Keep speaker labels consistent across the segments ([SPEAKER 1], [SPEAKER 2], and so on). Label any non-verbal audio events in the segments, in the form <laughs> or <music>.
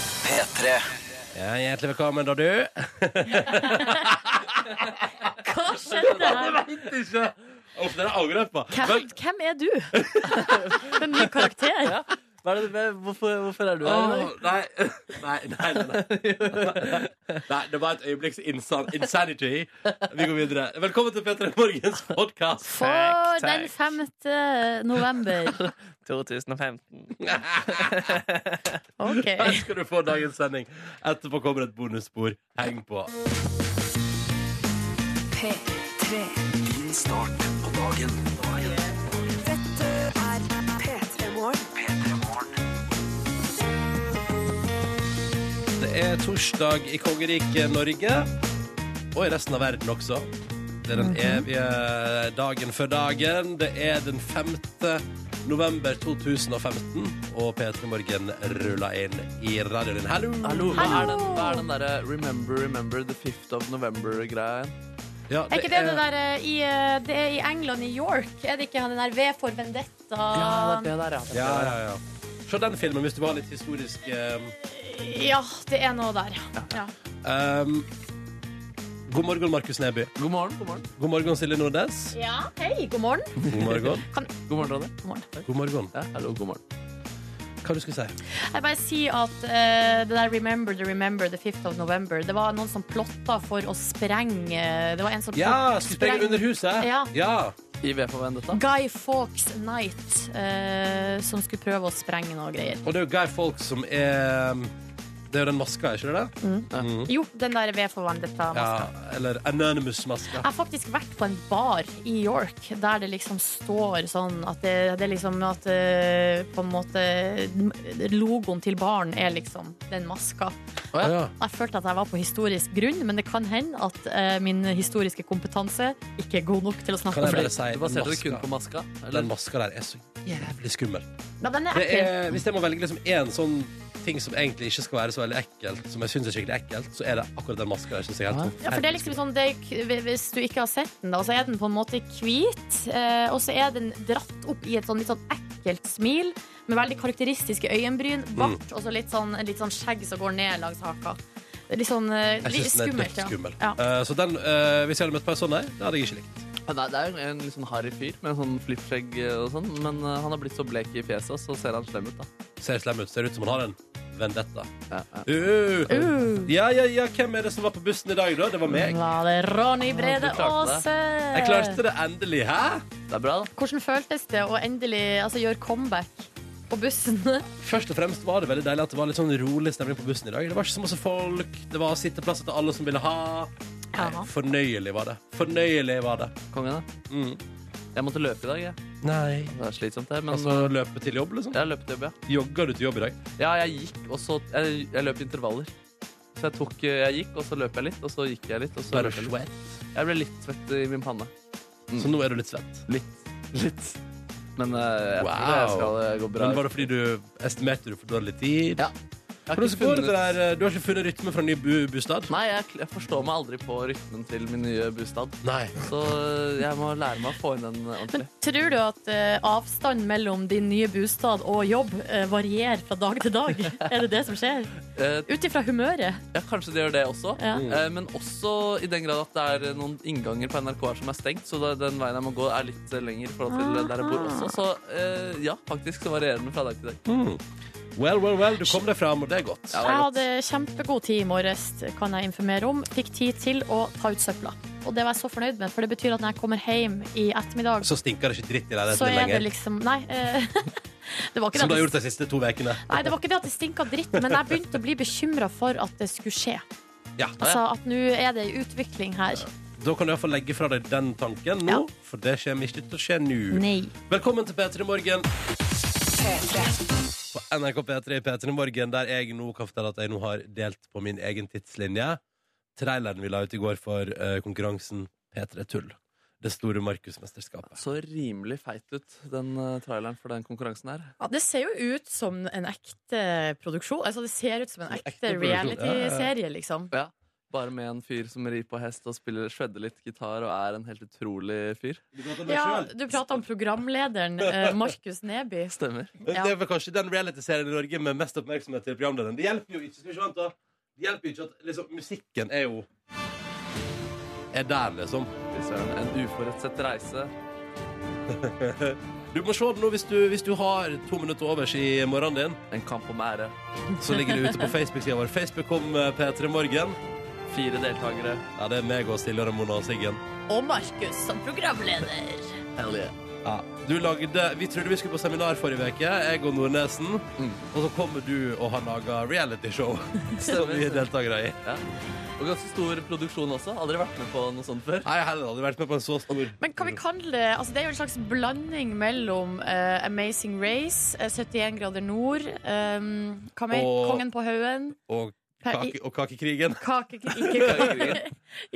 [SPEAKER 1] P3.
[SPEAKER 2] Ja, hjertelig velkommen, da, du.
[SPEAKER 3] Hva skjedde her?
[SPEAKER 2] Veit ikke! Uff, den angrer jeg på.
[SPEAKER 3] Hvem, hvem er du? <laughs> En ny karakter?
[SPEAKER 4] Hva er det, hva- hvorfor, hvorfor er du her? i
[SPEAKER 2] Åh,
[SPEAKER 4] dag?
[SPEAKER 2] nei. Nei, nei, nei, nei. nei. Det var et øyeblikks insan insanity. Vi går videre. Velkommen til P3 Morgens podkast.
[SPEAKER 3] For
[SPEAKER 4] Takk,
[SPEAKER 3] den
[SPEAKER 4] takk.
[SPEAKER 3] 5. november.
[SPEAKER 4] 2015.
[SPEAKER 3] OK.
[SPEAKER 2] Her skal du få dagens sending. Etterpå kommer et bonusspor. Heng på.
[SPEAKER 5] P3.
[SPEAKER 1] Din start på dagen.
[SPEAKER 5] Dette er P3 Morgen.
[SPEAKER 1] P3 Morgen.
[SPEAKER 2] Det er torsdag i kongeriket Norge. Og i resten av verden også. Det er den
[SPEAKER 3] Mhm.
[SPEAKER 2] evige dagen før dagen. Det er den 5. november 2015, og P3 Morgen ruller inn i radioen din. Hallo!
[SPEAKER 4] Hallo, hva er
[SPEAKER 3] Hallo!
[SPEAKER 4] den, hva er den derre Remember, remember the 5th of November-greia?
[SPEAKER 2] Ja,
[SPEAKER 3] Er ikke det det der eh, i, eh, det er i England, i York? Er det ikke han den der V for vendetta?
[SPEAKER 4] det der, ja.
[SPEAKER 2] Ja, ja, ja. Se den filmen hvis du vil ha litt historisk eh,
[SPEAKER 3] Ja, det er noe der. Ja.
[SPEAKER 2] ehm, God morgen, Markus Neby.
[SPEAKER 4] God morgen, god morgen.
[SPEAKER 2] God morgen, Silje
[SPEAKER 3] <laughs>
[SPEAKER 2] Nordnes.
[SPEAKER 3] ja. Hei, god morgen.
[SPEAKER 2] God morgen.
[SPEAKER 4] God morgen, Ronny.
[SPEAKER 2] God morgen.
[SPEAKER 4] Ja, hallo, god morgen.
[SPEAKER 2] Hva du skulle si?
[SPEAKER 3] Jeg bare sier at eh, det der Remember the Remember the 5th of November Det var noen som plotta for å sprenge eh, Det var en som
[SPEAKER 2] Ja, skulle sprenge under huset.
[SPEAKER 3] Ja.
[SPEAKER 2] ja.
[SPEAKER 4] I V for Vendetta.
[SPEAKER 3] Guy Fawkes Night eh, som skulle prøve å sprenge noe greier.
[SPEAKER 2] Og det er jo Guy Fawkes som er Det er jo den maska, er ikke det det? Mm.
[SPEAKER 3] Jo, den der V for vendetta-maska.
[SPEAKER 2] Ja, eller Anonymous-maska.
[SPEAKER 3] Jeg har faktisk vært på en bar i York der det liksom står sånn at det, det er liksom at eh, på en måte logoen til baren er liksom den maska.
[SPEAKER 4] Å, ja.
[SPEAKER 2] Ja.
[SPEAKER 3] Jeg følte at jeg var på historisk grunn, men det kan hende at eh, min historiske kompetanse ikke er god nok til å
[SPEAKER 2] Kan
[SPEAKER 3] snakke
[SPEAKER 2] jeg
[SPEAKER 3] om
[SPEAKER 2] bare
[SPEAKER 3] det.
[SPEAKER 2] si
[SPEAKER 4] Du baserte det
[SPEAKER 2] maska.
[SPEAKER 4] kun på maska?
[SPEAKER 2] Den
[SPEAKER 4] Eller?
[SPEAKER 2] maska der er så jævlig skummel.
[SPEAKER 3] Ja, den er
[SPEAKER 2] Det
[SPEAKER 3] ekkel.
[SPEAKER 2] er, hvis jeg må velge liksom én sånn ting som egentlig ikke skal være så veldig ekkelt, som jeg syns er skikkelig ekkelt, så er det akkurat den maska der. Synes jeg er helt
[SPEAKER 3] Ja, for det er liksom sånn det, er k- Hvis du ikke har sett den, da, så er den på en måte hvit. Eh, og så er den dratt opp i et sånn litt sånn ekkelt smil med veldig karakteristiske øyenbryn,
[SPEAKER 2] Mm.
[SPEAKER 3] bart og så litt sånn, litt sånn skjegg som går ned langs haka. Litt sånn eh,
[SPEAKER 2] Jeg
[SPEAKER 3] litt
[SPEAKER 2] synes den er
[SPEAKER 3] skummelt.
[SPEAKER 2] dødsskummel.
[SPEAKER 3] Ja. Ja.
[SPEAKER 2] Eh, så den, eh, hvis jeg hadde møtt på en sånn, nei, det hadde jeg ikke likt.
[SPEAKER 4] Ja, Nei, det er jo en litt sånn harry fyr med en sånn flippskjegg og sånn, men eh, han har blitt så blek i fjeset, så ser han slem ut, da.
[SPEAKER 2] Ser slem ut. Ser ut som han har en vendetta.
[SPEAKER 4] Ja, ja.
[SPEAKER 2] Uh,
[SPEAKER 3] Uh.
[SPEAKER 2] Ja, ja, ja, hvem er det som var på bussen i dag, da? Det var meg.
[SPEAKER 3] Var det Ronny Brede
[SPEAKER 4] du klarte
[SPEAKER 3] Aase?
[SPEAKER 2] Jeg klarte det endelig, hæ?
[SPEAKER 4] Det er bra, da.
[SPEAKER 3] Hvordan føltes det å endelig altså, gjøre comeback på bussen?
[SPEAKER 2] Først og fremst var det veldig deilig at det var litt sånn rolig stemning på bussen i dag. Det var ikke så masse folk. Det var sitteplasser til alle som ville ha.
[SPEAKER 3] Ja.
[SPEAKER 2] Nei, fornøyelig var det. Fornøyelig var det.
[SPEAKER 4] Kongen, da.
[SPEAKER 2] Mm.
[SPEAKER 4] Jeg måtte løpe i dag, jeg.
[SPEAKER 2] Nei.
[SPEAKER 4] Det er slitsomt, det, men eh,
[SPEAKER 2] Altså løpe til jobb, liksom?
[SPEAKER 4] jeg har løpt jobb, ja.
[SPEAKER 2] Jogger du til jobb i dag?
[SPEAKER 4] Ja, jeg gikk, og så Jeg, jeg løp intervaller. Så jeg, tok, jeg gikk, og så løp jeg litt, og så gikk jeg litt. Og så
[SPEAKER 2] Var du
[SPEAKER 4] løp jeg, litt. jeg ble litt svett i min panne. Mm.
[SPEAKER 2] Så nå er du litt svett.
[SPEAKER 4] Litt. Litt. Men eh, jeg tror det
[SPEAKER 2] Wow.
[SPEAKER 4] skal eh, gå bra.
[SPEAKER 2] Men var det fordi du estimerte du for dårlig tid?
[SPEAKER 4] Ja. Jeg har
[SPEAKER 2] Hvordan
[SPEAKER 4] ikke
[SPEAKER 2] går det
[SPEAKER 4] funnet-
[SPEAKER 2] der? eh, Du har ikke funnet rytmen fra ny bu bostad?
[SPEAKER 4] Nei, jeg, jeg forstår meg aldri på rytmen til min nye bostad.
[SPEAKER 2] Nei.
[SPEAKER 4] Så eh, jeg må lære meg å få inn den eh,
[SPEAKER 3] Men
[SPEAKER 4] ordentlig.
[SPEAKER 3] tror du at eh, avstanden mellom din nye bostad og jobb eh, varierer fra dag til
[SPEAKER 2] <laughs>
[SPEAKER 3] dag? er det det som skjer?
[SPEAKER 4] Eh,
[SPEAKER 3] Ut ifra humøret.
[SPEAKER 4] ja, kanskje det gjør det også.
[SPEAKER 3] Ja.
[SPEAKER 4] Eh, men også i den grad at det er eh, noen innganger på NRK her som er stengt, så da- den veien jeg må gå, er litt eh, lenger i forhold til eh, der jeg bor også. Så eh, ja, faktisk så varierer den fra dag til dag.
[SPEAKER 2] Mm. Well, well, well, du kom deg fram, og det er godt.
[SPEAKER 4] Ja, det er
[SPEAKER 3] Jeg
[SPEAKER 4] godt.
[SPEAKER 3] hadde kjempegod tid i morges, kan jeg informere om. Fikk tid til å ta ut søpla. Og det var jeg så fornøyd med, for det betyr at når jeg kommer hjem i ettermiddag,
[SPEAKER 2] Så stinker det ikke dritt i
[SPEAKER 3] så
[SPEAKER 2] leiligheten din
[SPEAKER 3] er det
[SPEAKER 2] lenger.
[SPEAKER 3] liksom Nei. eh, <laughs> det var ikke
[SPEAKER 2] Som du har
[SPEAKER 3] det at det,
[SPEAKER 2] gjort de siste to ukene.
[SPEAKER 3] nei, det var ikke det at det stinka dritt, men jeg begynte å bli bekymra for at det skulle skje.
[SPEAKER 2] Ja.
[SPEAKER 3] Altså at nå er det en utvikling her.
[SPEAKER 2] Da kan du iallfall legge fra deg den tanken nå,
[SPEAKER 3] Ja.
[SPEAKER 2] for det kommer ikke til å skje nå.
[SPEAKER 3] Nei.
[SPEAKER 2] Velkommen til P3 Morgen. På NRK P3 i P3 Morgen, der jeg nå kan fortelle at jeg nå har delt på min egen tidslinje. Traileren vi la ut i går for eh, konkurransen P3 Tull. Det store Markusmesterskapet.
[SPEAKER 4] så rimelig feit ut, den eh, traileren for den konkurransen her.
[SPEAKER 3] Ja, det ser jo ut som en ekte produksjon. Altså, det ser ut som en
[SPEAKER 2] En
[SPEAKER 3] ekte,
[SPEAKER 2] ekte produksjon, ja, ja, ja.
[SPEAKER 3] reality-serie, liksom.
[SPEAKER 4] Bare med en fyr som rir på hest og spiller shredder litt gitar og er en helt utrolig fyr.
[SPEAKER 2] Du prater om deg
[SPEAKER 3] Ja,
[SPEAKER 2] selv.
[SPEAKER 3] du prata om programlederen eh, Markus Neby.
[SPEAKER 4] Stemmer.
[SPEAKER 3] Ja.
[SPEAKER 2] Det er vel kanskje den reality-serien i Norge med mest oppmerksomhet til programlederen. Det hjelper jo ikke, skal vi ikke vente da. Det hjelper jo ikke at liksom, musikken er jo Er der, liksom.
[SPEAKER 4] Fy søren, En uforutsett reise.
[SPEAKER 2] Du må se den nå hvis du, hvis du har to minutter overs i morgenen din.
[SPEAKER 4] En kamp om ære.
[SPEAKER 2] Så ligger det ute på Facebook-sida vår. Facebook kom eh, P3 Morgen.
[SPEAKER 4] Fire deltakere.
[SPEAKER 2] Ja, det er meg og Silje Ramona og Siggen.
[SPEAKER 3] Og Markus som programleder.
[SPEAKER 4] Hell yeah.
[SPEAKER 2] Ja. Du lagde, vi trodde vi skulle på seminar forrige uke, jeg og Nordnesen.
[SPEAKER 4] Mm.
[SPEAKER 2] Og så kommer du og har laga realityshow som
[SPEAKER 4] Stemmer,
[SPEAKER 2] vi er
[SPEAKER 4] stemmer.
[SPEAKER 2] deltakere i.
[SPEAKER 4] Ja. Og ganske stor produksjon også. Aldri vært med på noe sånt før.
[SPEAKER 2] Nei, jeg har heller aldri vært med på en så stor
[SPEAKER 3] Men kan vi kalle det altså Det er jo en slags blanding mellom eh, Amazing Race, eh, 71 grader nord, eh, hva mer?
[SPEAKER 2] Og-
[SPEAKER 3] Kongen på haugen
[SPEAKER 2] og,
[SPEAKER 3] Ka-
[SPEAKER 2] kake, og kakekrigen.
[SPEAKER 3] Kake, <laughs> ikke, kake,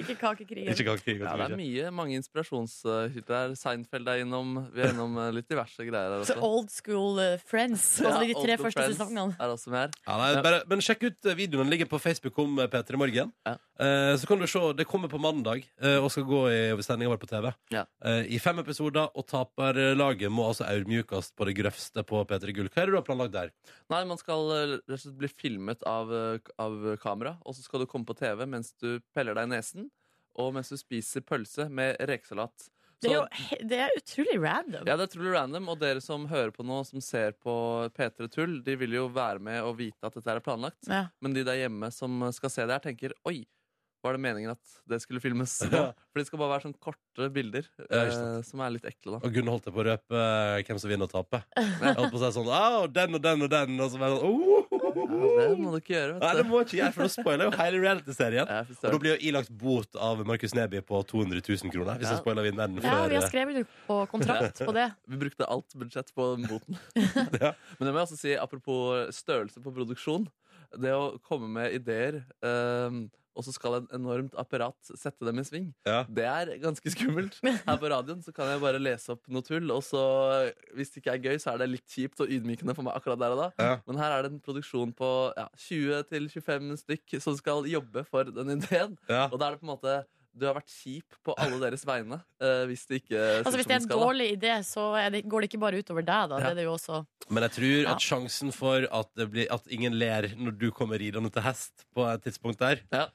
[SPEAKER 3] ikke kakekrigen.
[SPEAKER 2] Ikke kakekrigen. altså.
[SPEAKER 4] Ja, det er
[SPEAKER 2] tror jeg ikke.
[SPEAKER 4] mye, mange inspirasjonskilder her. Seinfeld er innom. Vi er innom eh, litt diverse greier her
[SPEAKER 3] Så
[SPEAKER 4] også.
[SPEAKER 3] old school eh, Friends, altså de
[SPEAKER 4] Ja,
[SPEAKER 3] tre
[SPEAKER 4] Old
[SPEAKER 3] første
[SPEAKER 4] Friends
[SPEAKER 3] sesongene.
[SPEAKER 4] Er også med her.
[SPEAKER 2] Ja, nei, bare, men sjekk ut eh, videoen. Den ligger på Facebook om eh, P3 Morgen.
[SPEAKER 4] Ja.
[SPEAKER 2] Eh, så kan du se, Det kommer på mandag eh, og skal gå i sendinga vår på TV.
[SPEAKER 4] Ja.
[SPEAKER 2] Eh, I fem episoder, og taperlaget må altså audmjukes på det grøvste på P3 Gull. Hva er det du har planlagt der?
[SPEAKER 4] Nei, man skal eh, rett og slett bli filmet av, eh, k- av kamera, og så skal du komme på TV mens du peller deg i nesen, og mens du spiser pølse med rekesalat.
[SPEAKER 3] Det er jo
[SPEAKER 4] Så-
[SPEAKER 3] he- det er utrolig random.
[SPEAKER 4] Ja, det er utrolig random, og dere som hører på nå, som ser på P3 Tull, de vil jo være med og vite at dette er planlagt,
[SPEAKER 3] Ja.
[SPEAKER 4] men de der hjemme som skal se det her, tenker oi, var det meningen at det skulle filmes? nå?» <laughs> For det skal bare være sånn korte bilder,
[SPEAKER 2] Ja, ikke
[SPEAKER 4] eh, som er litt ekle, da.
[SPEAKER 2] Og Gunn holdt jeg på å røpe eh, hvem som vinner og taper. Jeg holdt på å si sånn Å, den og den og den. Og så bare sånn
[SPEAKER 4] Ja, det
[SPEAKER 2] «Oh!»
[SPEAKER 4] må du ikke gjøre,
[SPEAKER 2] Nei, det
[SPEAKER 4] vet du.
[SPEAKER 2] må ikke jeg, for da spoiler jeg jo hele reality-serien.
[SPEAKER 4] Ja, fy
[SPEAKER 2] Og da
[SPEAKER 4] søren.
[SPEAKER 2] blir jo ilagt bot av Markus Neby på 200 000 kroner. Hvis
[SPEAKER 4] Ja.
[SPEAKER 2] jeg spoiler vinneren
[SPEAKER 3] Ja,
[SPEAKER 2] før
[SPEAKER 3] vi har
[SPEAKER 2] eh,
[SPEAKER 3] skrevet jo på kontrakt på det.
[SPEAKER 4] Vi brukte alt budsjett på den
[SPEAKER 3] <laughs>
[SPEAKER 4] boten. Men det må jeg også si, apropos størrelse på produksjon. Det å komme med ideer, ehm, og så skal en enormt apparat sette dem i sving,
[SPEAKER 2] ja.
[SPEAKER 4] det er ganske skummelt. Her på radioen så kan jeg bare lese opp noe tull, og så hvis det ikke er gøy, så er det litt kjipt og ydmykende for meg akkurat der og da.
[SPEAKER 2] Ja.
[SPEAKER 4] Men her er det en produksjon på ja, 20-25 stykk som skal jobbe for den ideen.
[SPEAKER 2] Ja.
[SPEAKER 4] Og da er det på en måte du har vært kjip på alle deres vegne. eh, hvis det ikke
[SPEAKER 3] Altså Hvis det er en dårlig idé, så er det, går det ikke bare utover deg, da. Det er det jo også.
[SPEAKER 2] Men jeg tror
[SPEAKER 3] Ja.
[SPEAKER 2] at sjansen for at, det blir, at ingen ler når du kommer ridende til hest på et tidspunkt der,
[SPEAKER 4] Ja.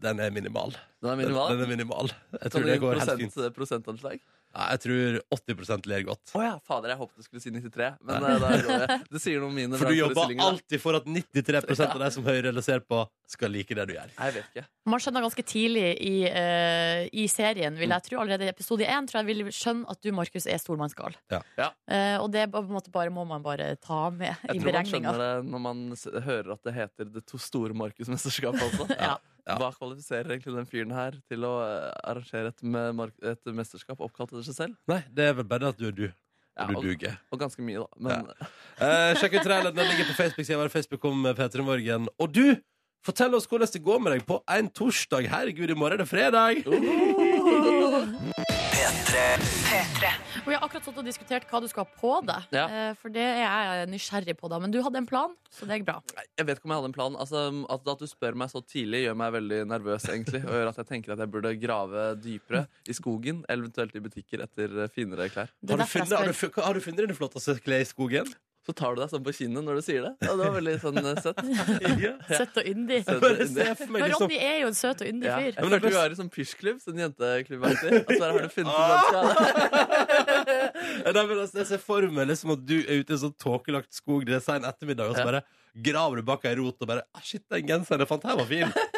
[SPEAKER 2] den er minimal.
[SPEAKER 4] Den er
[SPEAKER 2] Den,
[SPEAKER 4] minimal.
[SPEAKER 2] den er minimal. Jeg
[SPEAKER 4] Kan
[SPEAKER 2] tror
[SPEAKER 4] du
[SPEAKER 2] det
[SPEAKER 4] gi
[SPEAKER 2] går helt
[SPEAKER 4] prosent,
[SPEAKER 2] fint.
[SPEAKER 4] prosentanslag?
[SPEAKER 2] Nei, jeg tror 80 ler godt.
[SPEAKER 4] Å ja, fader, jeg håpet du skulle si 93. Men
[SPEAKER 2] Nei.
[SPEAKER 4] eh, da gjorde jeg. det sier noe om
[SPEAKER 2] <laughs>
[SPEAKER 4] mine
[SPEAKER 2] For du jobber
[SPEAKER 4] vrangforestillinger, da.
[SPEAKER 2] alltid for at 93 av de som hører eller ser på, skal like det du gjør.
[SPEAKER 4] Nei, Jeg vet ikke.
[SPEAKER 3] Man skjønner ganske tidlig i, eh, i serien, vil jeg tro. Allerede i episode én tror jeg vil skjønne at du, Markus, er stormannsgal.
[SPEAKER 2] Ja.
[SPEAKER 4] Ja.
[SPEAKER 3] Eh, og det er på en måte bare, må man bare ta med
[SPEAKER 4] Jeg
[SPEAKER 3] i
[SPEAKER 4] tror man
[SPEAKER 3] beregninga.
[SPEAKER 4] skjønner det når man s hører at det heter Det to store Markus-mesterskapet også.
[SPEAKER 3] Ja.
[SPEAKER 2] Ja.
[SPEAKER 4] Hva kvalifiserer egentlig den fyren her til å eh, arrangere et, me- mark- et mesterskap oppkalt etter seg selv?
[SPEAKER 2] Nei, det er vel bare at du er du.
[SPEAKER 4] Ja,
[SPEAKER 2] Og du
[SPEAKER 4] og,
[SPEAKER 2] duger.
[SPEAKER 4] og ganske mye, da. Men
[SPEAKER 2] Eh, sjekk ut traileren. Den ligger på Facebook-sida vår. Facebook om P3 Morgen. Og du, fortell oss hvordan det går med deg på en torsdag. Herregud, i morgen er det fredag!
[SPEAKER 3] Vi har akkurat stått og diskutert hva du skal ha på deg,
[SPEAKER 4] Ja.
[SPEAKER 3] Eh, for det er jeg nysgjerrig på. da Men du hadde en plan, så det er bra.
[SPEAKER 4] <laughs> jeg vet ikke om jeg hadde en plan. Altså, at, at du spør meg så tidlig, gjør meg veldig nervøs. egentlig Og gjør at jeg tenker at jeg burde grave dypere i skogen, eller eventuelt i butikker, etter eh, finere klær.
[SPEAKER 3] Det er
[SPEAKER 2] Har du
[SPEAKER 3] derfor jeg
[SPEAKER 2] funnet, har du,
[SPEAKER 3] spør.
[SPEAKER 2] fu- hva- har du funnet dine flotteste klær i skogen?
[SPEAKER 4] Så tar du deg sånn på kinnet når du sier det. Ja, det var veldig sånn eh, søtt.
[SPEAKER 2] Ja.
[SPEAKER 3] Søt og yndig.
[SPEAKER 4] Søt.
[SPEAKER 2] Bare se for meg
[SPEAKER 3] Men
[SPEAKER 2] liksom
[SPEAKER 3] Ronny er jo en søt og yndig
[SPEAKER 4] Ja. Jeg
[SPEAKER 3] fyr.
[SPEAKER 2] men det
[SPEAKER 4] føler
[SPEAKER 2] er
[SPEAKER 4] du
[SPEAKER 2] best-
[SPEAKER 4] er i sånn pysjklubb, sånn jenteklubbaktig. Og så bare Altså, har du funnet ut hva det er.
[SPEAKER 2] Nei, men altså, Jeg ser for meg liksom at du er ute i en sånn tåkelagt skog det er sein ettermiddag, og så
[SPEAKER 4] Ja.
[SPEAKER 2] bare graver du bak ei rot og bare ah, 'Shit, den genseren jeg fant her, var
[SPEAKER 4] <laughs>
[SPEAKER 2] fin'.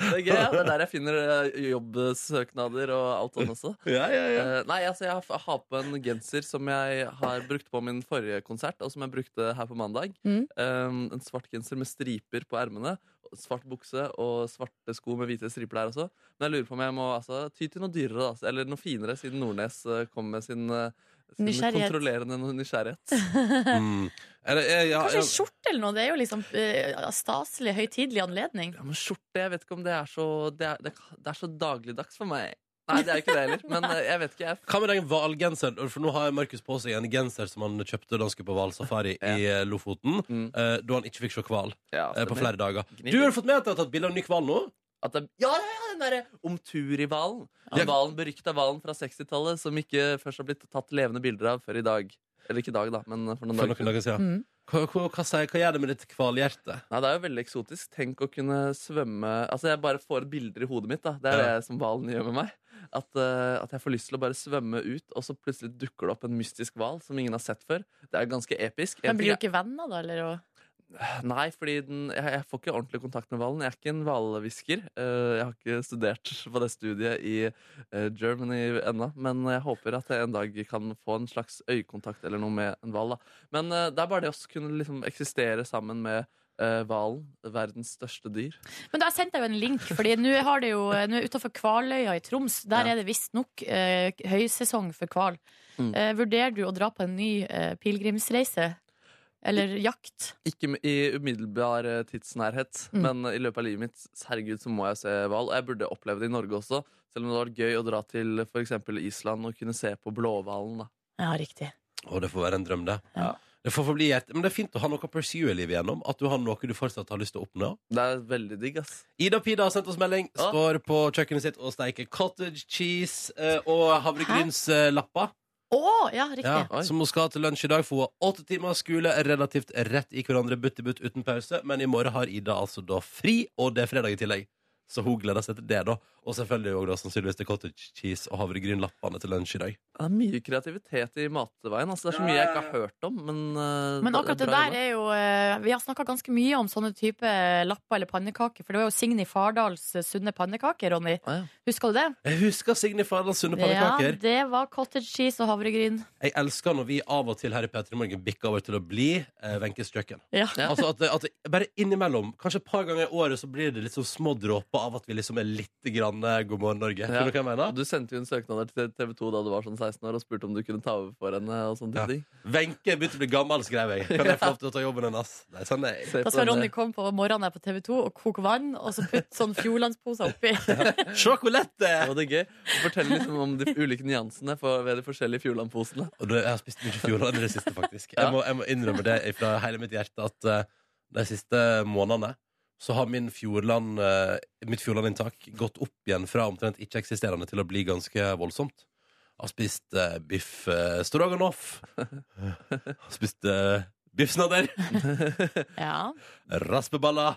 [SPEAKER 4] Det er gøy, ja. Det er der jeg finner eh, jobbsøknader og alt sånt også.
[SPEAKER 2] Ja, ja, ja.
[SPEAKER 4] Eh, nei, altså jeg har- jeg har på en genser som jeg har brukt på min forrige konsert, og som jeg brukte her på mandag.
[SPEAKER 3] Mm.
[SPEAKER 4] Eh, en svart genser med striper på ermene, svart bukse og svarte sko med hvite striper der også. Men jeg lurer på om jeg må altså, ty til noe dyrere, da, eller noe finere, siden Nordnes eh, kom med sin, eh, sin
[SPEAKER 3] Nysgjerrighet.
[SPEAKER 4] kontrollerende
[SPEAKER 3] <laughs>
[SPEAKER 4] nysgjerrighet. eh,
[SPEAKER 2] Mm. Er det, er, ja,
[SPEAKER 3] Kanskje
[SPEAKER 2] ja.
[SPEAKER 3] en skjorte eller noe. Det er jo liksom eh, staselig, høytidelig anledning.
[SPEAKER 4] Ja, men skjorte, jeg vet ikke om det er så Det er, det, det er så dagligdags for meg. Nei, det er jo ikke det heller. Men eh, jeg vet ikke. Jeg,
[SPEAKER 2] Hva med den hvalgenseren? For nå har Markus på seg en genser som han kjøpte da han skulle på hvalsafari i eh, Lofoten,
[SPEAKER 4] Mm.
[SPEAKER 2] eh, da han ikke fikk se hval
[SPEAKER 4] ja,
[SPEAKER 2] eh, på
[SPEAKER 4] stemmer.
[SPEAKER 2] flere dager.
[SPEAKER 4] Gnir.
[SPEAKER 2] Du har fått med at jeg har tatt bilde av en ny hval nå?
[SPEAKER 4] At det, ja, ja, ja, den derre omturivalen. Den valen, berykta hvalen fra 60-tallet som ikke først har blitt tatt levende bilder av før i dag. Eller ikke i dag, da, men for noen
[SPEAKER 2] For
[SPEAKER 4] dager
[SPEAKER 2] noen
[SPEAKER 4] siden.
[SPEAKER 2] dager siden.
[SPEAKER 3] Mm.
[SPEAKER 2] Hva, hva, hva, sier- hva gjør det med ditt kvalhjerte?
[SPEAKER 4] Nei, det er jo veldig eksotisk. Tenk å kunne svømme Altså, jeg bare får bilder i hodet mitt, da. Det er
[SPEAKER 2] Ja.
[SPEAKER 4] det som hvalen gjør med meg. At, eh, at jeg får lyst til å bare svømme ut, og så plutselig dukker det opp en mystisk hval som ingen har sett før. Det er ganske episk.
[SPEAKER 3] Men
[SPEAKER 4] En
[SPEAKER 3] blir
[SPEAKER 4] ting
[SPEAKER 3] du ikke venner, da? Eller? å-
[SPEAKER 4] Nei, fordi den, jeg, jeg får ikke ordentlig kontakt med hvalen. Jeg er ikke en hvalhvisker. Eh, jeg har ikke studert <laughs> på det studiet i eh, Germany ennå, men jeg håper at jeg en dag kan få en slags øyekontakt eller noe med en hval. da. Men eh, det er bare det å s- kunne liksom eksistere sammen med eh, hvalen, verdens største dyr.
[SPEAKER 3] Men da jeg sendte deg jo en link, Fordi nå har det jo Nå er utafor Kvaløya i Troms. Der
[SPEAKER 4] Ja.
[SPEAKER 3] er det visstnok eh, høysesong for hval.
[SPEAKER 4] Mm.
[SPEAKER 3] Eh, vurderer du å dra på en ny eh, pilegrimsreise? Eller jakt?
[SPEAKER 4] Ikke m- i umiddelbar eh, tidsnærhet,
[SPEAKER 3] Mm.
[SPEAKER 4] men eh, i løpet av livet mitt s- herregud, så må jeg se hval. Og jeg burde oppleve det i Norge også, selv om det var gøy å dra til f.eks. Island og kunne se på blåhvalen. da.
[SPEAKER 3] Ja, riktig.
[SPEAKER 2] Å, det får være en drøm, det.
[SPEAKER 3] Ja.
[SPEAKER 2] Det får forbli et Men det er fint å ha noe å pursue livet gjennom. At du har noe du fortsatt har lyst til å oppnå.
[SPEAKER 4] Det er veldig digg, ass.
[SPEAKER 2] Ida Pida har sendt oss melding.
[SPEAKER 4] Ja.
[SPEAKER 2] Står på kjøkkenet sitt og steiker cottage cheese eh, og havregrynslapper.
[SPEAKER 3] Å! Ja, riktig.
[SPEAKER 2] Ja,
[SPEAKER 4] Oi.
[SPEAKER 2] som hun skal ha til lunsj i dag, for hun har åtte timer skole relativt rett i hverandre, butt i butt uten pause. Men i morgen har Ida altså da fri, og det er fredag i tillegg. Så hun gleder seg til det, da. Og selvfølgelig også da sannsynligvis til cottage cheese og havregrynlappene til lunsj i dag.
[SPEAKER 4] Det er mye kreativitet i matveien. Altså, det er så mye jeg ikke har hørt om. Men, eh,
[SPEAKER 3] Men akkurat det
[SPEAKER 4] bra
[SPEAKER 3] der
[SPEAKER 4] jobba.
[SPEAKER 3] er jo eh, Vi har snakka ganske mye om sånne type eh, lapper eller pannekaker. For det var jo Signy Fardals eh, sunne pannekaker, Ronny.
[SPEAKER 4] Ah, ja.
[SPEAKER 3] Husker du det?
[SPEAKER 2] Jeg husker Signe Fardal Sunde pannekaker.
[SPEAKER 3] Ja, det var cottage cheese og havregryn.
[SPEAKER 2] Jeg elsker når vi av og til her i P3 Morgen bikker over til å bli eh, Wenches kjøkken.
[SPEAKER 3] Ja.
[SPEAKER 4] Ja.
[SPEAKER 2] Altså at, det- at det, bare innimellom, kanskje et par ganger i året, så blir det litt sånn små dråper av at vi liksom er litt grann eh, God morgen, Norge.
[SPEAKER 4] Ja.
[SPEAKER 2] Skjønner du hva jeg
[SPEAKER 4] Og
[SPEAKER 2] mener?
[SPEAKER 4] Du sendte jo en søknad der til TV 2 da du var sånn 16 år og spurte om du kunne ta over for henne. og sånne
[SPEAKER 2] Ja.
[SPEAKER 4] ting.
[SPEAKER 2] Wenche begynte å bli gammel, skrev jeg. Kan jeg
[SPEAKER 4] <laughs>
[SPEAKER 2] få lov til å ta jobben hennes? Nei, sånn nei.
[SPEAKER 4] Se
[SPEAKER 3] Da
[SPEAKER 4] på
[SPEAKER 3] skal
[SPEAKER 4] denne-
[SPEAKER 3] Ronny komme på morgenen her på TV 2 og koke vann, og så putte sånn Fjordlandsposer oppi.
[SPEAKER 2] Sjokolade!
[SPEAKER 4] Ja, det er gøy. Fortell liksom om de ulike nyansene for, ved de forskjellige Fjordland-posene.
[SPEAKER 2] Og du, jeg har spist mye fjordland i det siste, faktisk.
[SPEAKER 4] <laughs> Ja.
[SPEAKER 2] Jeg må, jeg må innrømme det fra hele mitt hjerte at eh, de siste månedene så har min fjordland, eh, mitt fjordlandinntak gått opp igjen fra omtrent ikke-eksisterende til å bli ganske voldsomt. Jeg har spist eh, biff uh, stroganoff. Jeg har spist uh, biffsnadder.
[SPEAKER 3] Ja.
[SPEAKER 2] Raspeballer.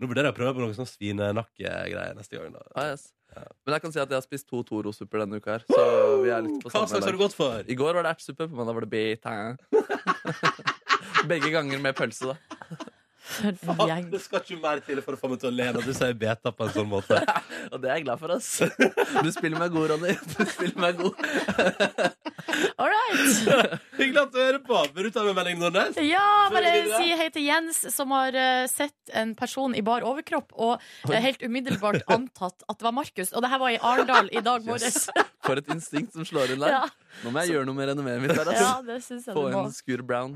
[SPEAKER 2] Nå vurderer jeg å prøve på noe sånn svinenakkegreier neste gang. Da.
[SPEAKER 4] Ah, yes. Men jeg kan si at jeg har spist to Toro-supper denne uka her. Så vi er litt på
[SPEAKER 2] Hva
[SPEAKER 4] samme
[SPEAKER 2] slags har du
[SPEAKER 4] lag.
[SPEAKER 2] gått for?
[SPEAKER 4] I går var det ertsuppe, på mandag var det <laughs> beitain. Begge ganger med pølse, da.
[SPEAKER 3] For en
[SPEAKER 2] Ah,
[SPEAKER 3] gjeng.
[SPEAKER 2] Det skal ikke mer til for å få meg til å le når du sier beta på en sånn måte.
[SPEAKER 4] Og det er jeg glad for, ass. Du spiller meg god, Ronny. Du spiller meg god.
[SPEAKER 3] All right.
[SPEAKER 2] Hyggelig at du hører på. Vil du ta med melding, Nordnes?
[SPEAKER 3] Ja,
[SPEAKER 2] Før vi
[SPEAKER 3] bare jeg vil
[SPEAKER 2] videre.
[SPEAKER 3] si hei til Jens, som har eh, sett en person i bar overkropp og eh, helt umiddelbart antatt at det var Markus. Og det her var i Arendal i dag morges.
[SPEAKER 4] For et instinkt som slår inn der.
[SPEAKER 3] Ja,
[SPEAKER 4] Nå må jeg gjøre noe med renommeet mitt. Der,
[SPEAKER 3] <laughs>
[SPEAKER 4] ass.
[SPEAKER 3] ja, det syns jeg du
[SPEAKER 4] Få
[SPEAKER 3] må.
[SPEAKER 4] en Scoot Brown.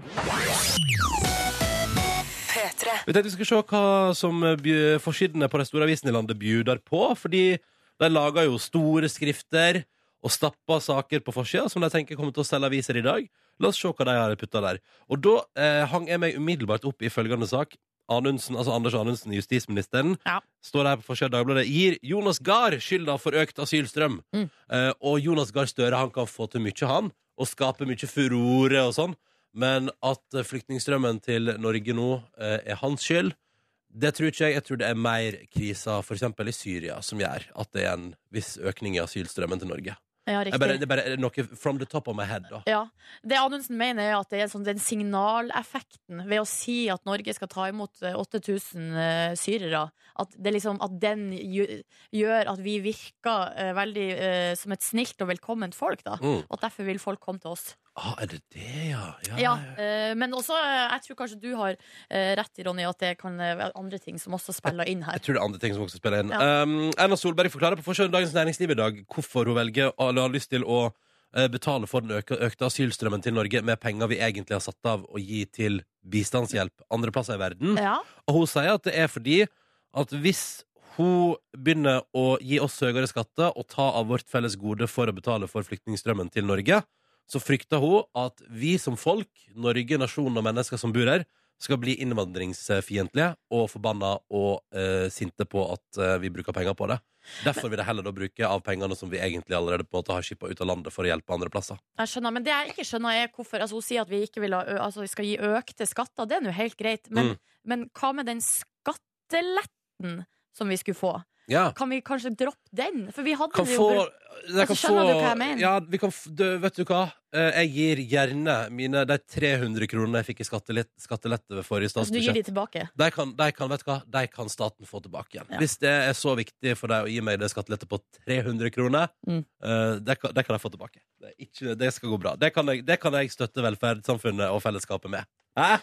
[SPEAKER 5] P3.
[SPEAKER 2] Vi tenkte vi skulle se hva som bj- forsidene på de store avisene i landet bjuder på. Fordi de lager jo store skrifter og stapper saker på forsida som de tenker kommer til å selge aviser i dag. La oss se hva de har putta der. Og da eh, hang jeg meg umiddelbart opp i følgende sak. Anundsen, altså Anders Anundsen, justisministeren,
[SPEAKER 3] Ja.
[SPEAKER 2] står her på forsida av Dagbladet. Gir Jonas Gahr skylda for økt asylstrøm.
[SPEAKER 3] Mm.
[SPEAKER 2] Eh, og Jonas Gahr Støre han kan få til mye, han. Og skape mye furore og sånn. Men at eh, flyktningstrømmen til Norge nå eh, er hans skyld, det tror ikke jeg. Jeg tror det er mer krisa f.eks. i Syria som gjør at det er en viss økning i asylstrømmen til Norge.
[SPEAKER 3] Ja,
[SPEAKER 2] Jeg bare,
[SPEAKER 3] riktig.
[SPEAKER 2] det er bare noe from the top of my head, da.
[SPEAKER 3] Ja. Det Anundsen mener, er at det er sånn, den signaleffekten ved å si at Norge skal ta imot eh, 8000 eh, syrere, at, det liksom, at den gjø- gjør at vi virker eh, veldig eh, som et snilt og velkomment folk. Da.
[SPEAKER 2] Mm.
[SPEAKER 3] Og at derfor vil folk komme til oss.
[SPEAKER 2] Ah, er det det, ja? Ja.
[SPEAKER 3] Ja, eh, men også, eh, jeg tror kanskje du har eh, rett, Ronny, at det kan eh, være andre ting som også spiller inn her.
[SPEAKER 2] Jeg tror det er andre ting som også spiller inn.
[SPEAKER 3] Ja.
[SPEAKER 2] Um, Erna Solberg forklarer på forsiden av Dagens Næringsliv i dag hvorfor hun velger eller har lyst til å eh, betale for den øke, økte asylstrømmen til Norge med penger vi egentlig har satt av å gi til bistandshjelp andre plasser i verden.
[SPEAKER 3] Ja,
[SPEAKER 2] Og hun sier at det er fordi at hvis hun begynner å gi oss høyere skatter og ta av vårt felles gode for å betale for flyktningstrømmen til Norge, så frykter hun at vi som folk, Norge, nasjonen og mennesker som bor her, skal bli innvandringsfiendtlige og forbanna og eh, sinte på at eh, vi bruker penger på det. Derfor vil jeg heller da bruke av pengene som vi egentlig allerede på en måte har skippa ut av landet for å hjelpe andre plasser.
[SPEAKER 3] Jeg skjønner, men det jeg ikke skjønner er hvorfor altså, Hun sier at vi ikke vil ha, ø- altså, vi skal gi økte skatter. Det er nå helt greit. Men,
[SPEAKER 2] Mm.
[SPEAKER 3] men hva med den skatteletten som vi skulle få?
[SPEAKER 2] Ja.
[SPEAKER 3] Kan vi kanskje droppe den? For vi hadde
[SPEAKER 2] Kan
[SPEAKER 3] det jo
[SPEAKER 2] få,
[SPEAKER 3] brukt-
[SPEAKER 2] jeg kan
[SPEAKER 3] skjønner
[SPEAKER 2] få,
[SPEAKER 3] du hva jeg mener?
[SPEAKER 2] Ja, vi kan, f- du, vet du hva? Eh, Jeg gir gjerne mine de 300 kronene jeg fikk i skattelett, skattelette ved forrige
[SPEAKER 3] altså, Du gir
[SPEAKER 2] statsbudsjett.
[SPEAKER 3] de tilbake.
[SPEAKER 2] De kan, de kan, vet du hva? De kan staten få tilbake igjen.
[SPEAKER 3] Ja.
[SPEAKER 2] Hvis det er så viktig for deg å gi meg det skattelettet på 300 kroner,
[SPEAKER 3] Mm.
[SPEAKER 2] eh, det, kan, det kan jeg få tilbake. Det, er ikke, det skal gå bra. Det kan, jeg, det kan jeg støtte velferdssamfunnet og fellesskapet med. Hæ?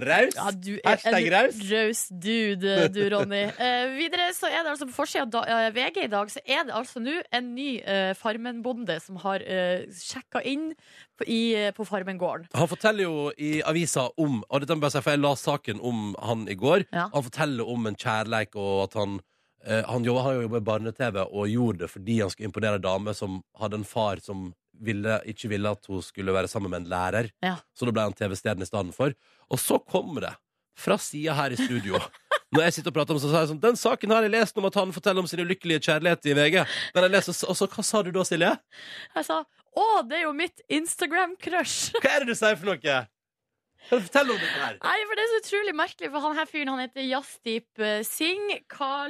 [SPEAKER 2] Raus?
[SPEAKER 3] Ja, du er en
[SPEAKER 2] Hashtag raus.
[SPEAKER 3] raus dude, du,
[SPEAKER 2] <laughs>
[SPEAKER 3] Ronny. Eh, videre så er det altså på forsida av da- eh, VG i dag så er det altså nå en ny eh, Farmen-bonde som har uh, sjekka inn på, i, eh, på Farmen-gården.
[SPEAKER 2] Han forteller jo i avisa om Og dette må jeg bare si, for jeg la saken om han i går.
[SPEAKER 3] Ja.
[SPEAKER 2] Han forteller om en kjærleik og at han eh, Han jobba han jobba i barne-TV og gjorde det fordi han skulle imponere ei dame som hadde en far som ville, ikke ville at hun skulle være sammen med en lærer.
[SPEAKER 3] Ja.
[SPEAKER 2] Så da ble han TV-stjernen i stedet for. Og så kommer det, fra sida her i studio
[SPEAKER 3] <laughs>
[SPEAKER 2] Når jeg sitter og prater om så sier jeg sånn Den saken har jeg lest om at han forteller om sin ulykkelige kjærlighet i VG. Men jeg leser, og så, hva sa du da, Silje?
[SPEAKER 3] Jeg sa å, det er jo mitt Instagram-crush! <laughs>
[SPEAKER 2] Hva er det du sier for noe? Kan du fortelle om dette her?
[SPEAKER 3] Nei, for det er så utrolig merkelig, for han her fyren han heter Jasdeep eh, Singh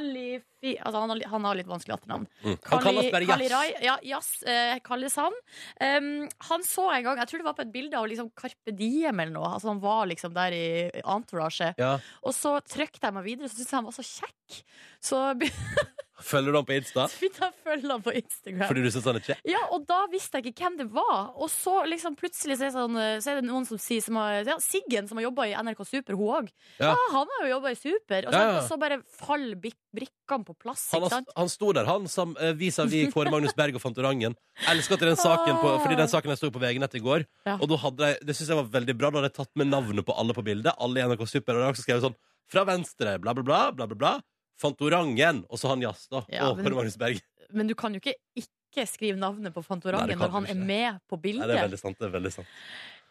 [SPEAKER 3] Kalifi... Altså, han har, li- han har litt vanskelig etternavn.
[SPEAKER 2] Mm. Han kalles bare
[SPEAKER 3] Kali
[SPEAKER 2] Jazz.
[SPEAKER 3] Rai, ja, Jazz eh, kalles han. Um, han så en gang, jeg tror det var på et bilde av liksom Carpe Diem eller noe. Altså, han var liksom der i entourage.
[SPEAKER 2] Ja.
[SPEAKER 3] Og så trykte jeg meg videre, så syntes jeg han var så kjekk. Så <laughs> begynte
[SPEAKER 2] Følger du ham på Insta?
[SPEAKER 3] jeg å følge han på Instagram.
[SPEAKER 2] Fordi du syns han er kjekk?
[SPEAKER 3] Ja, og da visste jeg ikke hvem det var. Og så liksom plutselig så er, det sånn, så er det noen som sier som har, ja, Siggen, som har jobba i NRK Super, hun òg.
[SPEAKER 2] Ja.
[SPEAKER 3] Ja. han har jo jobba i Super. Og så,
[SPEAKER 2] Ja, ja.
[SPEAKER 3] og så bare faller bik- brikkene på plass.
[SPEAKER 2] Han,
[SPEAKER 3] Ikke
[SPEAKER 2] har-
[SPEAKER 3] sant?
[SPEAKER 2] han sto der, han, sam- eh, vis-à-vis Kåre Magnus Berg og Fantorangen. Elsker at den saken på, fordi den saken jeg sto på VG-nett i går.
[SPEAKER 3] Ja.
[SPEAKER 2] Og da hadde jeg, Det syns jeg var veldig bra. Da hadde jeg tatt med navnet på alle på bildet. Alle i NRK Super. Og da hadde jeg også skrevet sånn Fra venstre, bla, bla, bla. bla, bla, bla Fantorangen. Og så han Jazz, da.
[SPEAKER 3] Ja,
[SPEAKER 2] og
[SPEAKER 3] men-
[SPEAKER 2] Kåre Magnus Berg.
[SPEAKER 3] Men du kan jo ikke ikke skrive navnet på
[SPEAKER 2] Nei,
[SPEAKER 3] Fantorangen
[SPEAKER 2] det kan
[SPEAKER 3] når
[SPEAKER 2] du
[SPEAKER 3] han
[SPEAKER 2] ikke.
[SPEAKER 3] er med på
[SPEAKER 2] Nei,
[SPEAKER 3] bildet.
[SPEAKER 2] det er veldig sant. det er veldig sant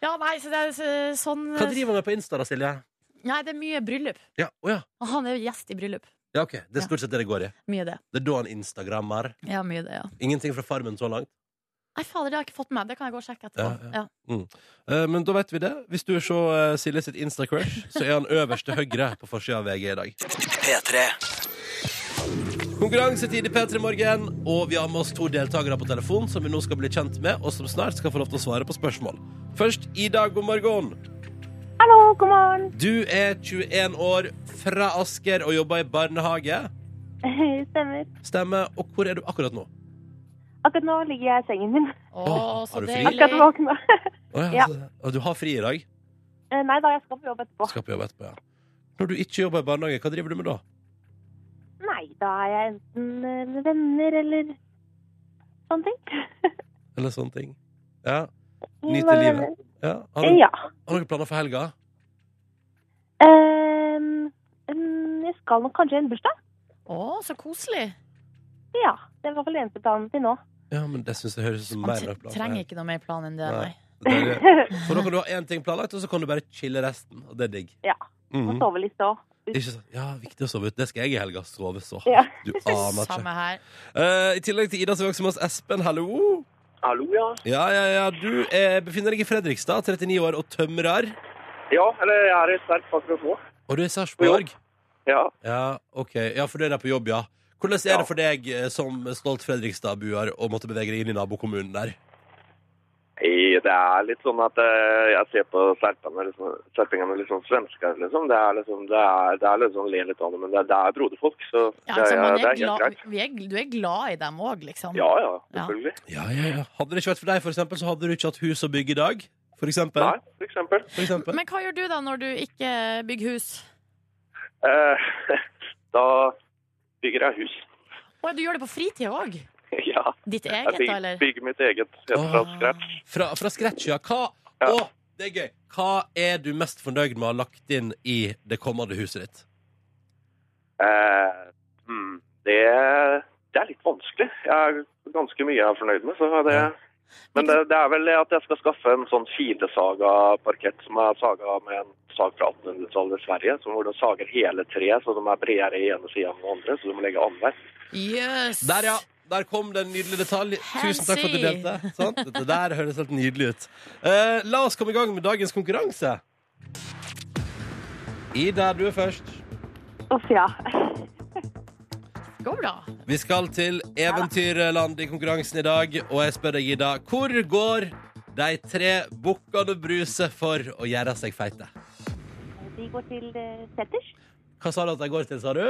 [SPEAKER 3] ja, nei, så det er så- sånn
[SPEAKER 2] Hva driver han med på Insta, da, Silje?
[SPEAKER 3] Nei, det er mye bryllup.
[SPEAKER 2] Ja, å ja.
[SPEAKER 3] Og Han er jo gjest i bryllup.
[SPEAKER 2] ja, ok Det er stort sett det det går i.
[SPEAKER 3] Mye det.
[SPEAKER 2] Det er da han instagrammer.
[SPEAKER 3] Ja, mye det, ja.
[SPEAKER 2] Ingenting fra Farmen så langt.
[SPEAKER 3] Nei, fader, det har jeg ikke fått med meg. Det kan jeg gå og sjekke etterpå.
[SPEAKER 2] Ja,
[SPEAKER 3] Ja,
[SPEAKER 2] Eh, Men da vet vi det. Hvis du vil se eh, Silje sitt Insta-crush, så er han øverst til høyre på forsida av VG i dag.
[SPEAKER 1] P3
[SPEAKER 2] Konkurransetid i P3 Morgen, og vi har med oss to deltakere på telefon som vi nå skal bli kjent med, og som snart skal få lov til å svare på spørsmål. Først Ida, god morgen.
[SPEAKER 6] Hallo, god morgen.
[SPEAKER 2] Du er 21 år, fra Asker og jobber i barnehage.
[SPEAKER 6] <laughs> Stemmer.
[SPEAKER 2] Stemmer. Og hvor er du akkurat nå?
[SPEAKER 6] Akkurat nå ligger jeg i sengen min.
[SPEAKER 3] Å,
[SPEAKER 2] har
[SPEAKER 3] så
[SPEAKER 2] du fri?
[SPEAKER 6] Akkurat
[SPEAKER 3] deilig.
[SPEAKER 6] våkna.
[SPEAKER 2] Å
[SPEAKER 6] Ja.
[SPEAKER 2] Og Du har fri i dag.
[SPEAKER 6] <laughs> Eh, Nei da, jeg skal på jobb etterpå.
[SPEAKER 2] Skal på jobb etterpå, ja. Når du ikke jobber i barnehage, hva driver du med da?
[SPEAKER 6] Nei, da er jeg enten eh, med venner eller sånne ting.
[SPEAKER 2] Eller sånne ting. Ja. Nyte
[SPEAKER 6] Bare
[SPEAKER 2] livet.
[SPEAKER 6] venner.
[SPEAKER 2] ja. Har, du,
[SPEAKER 6] eh, Ja.
[SPEAKER 2] har du noen planer for helga?
[SPEAKER 6] Ehm, mm, Jeg skal nok kanskje i en bursdag.
[SPEAKER 3] Å, så koselig.
[SPEAKER 6] Ja, det er i hvert fall eneste planen til nå.
[SPEAKER 2] Ja, men det synes jeg høres ut som
[SPEAKER 3] Han
[SPEAKER 2] mer
[SPEAKER 3] tre-
[SPEAKER 2] enn en plan.
[SPEAKER 3] trenger ikke noe mer plan enn det,
[SPEAKER 2] Nei.
[SPEAKER 3] nei.
[SPEAKER 2] Det er det.
[SPEAKER 6] <laughs>
[SPEAKER 2] For da kan du ha én ting planlagt, og så kan du bare chille resten. Og det er digg.
[SPEAKER 6] Ja. Må
[SPEAKER 2] Mhm.
[SPEAKER 6] sove litt så.
[SPEAKER 2] Ikke sant? Ja, viktig å sove ut. Det skal jeg i helga. Sove så hardt.
[SPEAKER 6] Ja.
[SPEAKER 2] Du aner ikke.
[SPEAKER 3] Samme her.
[SPEAKER 2] Eh, I tillegg til Ida så er vi også med oss Espen. Hallo.
[SPEAKER 7] Hallo, ja.
[SPEAKER 2] Ja, ja, ja. Du eh, befinner deg i Fredrikstad, 39 år, og tømrer.
[SPEAKER 7] Ja, eller jeg er i sterk akkurat nå.
[SPEAKER 2] Og du er i Sarpsborg?
[SPEAKER 7] Ja.
[SPEAKER 2] Ja, OK. Ja, for du er der på jobb, ja. Hvordan er det for deg eh, som stolt Fredrikstad-buer å måtte bevege deg inn i nabokommunen der?
[SPEAKER 7] Nei, Det er litt sånn at eh, jeg ser på serpene, liksom, serpingene liksom svensker, liksom. Det er liksom, det er, det er liksom le litt av det, men det, det er broderfolk, så
[SPEAKER 3] Ja,
[SPEAKER 7] det,
[SPEAKER 3] altså,
[SPEAKER 7] er-
[SPEAKER 3] man er
[SPEAKER 7] det er helt
[SPEAKER 3] glad,
[SPEAKER 7] greit.
[SPEAKER 3] vi er, du er glad i dem òg, liksom.
[SPEAKER 7] Ja, ja, selvfølgelig.
[SPEAKER 2] Ja, ja, ja. Hadde det ikke vært for deg, for eksempel, så hadde du ikke hatt hus å bygge i dag? For eksempel?
[SPEAKER 7] Nei, for eksempel.
[SPEAKER 2] For eksempel.
[SPEAKER 3] Men hva gjør du da når du ikke bygger hus?
[SPEAKER 7] Eh, <laughs> da bygger jeg hus. <laughs>
[SPEAKER 3] Å, du gjør det på fritida òg?
[SPEAKER 7] ja,
[SPEAKER 3] Ditt
[SPEAKER 7] jeg
[SPEAKER 3] eget, da,
[SPEAKER 7] bygger,
[SPEAKER 3] eller?
[SPEAKER 7] bygger mitt eget helt fra
[SPEAKER 2] Ah.
[SPEAKER 7] scratch.
[SPEAKER 2] Fra, fra scratch, ja. Hva,
[SPEAKER 7] Ja.
[SPEAKER 2] Å, det er gøy. Hva er du mest fornøyd med å ha lagt inn i det kommende huset ditt?
[SPEAKER 7] Eh, hmm, det, det er litt vanskelig. Jeg er ganske mye jeg er fornøyd med, så det... Men det, det er vel at jeg skal skaffe en sånn filesaga-parkett som er saga med en sag fra 1800-tallet i Sverige, som hvor de sager hele treet, så de er bredere i ene sida enn den andre, så du må legge annenhver.
[SPEAKER 3] Yes.
[SPEAKER 2] Der, ja. Der kom det en nydelig detalj. Tusen takk for at du
[SPEAKER 3] Fancy.
[SPEAKER 2] delte. Sant? Dette der høres helt nydelig ut. Eh, la oss komme i gang med dagens konkurranse. Ida, du er først.
[SPEAKER 6] Uff, ja.
[SPEAKER 3] Det går bra.
[SPEAKER 2] Vi skal til Eventyrland i konkurransen i dag, og jeg spør deg, Ida, hvor går de tre bukkene Bruse for å gjøre seg feite?
[SPEAKER 6] De går til eh, seters.
[SPEAKER 2] Hva sa du at de går til, sa du?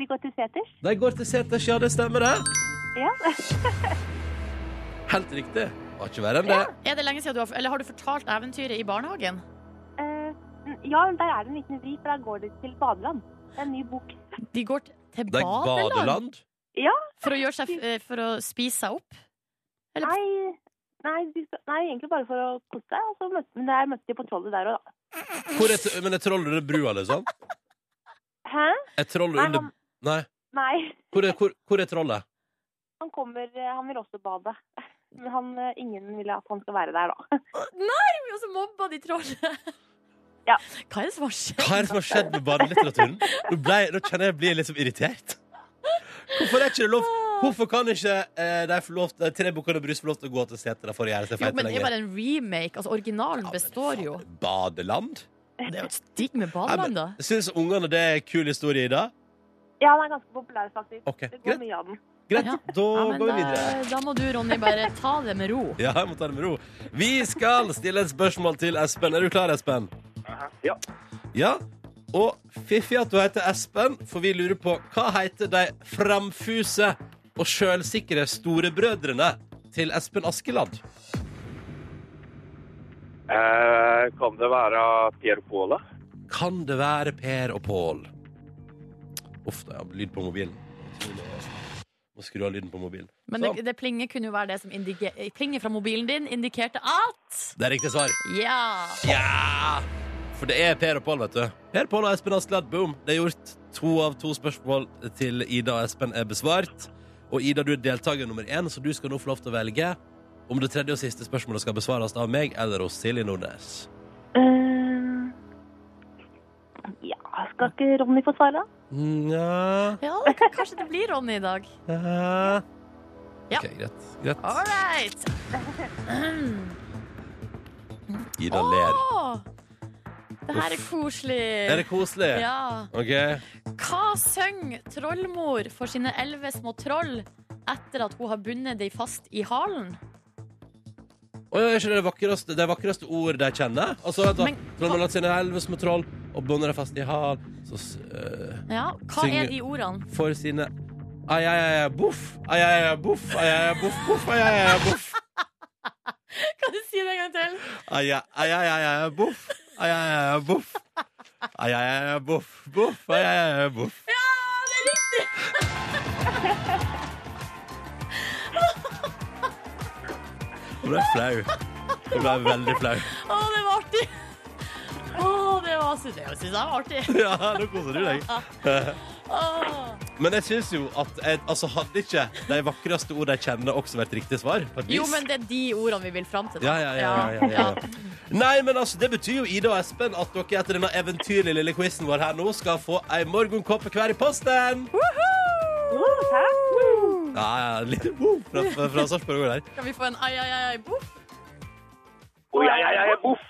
[SPEAKER 6] De går til seters.
[SPEAKER 2] De går til seters, ja, det stemmer det.
[SPEAKER 6] Ja. <laughs>
[SPEAKER 2] Helt riktig. Var ikke verre enn det.
[SPEAKER 3] Er det lenge siden du har, eller har du fortalt eventyret i barnehagen?
[SPEAKER 6] Eh, ja, der er det en liten vri, for der går de til badeland. Det er en ny bok.
[SPEAKER 3] De går t- til
[SPEAKER 2] Det er
[SPEAKER 3] badeland
[SPEAKER 2] badeland.
[SPEAKER 6] Ja,
[SPEAKER 3] for å, gjøre seg, f- eh, for å spise seg opp. Eller-
[SPEAKER 6] nei, nei, de skal- nei, egentlig bare for å kose seg. Og så møtte, men der møtte de på trollet der og da.
[SPEAKER 2] Hvor er, men er trollet under brua, liksom?
[SPEAKER 6] Hæ?
[SPEAKER 2] Er trollet
[SPEAKER 6] Nei,
[SPEAKER 2] under
[SPEAKER 6] han,
[SPEAKER 2] Nei.
[SPEAKER 6] nei,
[SPEAKER 2] Hvor er, hvor, hvor er trollet?
[SPEAKER 6] han kommer eh, Han vil også bade. Men han, eh, ingen vil at han skal være der, da.
[SPEAKER 3] Og så mobba de trollet.
[SPEAKER 6] Ja.
[SPEAKER 3] Hva er det som har skjedd?
[SPEAKER 2] Hva er det som har skjedd med badelitteraturen? Nå, ble, nå kjenner jeg jeg blir litt som irritert. Hvorfor er ikke det lov? Hvorfor kan ikke eh, de, få lov, de tre bukkene Brus få lov til å gå til setra for å gjøre seg
[SPEAKER 3] Jo,
[SPEAKER 2] feite
[SPEAKER 3] men det er
[SPEAKER 2] lenger?
[SPEAKER 3] bare en remake. Altså, originalen
[SPEAKER 2] Ja, men
[SPEAKER 3] består jo.
[SPEAKER 2] faen, Badeland?
[SPEAKER 3] Det er jo et stikk med
[SPEAKER 2] Nei, men-
[SPEAKER 3] badeland, da.
[SPEAKER 2] Syns ungene det er en kul historie i dag?
[SPEAKER 6] Ja, han er ganske populær, faktisk.
[SPEAKER 2] Ok,
[SPEAKER 6] Det går
[SPEAKER 2] Greit,
[SPEAKER 6] mye av den.
[SPEAKER 2] greit.
[SPEAKER 3] Ja.
[SPEAKER 2] da
[SPEAKER 3] Ja, men
[SPEAKER 2] går vi
[SPEAKER 3] da,
[SPEAKER 2] videre.
[SPEAKER 3] da må du, Ronny, bare ta det med ro.
[SPEAKER 2] Ja, jeg må ta det med ro. Vi skal stille et spørsmål til Espen. Er du klar, Espen?
[SPEAKER 7] Ja.
[SPEAKER 2] Ja. Og fiffig at du heter Espen, for vi lurer på hva heter de framfuse og sjølsikre storebrødrene til Espen Askeladd?
[SPEAKER 7] Eh, kan det være Per Påla?
[SPEAKER 2] Kan det være Per og Pål? Uff, da, jeg har lyd på mobilen. Må skru av lyden på mobilen.
[SPEAKER 3] Men
[SPEAKER 2] Sånn.
[SPEAKER 3] det, det plinget kunne jo være det som indike- Plinget fra mobilen din indikerte at
[SPEAKER 2] Det er riktig svar.
[SPEAKER 3] Ja!
[SPEAKER 2] Ja! For det er Per og Pål, vet du. Per, Pål og Espen Askeladd, boom. Det er gjort to av to spørsmål til Ida og Espen er besvart. Og Ida, du er deltaker nummer én, så du skal nå få lov til å velge om det tredje og siste spørsmålet skal besvares av meg eller hos Silje Nordnes.
[SPEAKER 6] Eh, ja, skal ikke Ronny få svare, da?
[SPEAKER 2] Nja
[SPEAKER 3] ja det kan- kanskje det blir Ronny i dag.
[SPEAKER 2] ja.
[SPEAKER 3] Ja.
[SPEAKER 2] OK, greit. greit.
[SPEAKER 3] All right!
[SPEAKER 2] Ida ler.
[SPEAKER 3] Åh, det her er koselig.
[SPEAKER 2] Er det koselig?
[SPEAKER 3] Ja.
[SPEAKER 2] OK.
[SPEAKER 3] Hva synger trollmor for sine elleve små troll etter at hun har bundet dem fast i halen?
[SPEAKER 2] Og er ikke det det vakreste, det vakreste ord de kjenner? Altså, vet
[SPEAKER 3] Men-
[SPEAKER 2] du, Troll har latt sine elleve små troll og bånder dem fast i hal. Så s- øh,
[SPEAKER 3] Ja, Hva
[SPEAKER 2] Synger-
[SPEAKER 3] er de ordene? <laughs>
[SPEAKER 2] for sine Ai, ai, ai, ai, boff. Ai, ai, ai, boff. Ai, ai, ai, boff, boff. Ai, ai, ai, boff.
[SPEAKER 3] Kan du si det en gang til?
[SPEAKER 2] Ai, ai, ai, ai, ai, boff. Ai, ai, ai, ai, boff. Ai, ai, ai, ai, boff, boff. Ai, ai, ai, ai, boff. Nå ble jeg flau. Nå ble jeg veldig flau.
[SPEAKER 3] Å, det var artig! Å, det var synes jeg synes jeg var artig.
[SPEAKER 2] <laughs> Ja, nå koser du deg.
[SPEAKER 3] Å.
[SPEAKER 2] Men jeg syns jo at jeg, altså, Hadde ikke de vakreste ord jeg kjenner, også vært riktig svar? på et
[SPEAKER 3] Jo,
[SPEAKER 2] vis?
[SPEAKER 3] men det er de ordene vi vil fram til.
[SPEAKER 2] Ja,
[SPEAKER 3] da.
[SPEAKER 2] ja, ja, ja, ja, ja. Nei, men altså, Det betyr jo Ida og Espen at dere etter denne eventyrlige lille quizen vår her nå skal få ei morgenkopp hver i posten. Ja, ja, litt woo fra, fra, fra Sarpsborg der.
[SPEAKER 3] Kan vi få en ai, ai, ai, ai, boff?
[SPEAKER 7] Å, ja, ja, ja, ja, boff!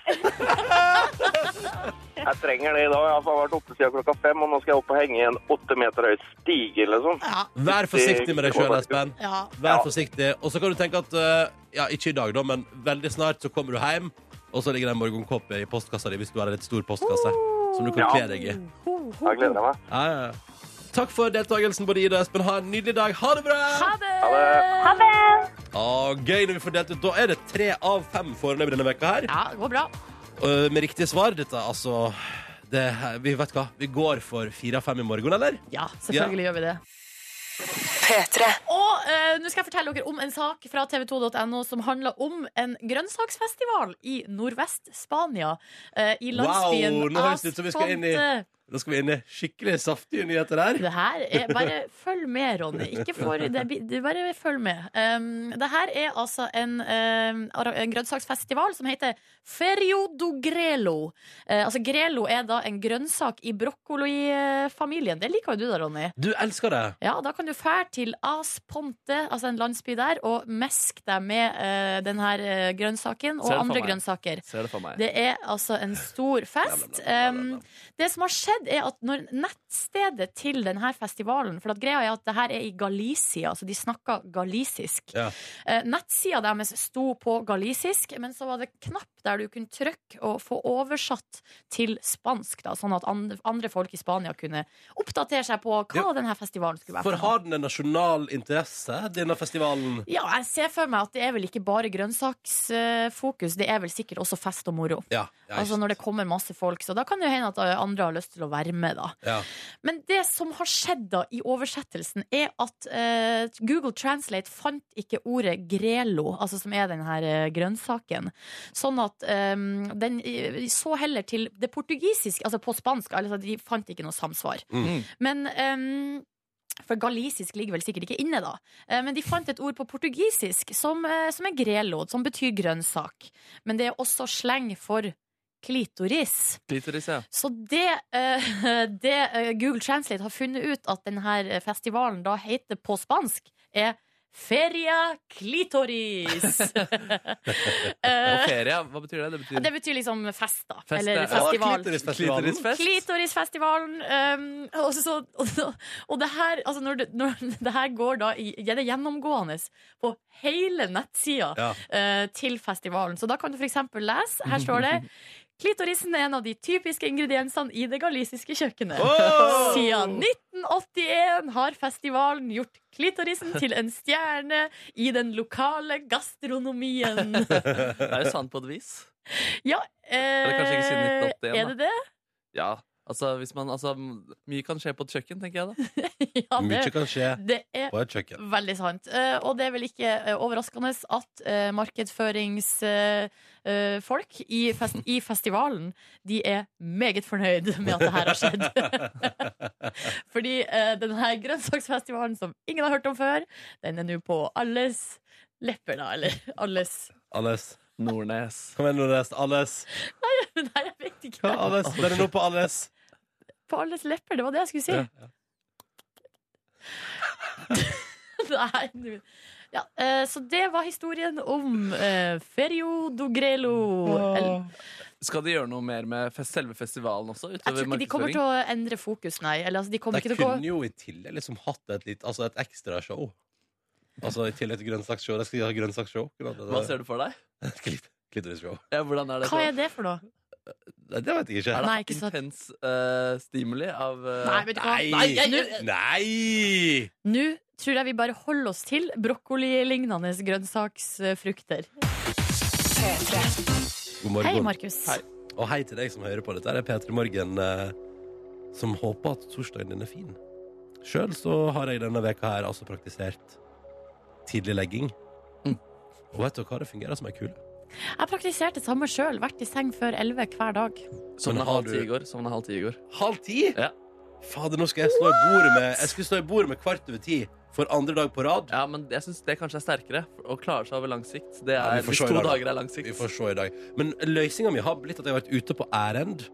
[SPEAKER 7] Jeg trenger det i dag. Jeg har faen vært oppe siden klokka fem, og nå skal jeg opp og henge i en åtte meter høy stige, liksom.
[SPEAKER 3] Ja.
[SPEAKER 2] Vær forsiktig med deg sjøl, Espen.
[SPEAKER 3] ja.
[SPEAKER 2] Vær forsiktig. Og så kan du tenke at eh, ja, ikke i dag, da, men veldig snart så kommer du hjem, og så ligger det en morgenkopp i postkassa di hvis du har en litt stor postkasse som du kan
[SPEAKER 7] Ja.
[SPEAKER 2] kle deg i.
[SPEAKER 7] Jeg gleder meg.
[SPEAKER 2] Ja, ja. ja. Takk for deltakelsen, både Ida og Espen. Ha en nydelig dag. Ha det bra!
[SPEAKER 3] Ha det!
[SPEAKER 7] Ha det.
[SPEAKER 6] Ha det!
[SPEAKER 2] Ah, gøy når vi får delt ut. Da er det tre av fem foreløpig denne veka her.
[SPEAKER 3] Ja, det går bra.
[SPEAKER 2] Og med riktig svar, dette altså det, Vi vet hva, vi går for fire av fem i morgen, eller?
[SPEAKER 3] Ja, selvfølgelig gjør vi det.
[SPEAKER 5] P3.
[SPEAKER 3] Og eh, nå skal jeg fortelle dere om en sak fra tv2.no som handler om en grønnsaksfestival i nordvest-Spania. eh, I landsbyen
[SPEAKER 2] Wow, nå høres det ut som vi skal inn i-
[SPEAKER 3] Asfonte.
[SPEAKER 2] Da skal vi inn i skikkelig saftige nyheter her.
[SPEAKER 3] Det her er Bare følg med, Ronny. Ikke for det, blir- du Bare følg med. Um, det her er altså en, um, ara- en grønnsaksfestival som heter Ferio do Grelo. Eh, altså Grelo er da en grønnsak i brokkolifamilien. Det liker jo du da, Ronny.
[SPEAKER 2] Du elsker det.
[SPEAKER 3] Ja, da kan du fære til As Ponte, altså en landsby der, og mesk deg med eh, den her eh, grønnsaken og
[SPEAKER 4] Ser det for
[SPEAKER 3] andre
[SPEAKER 4] meg.
[SPEAKER 3] grønnsaker.
[SPEAKER 4] Ser det for meg.
[SPEAKER 3] Det er altså en stor fest. Um, det som har skjedd, er at når nettstedet til denne festivalen For at greia er at det her er i Galicia, så de snakker galisisk.
[SPEAKER 2] Ja.
[SPEAKER 3] Eh, Nettsida deres sto på galisisk, men så var det knapp der du kunne trykke og få oversatt til spansk, da, sånn at andre, andre folk i Spania kunne oppdatere seg på hva
[SPEAKER 2] Jo.
[SPEAKER 3] denne festivalen skulle være.
[SPEAKER 2] For har den en nasjonal interesse, denne festivalen?
[SPEAKER 3] Ja, jeg ser for meg at det er vel ikke bare grønnsaksfokus, det er vel sikkert også fest og moro.
[SPEAKER 2] Ja. ja
[SPEAKER 3] Altså når det kommer masse folk, så da kan det jo hende at andre har lyst til å være med, da.
[SPEAKER 2] ja.
[SPEAKER 3] Men det som har skjedd da i oversettelsen, er at eh, Google Translate fant ikke ordet grelo, altså som er den her eh, grønnsaken. Sånn at eh, den eh, så heller til det portugisiske, altså på spansk, altså de fant ikke noe samsvar.
[SPEAKER 4] Mm.
[SPEAKER 3] Men eh, for galisisk ligger vel sikkert ikke inne, da. Eh, Men de fant et ord på portugisisk som, eh, som er grelo, som betyr grønnsak. Men det er også sleng for klitoris.
[SPEAKER 4] Klitoris, ja.
[SPEAKER 3] Så det, eh, <laughs> det eh, Google Translate har funnet ut at denne festivalen da heter på spansk, er Feria Clitoris.
[SPEAKER 4] <laughs> Og
[SPEAKER 3] Eh,
[SPEAKER 4] ferie, hva betyr det? Det betyr
[SPEAKER 3] det betyr liksom fest, da.
[SPEAKER 4] Fest, ja.
[SPEAKER 3] eller
[SPEAKER 4] Ja,
[SPEAKER 3] festival.
[SPEAKER 2] Klitorisfestivalen.
[SPEAKER 4] klitorisfest.
[SPEAKER 3] Klitorisfestivalen. ehm, og, så, og, og det her altså når det, når <laughs> det her går da i, ja, Det er gjennomgående på hele nettsida
[SPEAKER 2] Ja.
[SPEAKER 3] eh, til festivalen. Så da kan du f.eks. lese, her står det Klitorisen er en av de typiske ingrediensene i det galisiske kjøkkenet. Siden 1981 har festivalen gjort klitorisen til en stjerne i den lokale gastronomien.
[SPEAKER 4] <laughs> Det er jo sant på et vis.
[SPEAKER 3] Ja,
[SPEAKER 4] Eller kanskje ikke siden
[SPEAKER 3] eh,
[SPEAKER 4] 1981,
[SPEAKER 3] er det det?
[SPEAKER 4] Ja. Altså, hvis man, altså, mye kan skje på et kjøkken, tenker jeg da.
[SPEAKER 3] Ja,
[SPEAKER 2] Mye
[SPEAKER 3] det,
[SPEAKER 2] kan skje
[SPEAKER 3] det er
[SPEAKER 2] på et kjøkken.
[SPEAKER 3] Veldig sant. Eh, og det er vel ikke eh, overraskende at markedsføringsfolk i, fest i festivalen de er meget fornøyd med at det her har skjedd. <laughs> Fordi eh, denne grønnsaksfestivalen som ingen har hørt om før, den er nå på alles lepper, da. Eller <laughs> alles
[SPEAKER 2] Alles.
[SPEAKER 4] Nordnes.
[SPEAKER 2] Kom igjen, Nordnes. Alles.
[SPEAKER 3] Nei, jeg vet
[SPEAKER 2] Ja,
[SPEAKER 3] ikke.
[SPEAKER 2] alles. Den er nå på alles.
[SPEAKER 3] På alles lepper, det var det jeg skulle si.
[SPEAKER 2] Ja,
[SPEAKER 3] <laughs> Nei, du ja, eh, Så det var historien om eh, Ferio do Grelo. Eller,
[SPEAKER 4] Skal de gjøre noe mer med fest, selve festivalen også?
[SPEAKER 3] Jeg tror
[SPEAKER 4] Utover
[SPEAKER 3] ikke de kommer
[SPEAKER 4] markedsføring?
[SPEAKER 3] til å endre fokus, nei. Eller, altså, de kommer
[SPEAKER 2] De
[SPEAKER 3] ikke til å
[SPEAKER 2] kunne
[SPEAKER 3] gå
[SPEAKER 2] jo i tillegg liksom hatt et litt Altså et ekstra show. Altså i tillegg til grønnsaksshow. De skal ha grønnsaksshow.
[SPEAKER 4] Hva ser du for deg?
[SPEAKER 2] Klitorisshow.
[SPEAKER 4] Ja, hvordan er det?
[SPEAKER 3] Hva er det for noe?
[SPEAKER 2] Nei, Det vet jeg ikke.
[SPEAKER 4] Er det
[SPEAKER 3] Nei, ikke sant.
[SPEAKER 4] intens eh, stimuli av eh,
[SPEAKER 3] Nei, vet du hva? Nå-
[SPEAKER 2] Nei!
[SPEAKER 3] Nå tror jeg vi bare holder oss til brokkoli-lignende grønnsaksfrukter.
[SPEAKER 2] God morgen.
[SPEAKER 3] Hei, Markus.
[SPEAKER 4] Hei.
[SPEAKER 2] Og hei til deg som hører på. Dette er P3 Morgen, eh, som håper at torsdagen din er fin. Sjøl så har jeg denne veka her altså praktisert tidlig legging.
[SPEAKER 4] Mm.
[SPEAKER 2] Og vet du hva, det fungerer som ei kule.
[SPEAKER 3] Jeg praktiserte det samme sjøl. Vært i seng før elleve hver dag.
[SPEAKER 4] Sovna
[SPEAKER 2] Men har
[SPEAKER 4] halv ti
[SPEAKER 2] du-
[SPEAKER 4] i går. Sovna halv ti i går.
[SPEAKER 2] Halv ti?
[SPEAKER 4] Ja.
[SPEAKER 2] Fader, nå skal jeg slå i bordet med Jeg skulle stå i bordet med kvart over ti for andre dag på rad.
[SPEAKER 4] Ja, men jeg syns det kanskje er sterkere. Å klare seg over lang sikt. Det
[SPEAKER 2] Ja,
[SPEAKER 4] er,
[SPEAKER 2] vi får
[SPEAKER 4] hvis
[SPEAKER 2] se i
[SPEAKER 4] to
[SPEAKER 2] dag, da.
[SPEAKER 4] dager er lang sikt.
[SPEAKER 2] Vi får se i dag. Men løsninga mi har blitt at jeg har vært ute på ærend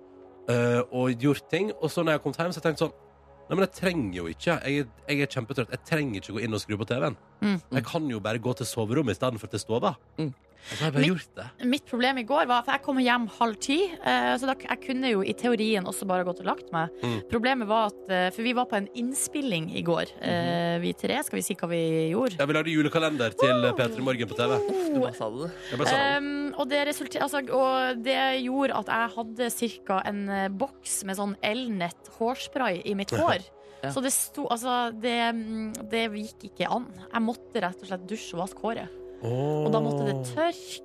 [SPEAKER 2] eh, og gjort ting. Og så når jeg har kommet hjem, så har jeg tenkt sånn Nei, men jeg trenger jo ikke. Jeg, er- jeg er kjempetrøtt. Jeg trenger ikke gå inn og skru på TV-en.
[SPEAKER 3] Mm.
[SPEAKER 2] Jeg kan jo bare gå til soverommet istedenfor til stova.
[SPEAKER 4] Mm.
[SPEAKER 2] Og så har jeg bare
[SPEAKER 3] Mitt-
[SPEAKER 2] gjort det.
[SPEAKER 3] Mitt problem i går var For jeg kom hjem halv ti, eh, så da, jeg kunne jo i teorien også bare gått og lagt meg.
[SPEAKER 2] Mm.
[SPEAKER 3] Problemet var at eh, For vi var på en innspilling i går, eh,
[SPEAKER 4] Mhm.
[SPEAKER 3] vi tre. Skal vi si hva vi gjorde?
[SPEAKER 2] Ja, vi lagde julekalender til P3 Morgen på TV.
[SPEAKER 4] Du bare sa det.
[SPEAKER 2] Jeg bare sa det.
[SPEAKER 3] Um, og, det resulter- altså, og det gjorde at jeg hadde cirka en eh, boks med sånn elnett hårspray i mitt hår.
[SPEAKER 4] Ja.
[SPEAKER 3] Så det sto Altså, det, mm, det gikk ikke an. Jeg måtte rett og slett dusje og vaske håret. Og da måtte det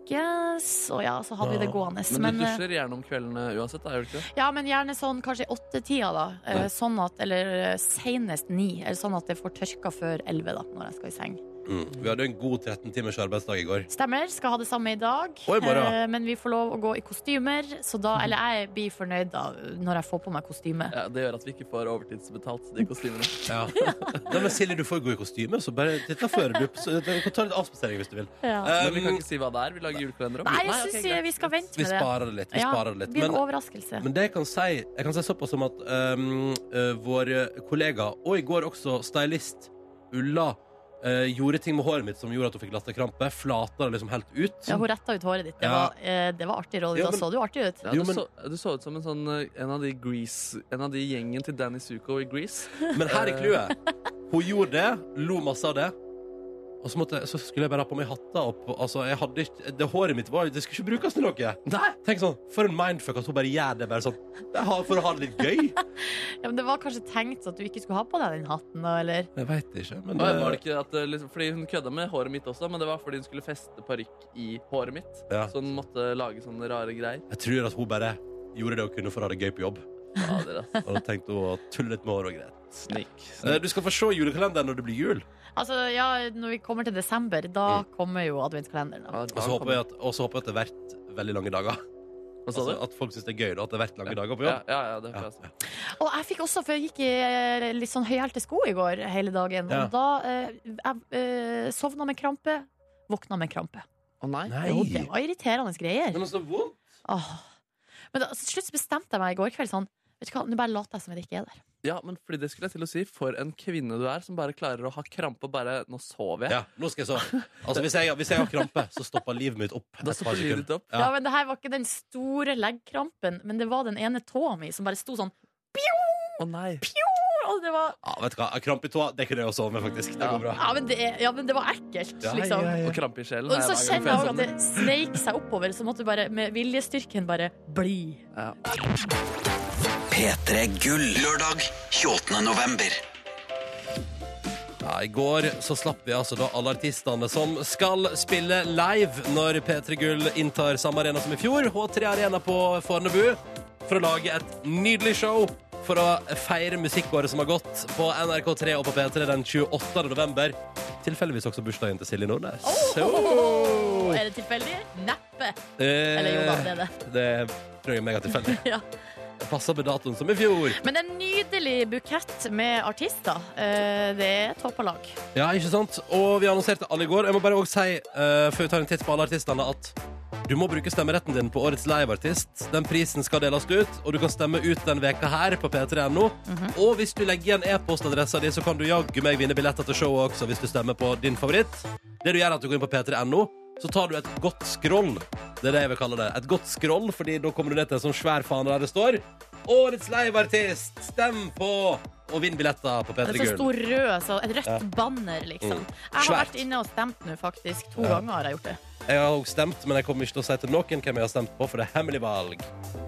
[SPEAKER 3] tørkes, og ja, så hadde vi det gående.
[SPEAKER 4] Men,
[SPEAKER 3] Men,
[SPEAKER 4] du
[SPEAKER 3] eh,
[SPEAKER 4] dusjer gjerne om kveldene uansett, da, gjør du ikke det?
[SPEAKER 3] ja, men gjerne sånn kanskje i åttetida, da. Eh, Sånn at, eller eh, senest ni. Eller sånn at det får tørka før elleve, da, når jeg skal i seng.
[SPEAKER 2] Mm. Vi hadde en god 13-timers arbeidsdag i går.
[SPEAKER 3] Stemmer. Skal ha det samme i dag.
[SPEAKER 2] Og i morgen.
[SPEAKER 3] Eh, Men vi får lov å gå i kostymer, så da Eller jeg blir fornøyd da når jeg får på meg kostyme.
[SPEAKER 4] Ja, det gjør at vi ikke får overtidsbetalt de kostymene.
[SPEAKER 2] Ja. <laughs> Nei, men Silje, du får gå i kostyme, så bare dette fører du opp. Så, du kan ta litt avspasering hvis du vil.
[SPEAKER 3] Ja.
[SPEAKER 4] Men vi kan
[SPEAKER 2] Um,
[SPEAKER 4] ikke si hva det er. Vi lager julekalender om.
[SPEAKER 3] Nei, jeg
[SPEAKER 4] ok,
[SPEAKER 3] syns
[SPEAKER 4] greit.
[SPEAKER 3] vi skal vente
[SPEAKER 2] vi
[SPEAKER 3] med det.
[SPEAKER 2] sparer det litt. Vi
[SPEAKER 3] Ja,
[SPEAKER 2] sparer det litt.
[SPEAKER 3] det blir en
[SPEAKER 2] Men,
[SPEAKER 3] overraskelse.
[SPEAKER 2] men det jeg kan si, jeg kan si såpass som at um, eh, vår kollega, og i går også stylist Ulla, eh, gjorde ting med håret mitt som gjorde at hun fikk latterkrampe. Flata det liksom helt ut.
[SPEAKER 3] Ja, hun retta ut håret ditt. Det
[SPEAKER 2] Ja.
[SPEAKER 3] var, eh, det var artig, Rolly.
[SPEAKER 2] Ja,
[SPEAKER 3] Da
[SPEAKER 2] men-
[SPEAKER 3] så du artig ut.
[SPEAKER 4] Ja,
[SPEAKER 2] Jo,
[SPEAKER 4] du,
[SPEAKER 2] men-
[SPEAKER 4] så, du så ut som en, sånn, eh, en, av de Grease, en av de gjengen til Danny Zuko i Grease.
[SPEAKER 2] Men her er clouet. Hun gjorde det, lo masse av det. Og så, måtte, så skulle jeg bare ha på meg hatta opp. Altså, jeg hadde ikke, det håret mitt var, det skulle ikke brukes til noe. Tenk sånn, For en mindfuck at hun bare gjør det bare sånn. Det har- For å ha det litt gøy.
[SPEAKER 3] Ja, men det var kanskje tenkt at du ikke skulle ha på deg den hatten, da, eller?
[SPEAKER 2] Jeg veit ikke. Men
[SPEAKER 4] Og
[SPEAKER 2] det,
[SPEAKER 4] jeg var det ikke at, eh, liksom, fordi Hun kødda med håret mitt også, men det var fordi hun skulle feste parykk i håret mitt.
[SPEAKER 2] Ja.
[SPEAKER 4] Så hun måtte lage sånne rare greier.
[SPEAKER 3] <laughs>
[SPEAKER 2] jeg tror at hun bare gjorde det hun kunne for å ha det gøy på jobb.
[SPEAKER 4] Ja, dere, ass.
[SPEAKER 2] Og da tenkte hun å tulle litt med håret og greit.
[SPEAKER 4] Snik.
[SPEAKER 2] Eh, Du skal få se julekalenderen når det blir jul.
[SPEAKER 3] Altså, ja, når vi kommer til desember, da
[SPEAKER 2] Mm.
[SPEAKER 3] kommer jo adventskalenderen. Da.
[SPEAKER 4] Ja,
[SPEAKER 2] Og så håper jeg at, og så håper jeg at det har vært veldig lange dager.
[SPEAKER 4] Hva sa
[SPEAKER 2] Altså,
[SPEAKER 4] du?
[SPEAKER 2] at folk syns det er gøy da, at det har vært lange dager på
[SPEAKER 4] Ja,
[SPEAKER 2] jobb.
[SPEAKER 4] ja, ja, det håper
[SPEAKER 2] Ja,
[SPEAKER 4] jeg også.
[SPEAKER 2] ja.
[SPEAKER 3] Og jeg fikk også, for jeg gikk i eh, litt sånn høyhælte sko i går hele dagen,
[SPEAKER 2] Ja.
[SPEAKER 3] og da eh, jeg eh, sovna med krampe, våkna med krampe.
[SPEAKER 4] Å nei.
[SPEAKER 2] Nei.
[SPEAKER 3] Jo, det var irriterende greier.
[SPEAKER 2] Men så vondt.
[SPEAKER 3] Åh. Men da, til slutt bestemte jeg meg i går kveld sånn Vet du hva, nå bare later jeg som jeg ikke er der.
[SPEAKER 4] Ja, men fordi det skulle jeg til å si. For en kvinne du er, som bare klarer å ha krampe og bare Nå sover jeg.
[SPEAKER 2] Ja, nå skal jeg sove. Altså, hvis, jeg, hvis jeg har krampe, så stopper livet mitt opp.
[SPEAKER 4] Da
[SPEAKER 2] et par
[SPEAKER 4] stopper livet
[SPEAKER 2] sekunder.
[SPEAKER 4] ditt opp.
[SPEAKER 2] Ja.
[SPEAKER 3] Ja. men det her var ikke den store leggkrampen, men det var den ene tåa mi som bare sto sånn.
[SPEAKER 4] Å nei.
[SPEAKER 3] Og det var,
[SPEAKER 2] Ja, vet du hva, Krampe i tåa, det kunne jeg jo sove med, faktisk. Det går bra.
[SPEAKER 3] ja, men det, ja, men det var ekkelt,
[SPEAKER 2] Ja,
[SPEAKER 3] liksom.
[SPEAKER 2] ja, ja.
[SPEAKER 4] Og krampe i sjelen.
[SPEAKER 3] Og
[SPEAKER 4] har
[SPEAKER 3] så kjenner
[SPEAKER 4] jeg
[SPEAKER 3] jeg
[SPEAKER 4] laget for
[SPEAKER 3] også
[SPEAKER 4] en
[SPEAKER 3] at det sneik seg oppover, så måtte du bare med viljestyrken bare bli.
[SPEAKER 4] sånn. Ja.
[SPEAKER 1] P3 Gull. Lørdag 28. november.
[SPEAKER 2] Ja, I går så slapp vi altså da alle artistene som skal spille live når P3 Gull inntar samme arena som i fjor, H3 Arena på Fornebu, for å lage et nydelig show for å feire musikkåret som har gått på NRK3 og på P3 den 28. november. Tilfeldigvis også bursdagen til Silje Nordnes.
[SPEAKER 3] Åh, Er det tilfeldig? Neppe. Eller jo da, det er det.
[SPEAKER 2] Eh, Det tror jeg er megatilfeldig.
[SPEAKER 3] <laughs> Ja.
[SPEAKER 2] Det passer med datoen som i fjor.
[SPEAKER 3] Men en nydelig bukett med artister. Eh, Det er toppa lag.
[SPEAKER 2] Ja, ikke sant? Og vi annonserte alle i går. Jeg må bare også si, eh, før vi tar en titt på alle artistene, at du må bruke stemmeretten din på årets liveartist. Den prisen skal deles ut, og du kan stemme ut den veka her på p3.no. Og hvis du legger igjen e-postadressa di, så kan du jaggu meg vinne billetter til showet også, hvis du stemmer på din favoritt. Det du gjør, er at du går inn på p3.no, så tar du et godt scroll. Det er det jeg vil kalle det. Et godt scroll, fordi da kommer du ned til en sånn svær fane der det står Årets liveartist! Stem på! Og vinn billetter på
[SPEAKER 3] Det
[SPEAKER 2] P3
[SPEAKER 3] er så
[SPEAKER 2] Gull.
[SPEAKER 3] Altså, stor rød, så et rødt banner, liksom.
[SPEAKER 2] Mm.
[SPEAKER 3] Jeg har
[SPEAKER 2] Svært.
[SPEAKER 3] vært inne og stemt nå, faktisk. To
[SPEAKER 2] Ja.
[SPEAKER 3] ganger har jeg gjort det.
[SPEAKER 2] Jeg har også stemt, men jeg kommer ikke til å si til noen hvem jeg har stemt på, for det er hemmelig valg,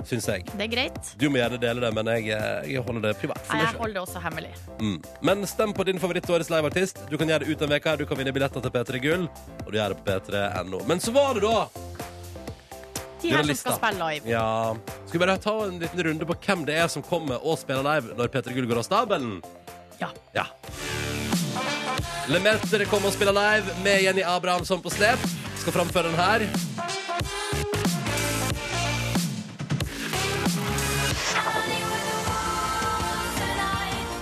[SPEAKER 2] syns jeg.
[SPEAKER 3] Det er greit.
[SPEAKER 2] Du må gjerne dele det, men jeg, eh, jeg holder det privat. for
[SPEAKER 3] Nei,
[SPEAKER 2] meg
[SPEAKER 3] jeg
[SPEAKER 2] selv.
[SPEAKER 3] holder det også hemmelig.
[SPEAKER 2] Mm. Men stem på din favoritt årets liveartist. Du kan gjøre det ut en uke her. Du kan vinne billetter til P3 Gull, og du gjør det på p3.no. Men så var det, da!
[SPEAKER 3] De
[SPEAKER 2] Gjør en
[SPEAKER 3] her som
[SPEAKER 2] lista.
[SPEAKER 3] skal spille live.
[SPEAKER 2] Ja Skal vi bare ta en liten runde på hvem det er som kommer og spiller live når P3 Gull går av stabelen?
[SPEAKER 3] Ja.
[SPEAKER 2] Ja. Lemertere kommer og spiller live med Jenny Abrahamsson på slep. Skal framføre den her.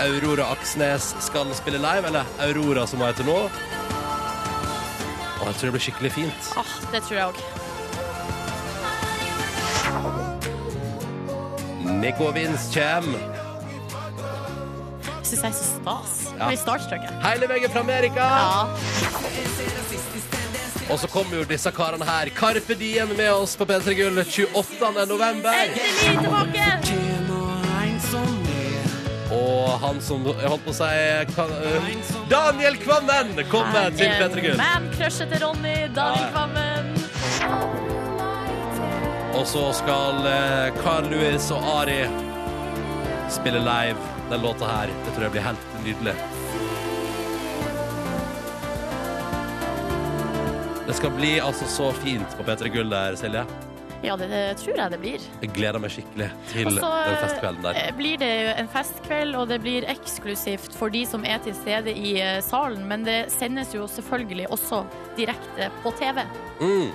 [SPEAKER 2] Aurora Aksnes skal spille live, eller Aurora som hun heter nå. Og jeg tror det blir skikkelig fint.
[SPEAKER 3] Ah, det tror jeg òg.
[SPEAKER 2] Nico Vince kommer.
[SPEAKER 3] Syns jeg er så stas.
[SPEAKER 2] Ja.
[SPEAKER 3] Blir starstruck. jeg.
[SPEAKER 2] Hele veien fra Amerika!
[SPEAKER 3] Ja.
[SPEAKER 2] Og så kommer jo disse karene her. Carpe Diem med oss på P3 Gull 28. november.
[SPEAKER 3] Endelig tilbake!
[SPEAKER 2] Og han som jeg holdt på å si kan, eh, Daniel Kvammen kommer til P3 Gull.
[SPEAKER 3] Man-crushet til Ronny, Daniel
[SPEAKER 2] Ja.
[SPEAKER 3] Kvammen.
[SPEAKER 2] Og så skal eh, Carl Louis og Ari spille live den låta her. Det tror jeg blir helt nydelig. Det skal bli altså så fint på P3 Gull der, Silje.
[SPEAKER 3] Ja, det, det tror jeg det blir.
[SPEAKER 2] Jeg gleder meg skikkelig til
[SPEAKER 3] Og så,
[SPEAKER 2] den festkvelden der.
[SPEAKER 3] eh, blir det jo en festkveld, og det blir eksklusivt for de som er til stede i eh, salen. Men det sendes jo selvfølgelig også direkte på TV.
[SPEAKER 2] Mm.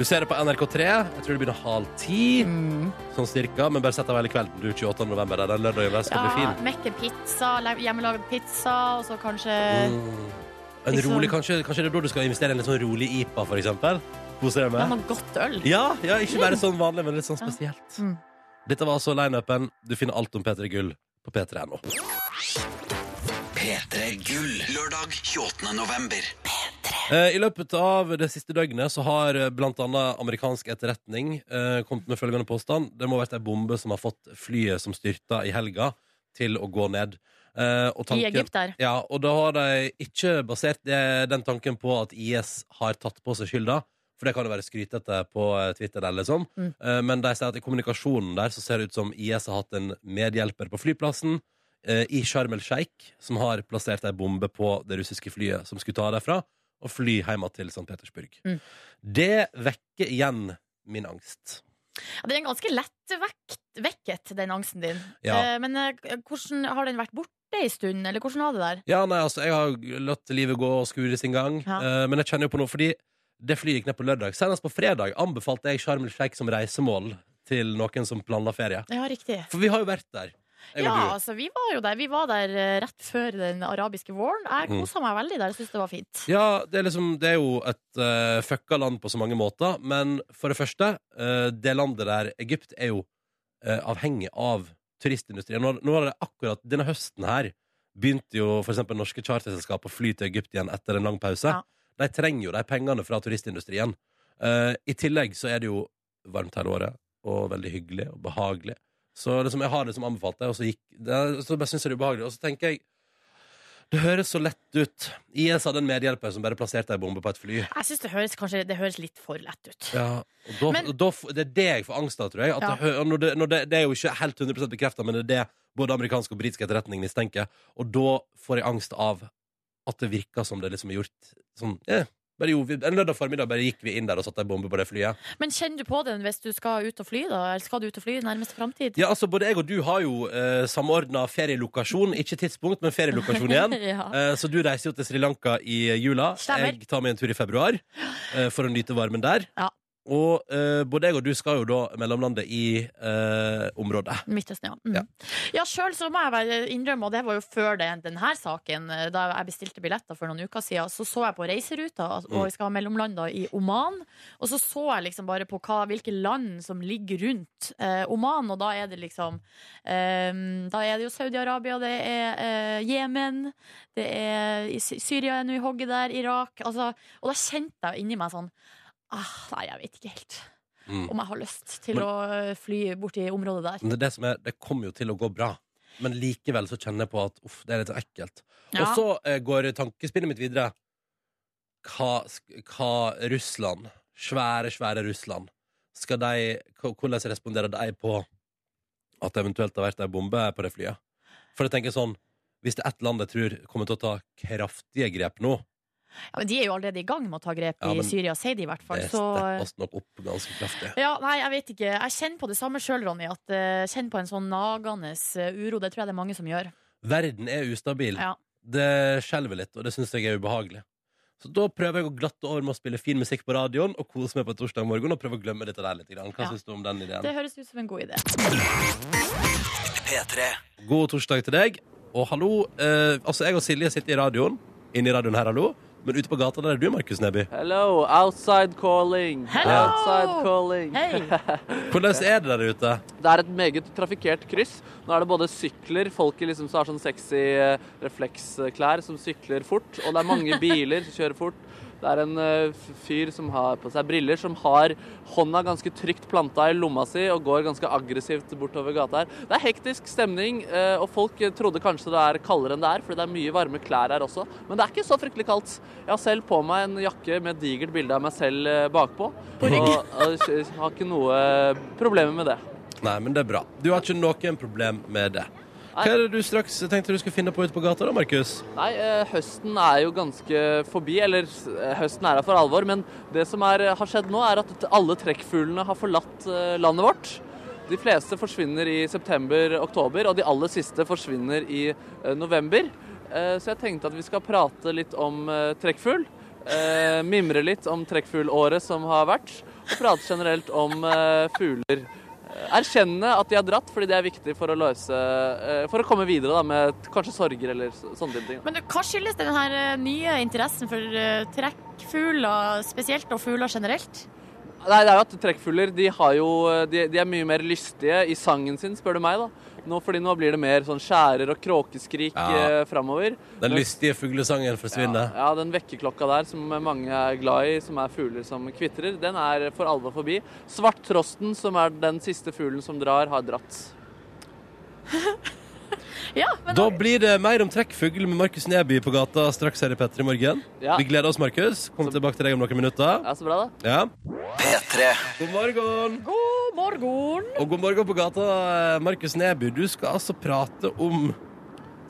[SPEAKER 2] Du ser det på NRK3. Jeg tror det begynner halv ti,
[SPEAKER 3] Mm.
[SPEAKER 2] sånn cirka. Men bare sett av hele kvelden, du, 28. november. der. Den lørdagen der skal bli
[SPEAKER 3] Ja,
[SPEAKER 2] fin.
[SPEAKER 3] Mekke pizza, la- hjemmelaget pizza, og så kanskje
[SPEAKER 2] Mm. En
[SPEAKER 3] eh, liksom-
[SPEAKER 2] rolig, kanskje, kanskje det er da du skal investere i en litt sånn rolig IPA, for eksempel? Kose deg
[SPEAKER 3] ja,
[SPEAKER 2] med?
[SPEAKER 3] noe godt øl.
[SPEAKER 2] Ja, ja, ikke bare sånn vanlig, men litt sånn
[SPEAKER 3] Ja.
[SPEAKER 2] spesielt.
[SPEAKER 3] Mm.
[SPEAKER 2] Dette var altså lineupen. Du finner alt om P3 Gull på p3.no.
[SPEAKER 1] P3 Gull. Lørdag 28. november.
[SPEAKER 2] Eh, I løpet av det siste døgnet så har eh, blant annet amerikansk etterretning eh, kommet med følgende påstand. Det må ha vært ei bombe som har fått flyet som styrta i helga, til å gå ned. Eh, og
[SPEAKER 3] I
[SPEAKER 2] tanken-
[SPEAKER 3] Egypt der.
[SPEAKER 2] Ja, og da har de ikke basert det, den tanken på at IS har tatt på seg skylda. For det kan jo være skrytete på eh, Twitter, eller sånn.
[SPEAKER 3] Mm.
[SPEAKER 2] Eh, Men de sier at i kommunikasjonen der så ser det ut som IS har hatt en medhjelper på flyplassen eh, i Sharm el Sheikh, som har plassert ei bombe på det russiske flyet som skulle ta derfra, og fly hjem til St. Petersburg.
[SPEAKER 3] Mm.
[SPEAKER 2] Det vekker igjen min angst.
[SPEAKER 3] Ja, den er ganske lett vekt, vekket, den angsten din.
[SPEAKER 2] Ja.
[SPEAKER 3] Eh, men eh, hvordan har den vært borte en stund, eller hvordan har det der?
[SPEAKER 2] Ja, nei, altså, jeg har latt livet gå og skure sin gang.
[SPEAKER 3] Ja.
[SPEAKER 2] eh, men jeg kjenner jo på noe, fordi det flyet gikk ned på lørdag. Senest på fredag anbefalte jeg Sharm el Sheikh som reisemål til noen som planla ferie.
[SPEAKER 3] Ja, riktig.
[SPEAKER 2] For vi har jo vært der. Jeg
[SPEAKER 3] Ja,
[SPEAKER 2] og du.
[SPEAKER 3] altså, vi var jo der. Vi var der eh, rett før den arabiske våren. Jeg
[SPEAKER 2] Mm.
[SPEAKER 3] kosa meg veldig der. Jeg syns det var fint.
[SPEAKER 2] Ja, det er, liksom, det er jo et eh, fucka land på så mange måter. Men for det første, eh, det landet der, Egypt, er jo eh, avhengig av turistindustrien. Nå, nå har det akkurat denne høsten her begynte jo for eksempel norske charterselskap å fly til Egypt igjen etter en lang pause.
[SPEAKER 3] Ja.
[SPEAKER 2] De trenger jo de pengene fra turistindustrien. Eh, I tillegg så er det jo varmt hele året, og veldig hyggelig og behagelig. Så liksom, jeg har det som anbefalt deg, og så, gikk, det, så bare syns jeg det er ubehagelig. Og så tenker jeg det høres så lett ut. IS hadde en medhjelper som bare plasserte ei bombe på et fly.
[SPEAKER 3] Jeg syns det høres kanskje det høres litt for lett ut.
[SPEAKER 2] Ja, og da,
[SPEAKER 3] Men-
[SPEAKER 2] og da, f- det er det jeg får angst av, tror jeg. At
[SPEAKER 3] Ja.
[SPEAKER 2] det, hø- når det, når det, det er jo ikke helt 100 bekrefta, men det er det både amerikansk og britisk etterretning mistenker. Og da får jeg angst av at det virker som det liksom er gjort sånn eh, bare jo, vi- En lørdag formiddag bare gikk vi inn der og satte ei bombe på det flyet.
[SPEAKER 3] Men kjenner du på den hvis du skal ut og fly, da? Eller skal du ut og fly i nærmeste framtid?
[SPEAKER 2] Ja, altså Både jeg og du har jo eh, samordna ferielokasjon. Ikke tidspunkt, men ferielokasjon igjen.
[SPEAKER 3] <laughs>
[SPEAKER 2] Eh, Så du reiser jo til Sri Lanka i eh, jula.
[SPEAKER 3] Stemmer.
[SPEAKER 2] Jeg tar meg en tur i februar eh, for å nyte varmen der.
[SPEAKER 3] Ja.
[SPEAKER 2] Og eh, både jeg og du skal jo da mellomlande i eh, området.
[SPEAKER 3] Midtøsten, ja. Mm.
[SPEAKER 2] Ja.
[SPEAKER 3] Ja, sjøl så må jeg bare innrømme, og det var jo før den, den her saken, eh, da jeg bestilte billetter for noen uker siden, så så jeg på Reiseruta, altså,
[SPEAKER 2] Mm.
[SPEAKER 3] og vi skal ha mellomlanda i Oman, og så så jeg liksom bare på hva, hvilke land som ligger rundt eh, Oman, og da er det liksom eh, Da er det jo Saudi-Arabia, det er eh, Jemen, det er i Sy- Syria er nå i hogget der, Irak altså, Og da kjente jeg inni meg sånn ah, Nei, jeg vet ikke helt
[SPEAKER 2] Mm.
[SPEAKER 3] om jeg har lyst til
[SPEAKER 2] Men-
[SPEAKER 3] å eh, fly bort i området der.
[SPEAKER 2] Men det, er det, som er, det kommer jo til å gå bra. Men likevel så kjenner jeg på at uff, det er litt ekkelt. Og så eh, går tankespillet mitt videre. Hva, sk- hva Russland, svære, svære Russland, skal de, k- hvordan responderer de på at det eventuelt har vært ei bombe på det flyet? For jeg tenker sånn, hvis det er ett land jeg tror kommer til å ta kraftige grep nå,
[SPEAKER 3] Ja, men De er jo allerede i gang med å ta grep
[SPEAKER 2] Ja,
[SPEAKER 3] i
[SPEAKER 2] men
[SPEAKER 3] Syria, sier de i hvert fall.
[SPEAKER 2] det
[SPEAKER 3] Så,
[SPEAKER 2] steppes nok opp ganske kraftig.
[SPEAKER 3] ja, nei, jeg vet ikke. Jeg kjenner på det samme sjøl, Ronny. At eh, kjenner på en sånn nagende eh, uro. Det tror jeg det er mange som gjør.
[SPEAKER 2] Verden er ustabil.
[SPEAKER 3] Ja.
[SPEAKER 2] Det skjelver litt, og det syns jeg er ubehagelig. Så da prøver jeg å glatte over med å spille fin musikk på radioen og kose meg på torsdag morgen og prøve å glemme dette der litt. Grann. Hva
[SPEAKER 3] Ja.
[SPEAKER 2] synes du om den ideen?
[SPEAKER 3] Det høres ut som en god idé.
[SPEAKER 1] P3.
[SPEAKER 2] God torsdag til deg. Og hallo. Eh, altså, jeg og Silje sitter i radioen. Inne i radioen her, hallo. Men ute på gata der er du, Markus Neby.
[SPEAKER 4] Hello, outside calling.
[SPEAKER 3] Hello!
[SPEAKER 4] Outside calling.
[SPEAKER 3] Hei!
[SPEAKER 2] <laughs> Hvordan er det der ute?
[SPEAKER 4] Det er et meget trafikkert kryss. Nå er det både sykler, folk i liksom, som har sånn sexy eh, refleksklær som sykler fort, og det er mange biler som kjører fort. Det er en eh, f- fyr som har på seg briller, som har hånda ganske trygt planta i lomma si og går ganske aggressivt bortover gata her. Det er hektisk stemning, eh, og folk eh, trodde kanskje det er kaldere enn det er, fordi det er mye varme klær her også. Men det er ikke så fryktelig kaldt. Jeg har selv på meg en jakke med et digert bilde av meg selv eh, bakpå, og, og eh, har ikke noe eh, problemer med det.
[SPEAKER 2] Nei, men det er bra. Du har ikke noen problem med det. Hva er det du straks tenkte du skulle finne på ute på gata da, Markus?
[SPEAKER 4] Nei, eh, høsten er jo ganske forbi, eller eh, høsten er her for alvor. Men det som er, eh, har skjedd nå, er at t- alle trekkfuglene har forlatt eh, landet vårt. De fleste forsvinner i september-oktober, og de aller siste forsvinner i eh, november. Eh, Så jeg tenkte at vi skal prate litt om eh, trekkfugl. eh, Mimre litt om trekkfuglåret som har vært, og prate generelt om eh, fugler. Eh, Erkjenne at de har dratt, fordi det er viktig for å løse eh, For å komme videre da, med t- kanskje sorger eller så- sånne type ting. da.
[SPEAKER 3] Men hva skyldes den her eh, nye interessen for eh, trekkfugler spesielt, og fugler generelt?
[SPEAKER 4] Nei, det er jo at trekkfugler de, har jo, de, de er mye mer lystige i sangen sin, spør du meg. da. Nå, fordi nå blir det mer sånn skjærer og kråkeskrik
[SPEAKER 2] Ja.
[SPEAKER 4] eh, framover.
[SPEAKER 2] Den lystige fuglesangen forsvinner.
[SPEAKER 4] Ja, den vekkerklokka der som mange er glad i, som er fugler som kvitrer, den er for alvor forbi. Svarttrosten, som er den siste fuglen som drar, har dratt.
[SPEAKER 3] Ja, men
[SPEAKER 2] Da blir det mer om trekkfugl med Markus Neby på gata straks her i Petter i morgen.
[SPEAKER 4] Ja.
[SPEAKER 2] Vi gleder oss, Markus. Kom tilbake til deg om noen minutter.
[SPEAKER 4] Ja, så bra, da.
[SPEAKER 2] Ja.
[SPEAKER 1] P3.
[SPEAKER 2] God morgen!
[SPEAKER 3] God morgen!
[SPEAKER 2] Og god morgen på gata, eh, Markus Neby. Du skal altså prate om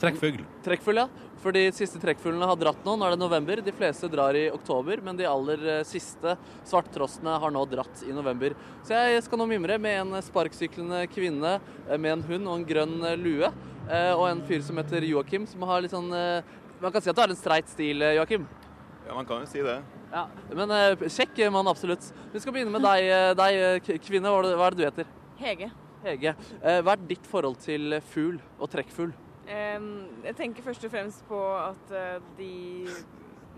[SPEAKER 2] trekkfugl.
[SPEAKER 4] Trekkfugl, ja. For de siste trekkfuglene har dratt nå. Nå er det november. De fleste drar i oktober, men de aller eh, siste svarttrostene har nå dratt i november. Så jeg skal nå mimre med en sparksyklende kvinne eh, med en hund og en grønn eh, lue. eh, Og en fyr som heter Joakim, som har litt sånn eh, Man kan si at du har en streit stil, eh, Joakim.
[SPEAKER 8] Ja, man kan jo si det.
[SPEAKER 4] Ja, Men eh, kjekk eh, mann, absolutt. Vi skal begynne med deg, eh, deg eh, k- kvinne. Hva er det- Hva er det du heter?
[SPEAKER 9] Hege.
[SPEAKER 4] Hege. Eh, Hva er ditt forhold til fugl og trekkfugl?
[SPEAKER 9] Em, jeg tenker først og fremst på at eh, de,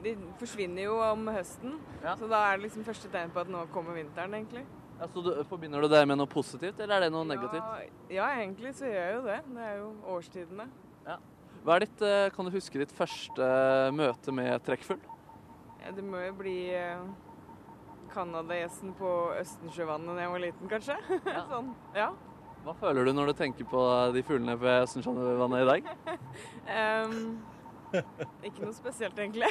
[SPEAKER 9] de forsvinner jo om høsten.
[SPEAKER 4] Ja.
[SPEAKER 9] Så da er det liksom første tegn på at nå kommer vinteren, egentlig.
[SPEAKER 4] Ja, så du, forbinder du det med noe positivt, eller er det noe negativt?
[SPEAKER 9] Ja, ja, egentlig så gjør jeg jo det. Det er jo årstidene.
[SPEAKER 4] Hva er ditt, eh, kan du huske ditt første eh, møte med trekkfugl?
[SPEAKER 9] Ja, Det må jo bli eh, Canada-gjesten på Østensjøvannet da jeg var liten, kanskje. <laughs>
[SPEAKER 4] Ja.
[SPEAKER 9] sånn, ja.
[SPEAKER 4] Hva føler du når du tenker på de fuglene ved Østensjøvannet <laughs> i dag?
[SPEAKER 9] Em, ikke noe spesielt, egentlig.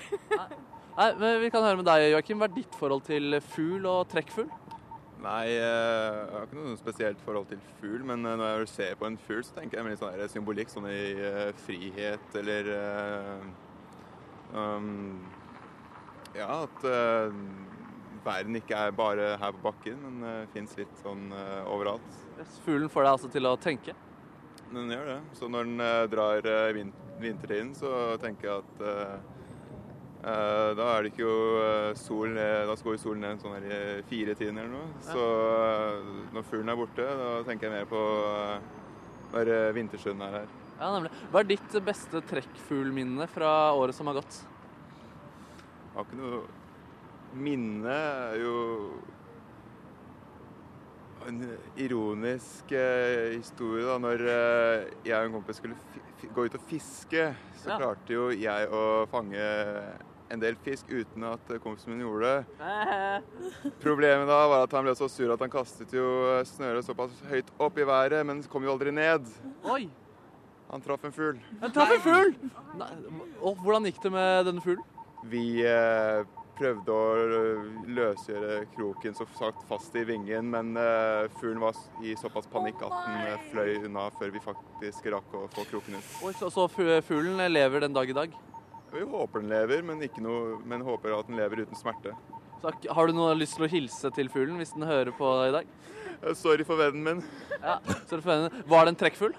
[SPEAKER 4] Nei, men Vi kan høre med deg, Joakim. Hva er ditt forhold til fugl og trekkfugl?
[SPEAKER 8] Nei, eh, jeg har ikke noe spesielt forhold til fugl, men eh, når jeg ser på en fugl, så tenker jeg mer sånn der symbolikk, sånn i eh, frihet eller eh, um, Ja, at eh, verden ikke er bare her på bakken, men uh, fins litt sånn eh, overalt.
[SPEAKER 4] Fuglen får deg altså til å tenke.
[SPEAKER 8] Den gjør det. Så når den eh, drar eh, vin vintertiden, så tenker jeg at eh, eh, da er det ikke jo eh, sol eh, Da går jo solen ned sånn her i firetiden eller noe. Så eh, når fuglen er borte, da tenker jeg mer på eh, når eh, vinterstunden er her.
[SPEAKER 4] Ja, nemlig. Hva er ditt beste trekkfuglminne fra året som har gått?
[SPEAKER 8] Jeg har ikke noe minne er jo en ironisk eh, historie da når eh, jeg og en kompis skulle fi fi- gå ut og fiske, så
[SPEAKER 4] Ja.
[SPEAKER 8] klarte jo jeg å fange en del fisk uten at eh, kompisen min gjorde det. Problemet da var at han ble så sur at han kastet jo eh, snøret såpass høyt opp i været, men kom jo aldri ned.
[SPEAKER 4] Oi!
[SPEAKER 8] Han traff en fugl.
[SPEAKER 4] Jeg traff en fugl! Nei, og hvordan gikk det med denne fuglen?
[SPEAKER 8] Vi eh, prøvde å eh, løsgjøre kroken så sagt fast i vingen, men eh, fuglen var i såpass panikk at den eh, fløy unna før vi faktisk rakk å få kroken ut.
[SPEAKER 4] Oi, så, så fu- fuglen lever den dag i dag?
[SPEAKER 8] Vi håper den lever, men, ikke noe, men håper at den lever uten smerte.
[SPEAKER 4] Så, har du noe lyst til å hilse til fuglen hvis den hører på i dag?
[SPEAKER 8] Eh, Sorry for vennen min.
[SPEAKER 4] Ja, så du får- Var det en trekkfugl?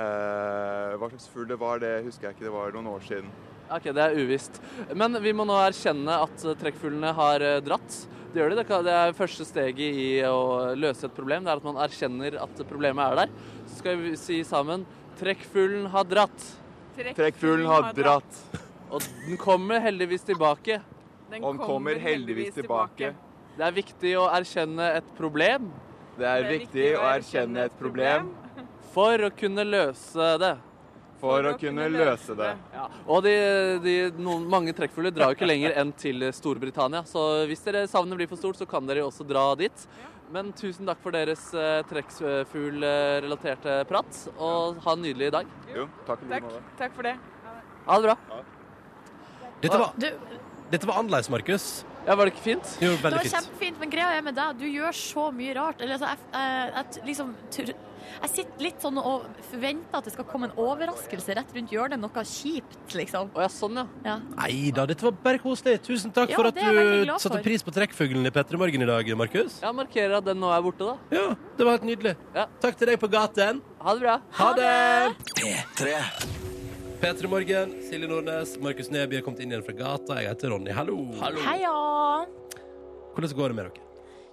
[SPEAKER 8] Eh, hva slags fugl det var, det husker jeg ikke. Det var noen år siden.
[SPEAKER 4] Ok, det er uvisst. Men vi må nå erkjenne at eh, trekkfuglene har eh, dratt. Det gjør de. Det kan- Det er første steget i å løse et problem. Det er at man erkjenner at problemet er der. Så skal vi si sammen trekkfuglen har dratt.
[SPEAKER 8] Trekkfuglen har dratt.
[SPEAKER 4] Og den kommer heldigvis tilbake.
[SPEAKER 9] Den
[SPEAKER 8] Og den kommer heldigvis tilbake.
[SPEAKER 4] Det er viktig å erkjenne et problem
[SPEAKER 8] Det er viktig å erkjenne et problem
[SPEAKER 4] for å kunne løse det.
[SPEAKER 8] for å kunne løse det.
[SPEAKER 4] Ja. Og de, de, noen, mange trekkfugler drar jo ikke lenger enn til Storbritannia, så hvis dere savnet blir for stort, så kan dere jo også dra dit. Men tusen takk for deres eh, trekkfuglrelaterte prat, og ha en nydelig dag.
[SPEAKER 8] Jo, takk i like
[SPEAKER 9] Takk,
[SPEAKER 8] måte.
[SPEAKER 9] takk for det.
[SPEAKER 4] Ha det bra.
[SPEAKER 2] Dette var,
[SPEAKER 3] Du,
[SPEAKER 2] dette var annerledes, Markus.
[SPEAKER 4] Ja, var det ikke fint?
[SPEAKER 2] Det var
[SPEAKER 3] det
[SPEAKER 2] veldig
[SPEAKER 3] var
[SPEAKER 2] fint.
[SPEAKER 3] kjempefint, men greia er med deg, du gjør så mye rart. Eller, altså, jeg, jeg, jeg liksom tr- Jeg sitter litt sånn og forventer at det skal komme en overraskelse rett rundt hjørnet. Noe kjipt, liksom.
[SPEAKER 4] Å ja, sånn, ja.
[SPEAKER 3] Ja.
[SPEAKER 2] Nei da, dette var bare koselig. Tusen takk
[SPEAKER 3] Ja,
[SPEAKER 2] for at
[SPEAKER 3] det er jeg veldig
[SPEAKER 2] du
[SPEAKER 3] glad
[SPEAKER 2] satte
[SPEAKER 3] for.
[SPEAKER 2] pris på trekkfuglen i P3 Morgen i dag, Markus.
[SPEAKER 4] Jeg markerer at den nå er borte, da.
[SPEAKER 2] Ja, det var helt nydelig.
[SPEAKER 4] Ja.
[SPEAKER 2] Takk til deg på gaten.
[SPEAKER 4] Ha det bra.
[SPEAKER 2] Ha det!
[SPEAKER 1] P3.
[SPEAKER 2] P3 Morgen, Silje Nordnes, Markus Neby er kommet inn igjen fra gata. Jeg heter Ronny. Hallo.
[SPEAKER 3] Heia!
[SPEAKER 2] Hvordan går det med dere?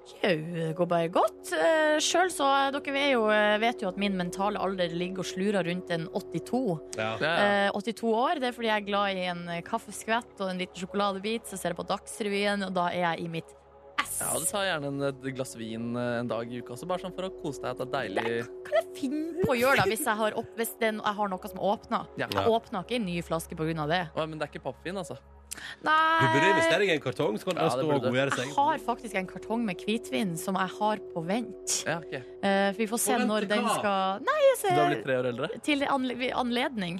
[SPEAKER 3] Jau, det går bare godt. Eh, Sjøl så Dere vet jo, eh, vet jo at min mentale alder ligger og slurer rundt en 82.
[SPEAKER 2] Ja.
[SPEAKER 4] Ja.
[SPEAKER 3] Eh, 82 år. Det er fordi jeg er glad i en eh, kaffeskvett og en liten sjokoladebit. Så ser jeg på Dagsrevyen, og da er jeg i mitt ess.
[SPEAKER 4] Ja, Du tar gjerne en, et glass vin eh, en dag i uka også, bare sånn for å kose deg. At det er deilig.
[SPEAKER 3] kan jeg finne på å gjøre da hvis jeg har, opp, hvis det er no- jeg har noe som åpner?
[SPEAKER 4] Ja.
[SPEAKER 3] Jeg åpner ikke en ny flaske pga. det.
[SPEAKER 4] Å, men det er ikke pappvin, altså.
[SPEAKER 2] Du burde
[SPEAKER 3] Nei,
[SPEAKER 2] investere i en kartong, så kan
[SPEAKER 4] Ja,
[SPEAKER 2] den
[SPEAKER 4] det
[SPEAKER 2] stå
[SPEAKER 4] burde
[SPEAKER 2] og
[SPEAKER 4] du.
[SPEAKER 2] godgjøre
[SPEAKER 3] jeg
[SPEAKER 2] seg.
[SPEAKER 3] har faktisk en kartong med hvitvin som jeg har på vent.
[SPEAKER 4] Ja, ok.
[SPEAKER 3] Eh, for vi får se
[SPEAKER 2] På vent
[SPEAKER 3] når
[SPEAKER 2] til
[SPEAKER 3] den
[SPEAKER 2] hva?
[SPEAKER 3] skal Nei, jeg
[SPEAKER 4] Du har
[SPEAKER 3] ser
[SPEAKER 4] blitt tre år eldre?
[SPEAKER 3] til anle anledning.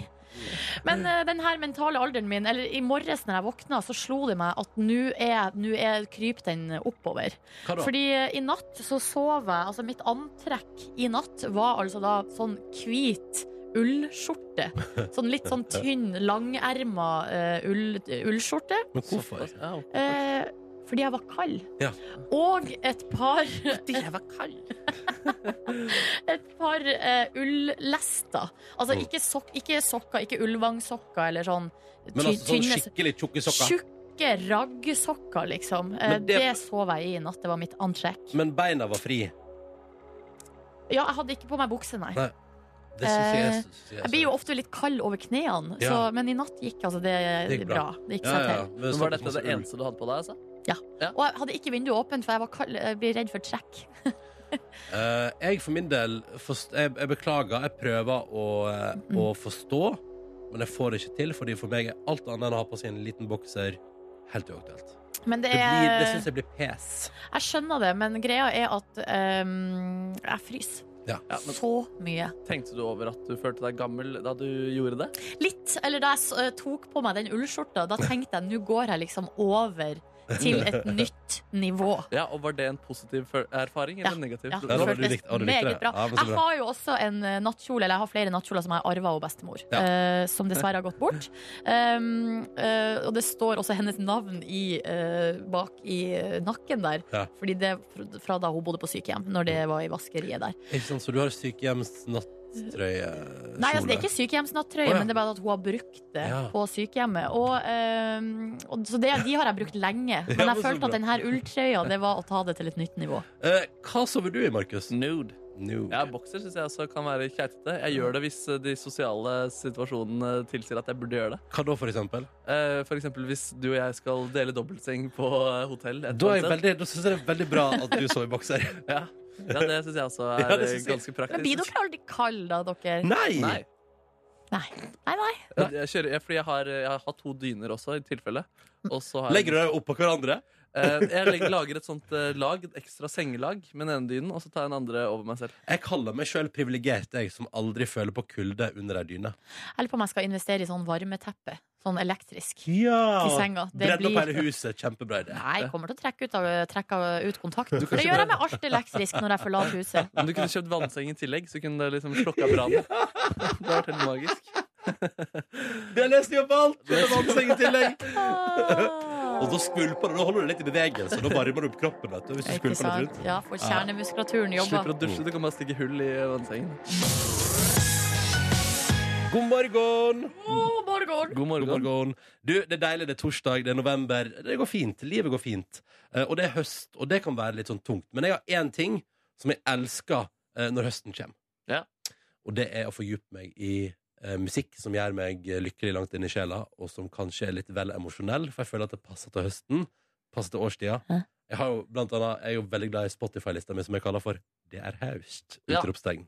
[SPEAKER 3] Men eh, den her mentale alderen min Eller i morges når jeg våkna, så slo det meg at nå er, nå er kryp den oppover.
[SPEAKER 2] Hva da?
[SPEAKER 3] Fordi eh, i natt så sov jeg Altså mitt antrekk i natt var altså da sånn hvit
[SPEAKER 2] <laughs>
[SPEAKER 3] ullskjorte. Sånn litt sånn tynn, langerma eh, ull, ullskjorte.
[SPEAKER 2] Men hvorfor?
[SPEAKER 4] Såpass, Ja, ok.
[SPEAKER 3] Eh, fordi jeg var kald.
[SPEAKER 2] Ja.
[SPEAKER 3] Og et par Fordi jeg var kald? et par eh, ullester. Altså
[SPEAKER 2] Mm.
[SPEAKER 3] ikke, sok ikke sokker, ikke ullvangsokker eller sånn.
[SPEAKER 2] Men
[SPEAKER 3] ty-
[SPEAKER 2] altså sånn
[SPEAKER 3] tynne-
[SPEAKER 2] skikkelig tjukke sokker.
[SPEAKER 3] Tjukke raggsokker, liksom. Eh,
[SPEAKER 2] Men
[SPEAKER 3] det...
[SPEAKER 2] det-
[SPEAKER 3] sov jeg i i natt. Det var mitt antrekk.
[SPEAKER 2] Men beina var fri.
[SPEAKER 3] Ja, jeg hadde ikke på meg bukse, nei.
[SPEAKER 2] Nei. Det syns jeg,
[SPEAKER 3] Eh,
[SPEAKER 2] synes jeg,
[SPEAKER 3] Jeg blir jo ofte litt kald over knærne,
[SPEAKER 2] Ja.
[SPEAKER 3] så- men i natt gikk altså det,
[SPEAKER 2] Det gikk
[SPEAKER 3] bra.
[SPEAKER 2] bra.
[SPEAKER 3] Det gikk
[SPEAKER 2] ja,
[SPEAKER 3] seg
[SPEAKER 2] ja.
[SPEAKER 3] til.
[SPEAKER 2] Men
[SPEAKER 4] Men
[SPEAKER 2] så-
[SPEAKER 4] var dette
[SPEAKER 2] så-
[SPEAKER 4] det eneste du hadde på deg? altså?
[SPEAKER 3] Og jeg hadde ikke vinduet åpent, for jeg, var kald, jeg blir redd for trekk.
[SPEAKER 2] Eh, jeg for min del forst jeg, jeg beklager, jeg prøver å, eh, å forstå, men jeg får det ikke til, fordi for meg er alt annet enn å ha på seg en liten bokser helt uaktuelt.
[SPEAKER 3] Men det
[SPEAKER 2] Det, blir,
[SPEAKER 3] er
[SPEAKER 2] det syns jeg blir pes.
[SPEAKER 3] Jeg skjønner det, men greia er at ehm, jeg fryser
[SPEAKER 4] Ja, men
[SPEAKER 3] så mye.
[SPEAKER 4] Tenkte du over at du følte deg gammel da du gjorde det?
[SPEAKER 3] Litt, eller da jeg s- eh, tok på meg den
[SPEAKER 2] <laughs>
[SPEAKER 3] ullskjorta, da tenkte jeg nå går jeg liksom over til et nytt nivå.
[SPEAKER 4] Ja, Og var det en positiv føl- erfaring
[SPEAKER 3] Ja.
[SPEAKER 4] eller en negativ?
[SPEAKER 2] Ja,
[SPEAKER 3] Ja,
[SPEAKER 2] da var du
[SPEAKER 3] føltes
[SPEAKER 2] likt- ja, du likte det.
[SPEAKER 3] meget bra.
[SPEAKER 2] Ja, men så
[SPEAKER 3] Jeg
[SPEAKER 2] bra.
[SPEAKER 3] har jo også en eh, nattkjole, eller jeg har flere nattkjoler som jeg har arva av bestemor,
[SPEAKER 2] Ja.
[SPEAKER 3] eh, som dessverre har gått bort. Um, eh, og det står også hennes navn i, eh, bak i eh, nakken der,
[SPEAKER 2] Ja. Mm.
[SPEAKER 3] fordi det er fr- fra da hun bodde på sykehjem, når det var i vaskeriet der.
[SPEAKER 2] Ikke sant? Så du har sykehjemsnattrøye
[SPEAKER 3] Nei, altså, det er
[SPEAKER 2] kjole.
[SPEAKER 3] ikke sykehjemsnattrøye,
[SPEAKER 2] Å, ja.
[SPEAKER 3] men det er bare at hun har brukt det
[SPEAKER 2] Ja.
[SPEAKER 3] på sykehjemmet. Og, ehm, og, så det, de har jeg brukt
[SPEAKER 2] <laughs>
[SPEAKER 3] lenge. Men
[SPEAKER 2] men
[SPEAKER 3] jeg
[SPEAKER 2] så
[SPEAKER 3] følte
[SPEAKER 2] bra.
[SPEAKER 3] at denne ulltrøya det var å ta det til et nytt
[SPEAKER 2] <laughs>
[SPEAKER 3] nivå.
[SPEAKER 2] Eh, hva sover du i, Markus?
[SPEAKER 4] Nude.
[SPEAKER 2] Nude.
[SPEAKER 4] Ja, Bokser syns jeg også kan være keitete. Jeg gjør det hvis eh, de sosiale situasjonene tilsier at jeg burde gjøre det.
[SPEAKER 2] Hva da, for eksempel?
[SPEAKER 4] Eh, For eksempel hvis du og jeg skal dele dobbeltseng på eh, hotell. et
[SPEAKER 2] Da, er jeg
[SPEAKER 4] eller annet
[SPEAKER 2] veldig- da syns jeg det er veldig bra at du sover i bokser.
[SPEAKER 4] sted. Ja. ja, det syns jeg også
[SPEAKER 2] <laughs>
[SPEAKER 4] er
[SPEAKER 2] Ja, det
[SPEAKER 4] eh,
[SPEAKER 2] synes jeg.
[SPEAKER 4] ganske
[SPEAKER 3] Men blir
[SPEAKER 4] praktisk.
[SPEAKER 3] dere aldri kalde, da, dere?
[SPEAKER 2] Nei!
[SPEAKER 4] Nei.
[SPEAKER 3] Nei. Nei, nei.
[SPEAKER 4] Jeg, jeg kjører, jeg, fordi jeg har, jeg har to dyner også, i tilfelle. Og så har jeg-
[SPEAKER 2] Legger du deg oppå hverandre?
[SPEAKER 4] Eh, Jeg legger- lager et sånt eh, lag, et ekstra sengelag med den ene dynen, og så tar jeg den andre over meg selv.
[SPEAKER 2] Jeg kaller meg sjøl privilegert, jeg som aldri føler på kulde under ei dyne.
[SPEAKER 3] Jeg lurer på om jeg skal investere i sånn varmeteppe. Sånn elektrisk. Til
[SPEAKER 2] Ja!
[SPEAKER 3] senga. Det
[SPEAKER 2] Bredd opp
[SPEAKER 3] blir
[SPEAKER 2] hele huset. Kjempebra idé.
[SPEAKER 3] Nei, jeg kommer til å trekke ut, av, trekke ut kontakten.
[SPEAKER 4] kan
[SPEAKER 3] For det
[SPEAKER 4] ikke
[SPEAKER 3] gjør jeg
[SPEAKER 4] bare-
[SPEAKER 3] med alt elektrisk når jeg forlater
[SPEAKER 2] <laughs>
[SPEAKER 3] huset.
[SPEAKER 4] Men du kunne kjøpt vannseng i tillegg, så kunne det liksom slokka brannen. Det var helt magisk.
[SPEAKER 2] Det er løsningen på alt! Det er vannseng i tillegg.
[SPEAKER 3] Ah.
[SPEAKER 2] Og da skvulper du. Da holder du litt i bevegelse. Da varmer du opp kroppen. vet du, hvis du
[SPEAKER 3] Ikke
[SPEAKER 2] skvulper litt
[SPEAKER 3] sant?
[SPEAKER 2] rundt.
[SPEAKER 3] Ja, får kjernemuskulaturen jobba.
[SPEAKER 4] Slipper å dusje, du kan bare stikke hull i vannsengen.
[SPEAKER 2] God morgen!
[SPEAKER 3] God morgen!
[SPEAKER 4] God morgen.
[SPEAKER 2] God morgen. Du, det er deilig. Det er torsdag, det er november. Det går fint. Livet går fint. Eh, Og det er høst, og det kan være litt sånn tungt. Men jeg har én ting som jeg elsker eh, når høsten kommer.
[SPEAKER 4] Ja.
[SPEAKER 2] Og det er å fordype meg i eh, musikk som gjør meg eh, lykkelig langt inn i sjela, og som kanskje er litt vel emosjonell, for jeg føler at det passer til høsten. Passer til årstida.
[SPEAKER 3] Hæ?
[SPEAKER 2] Jeg, har jo, blant annet, jeg er jo veldig glad i Spotify-lista mi, som jeg kaller for Det er haust!
[SPEAKER 4] Ja.
[SPEAKER 2] Utropstegn.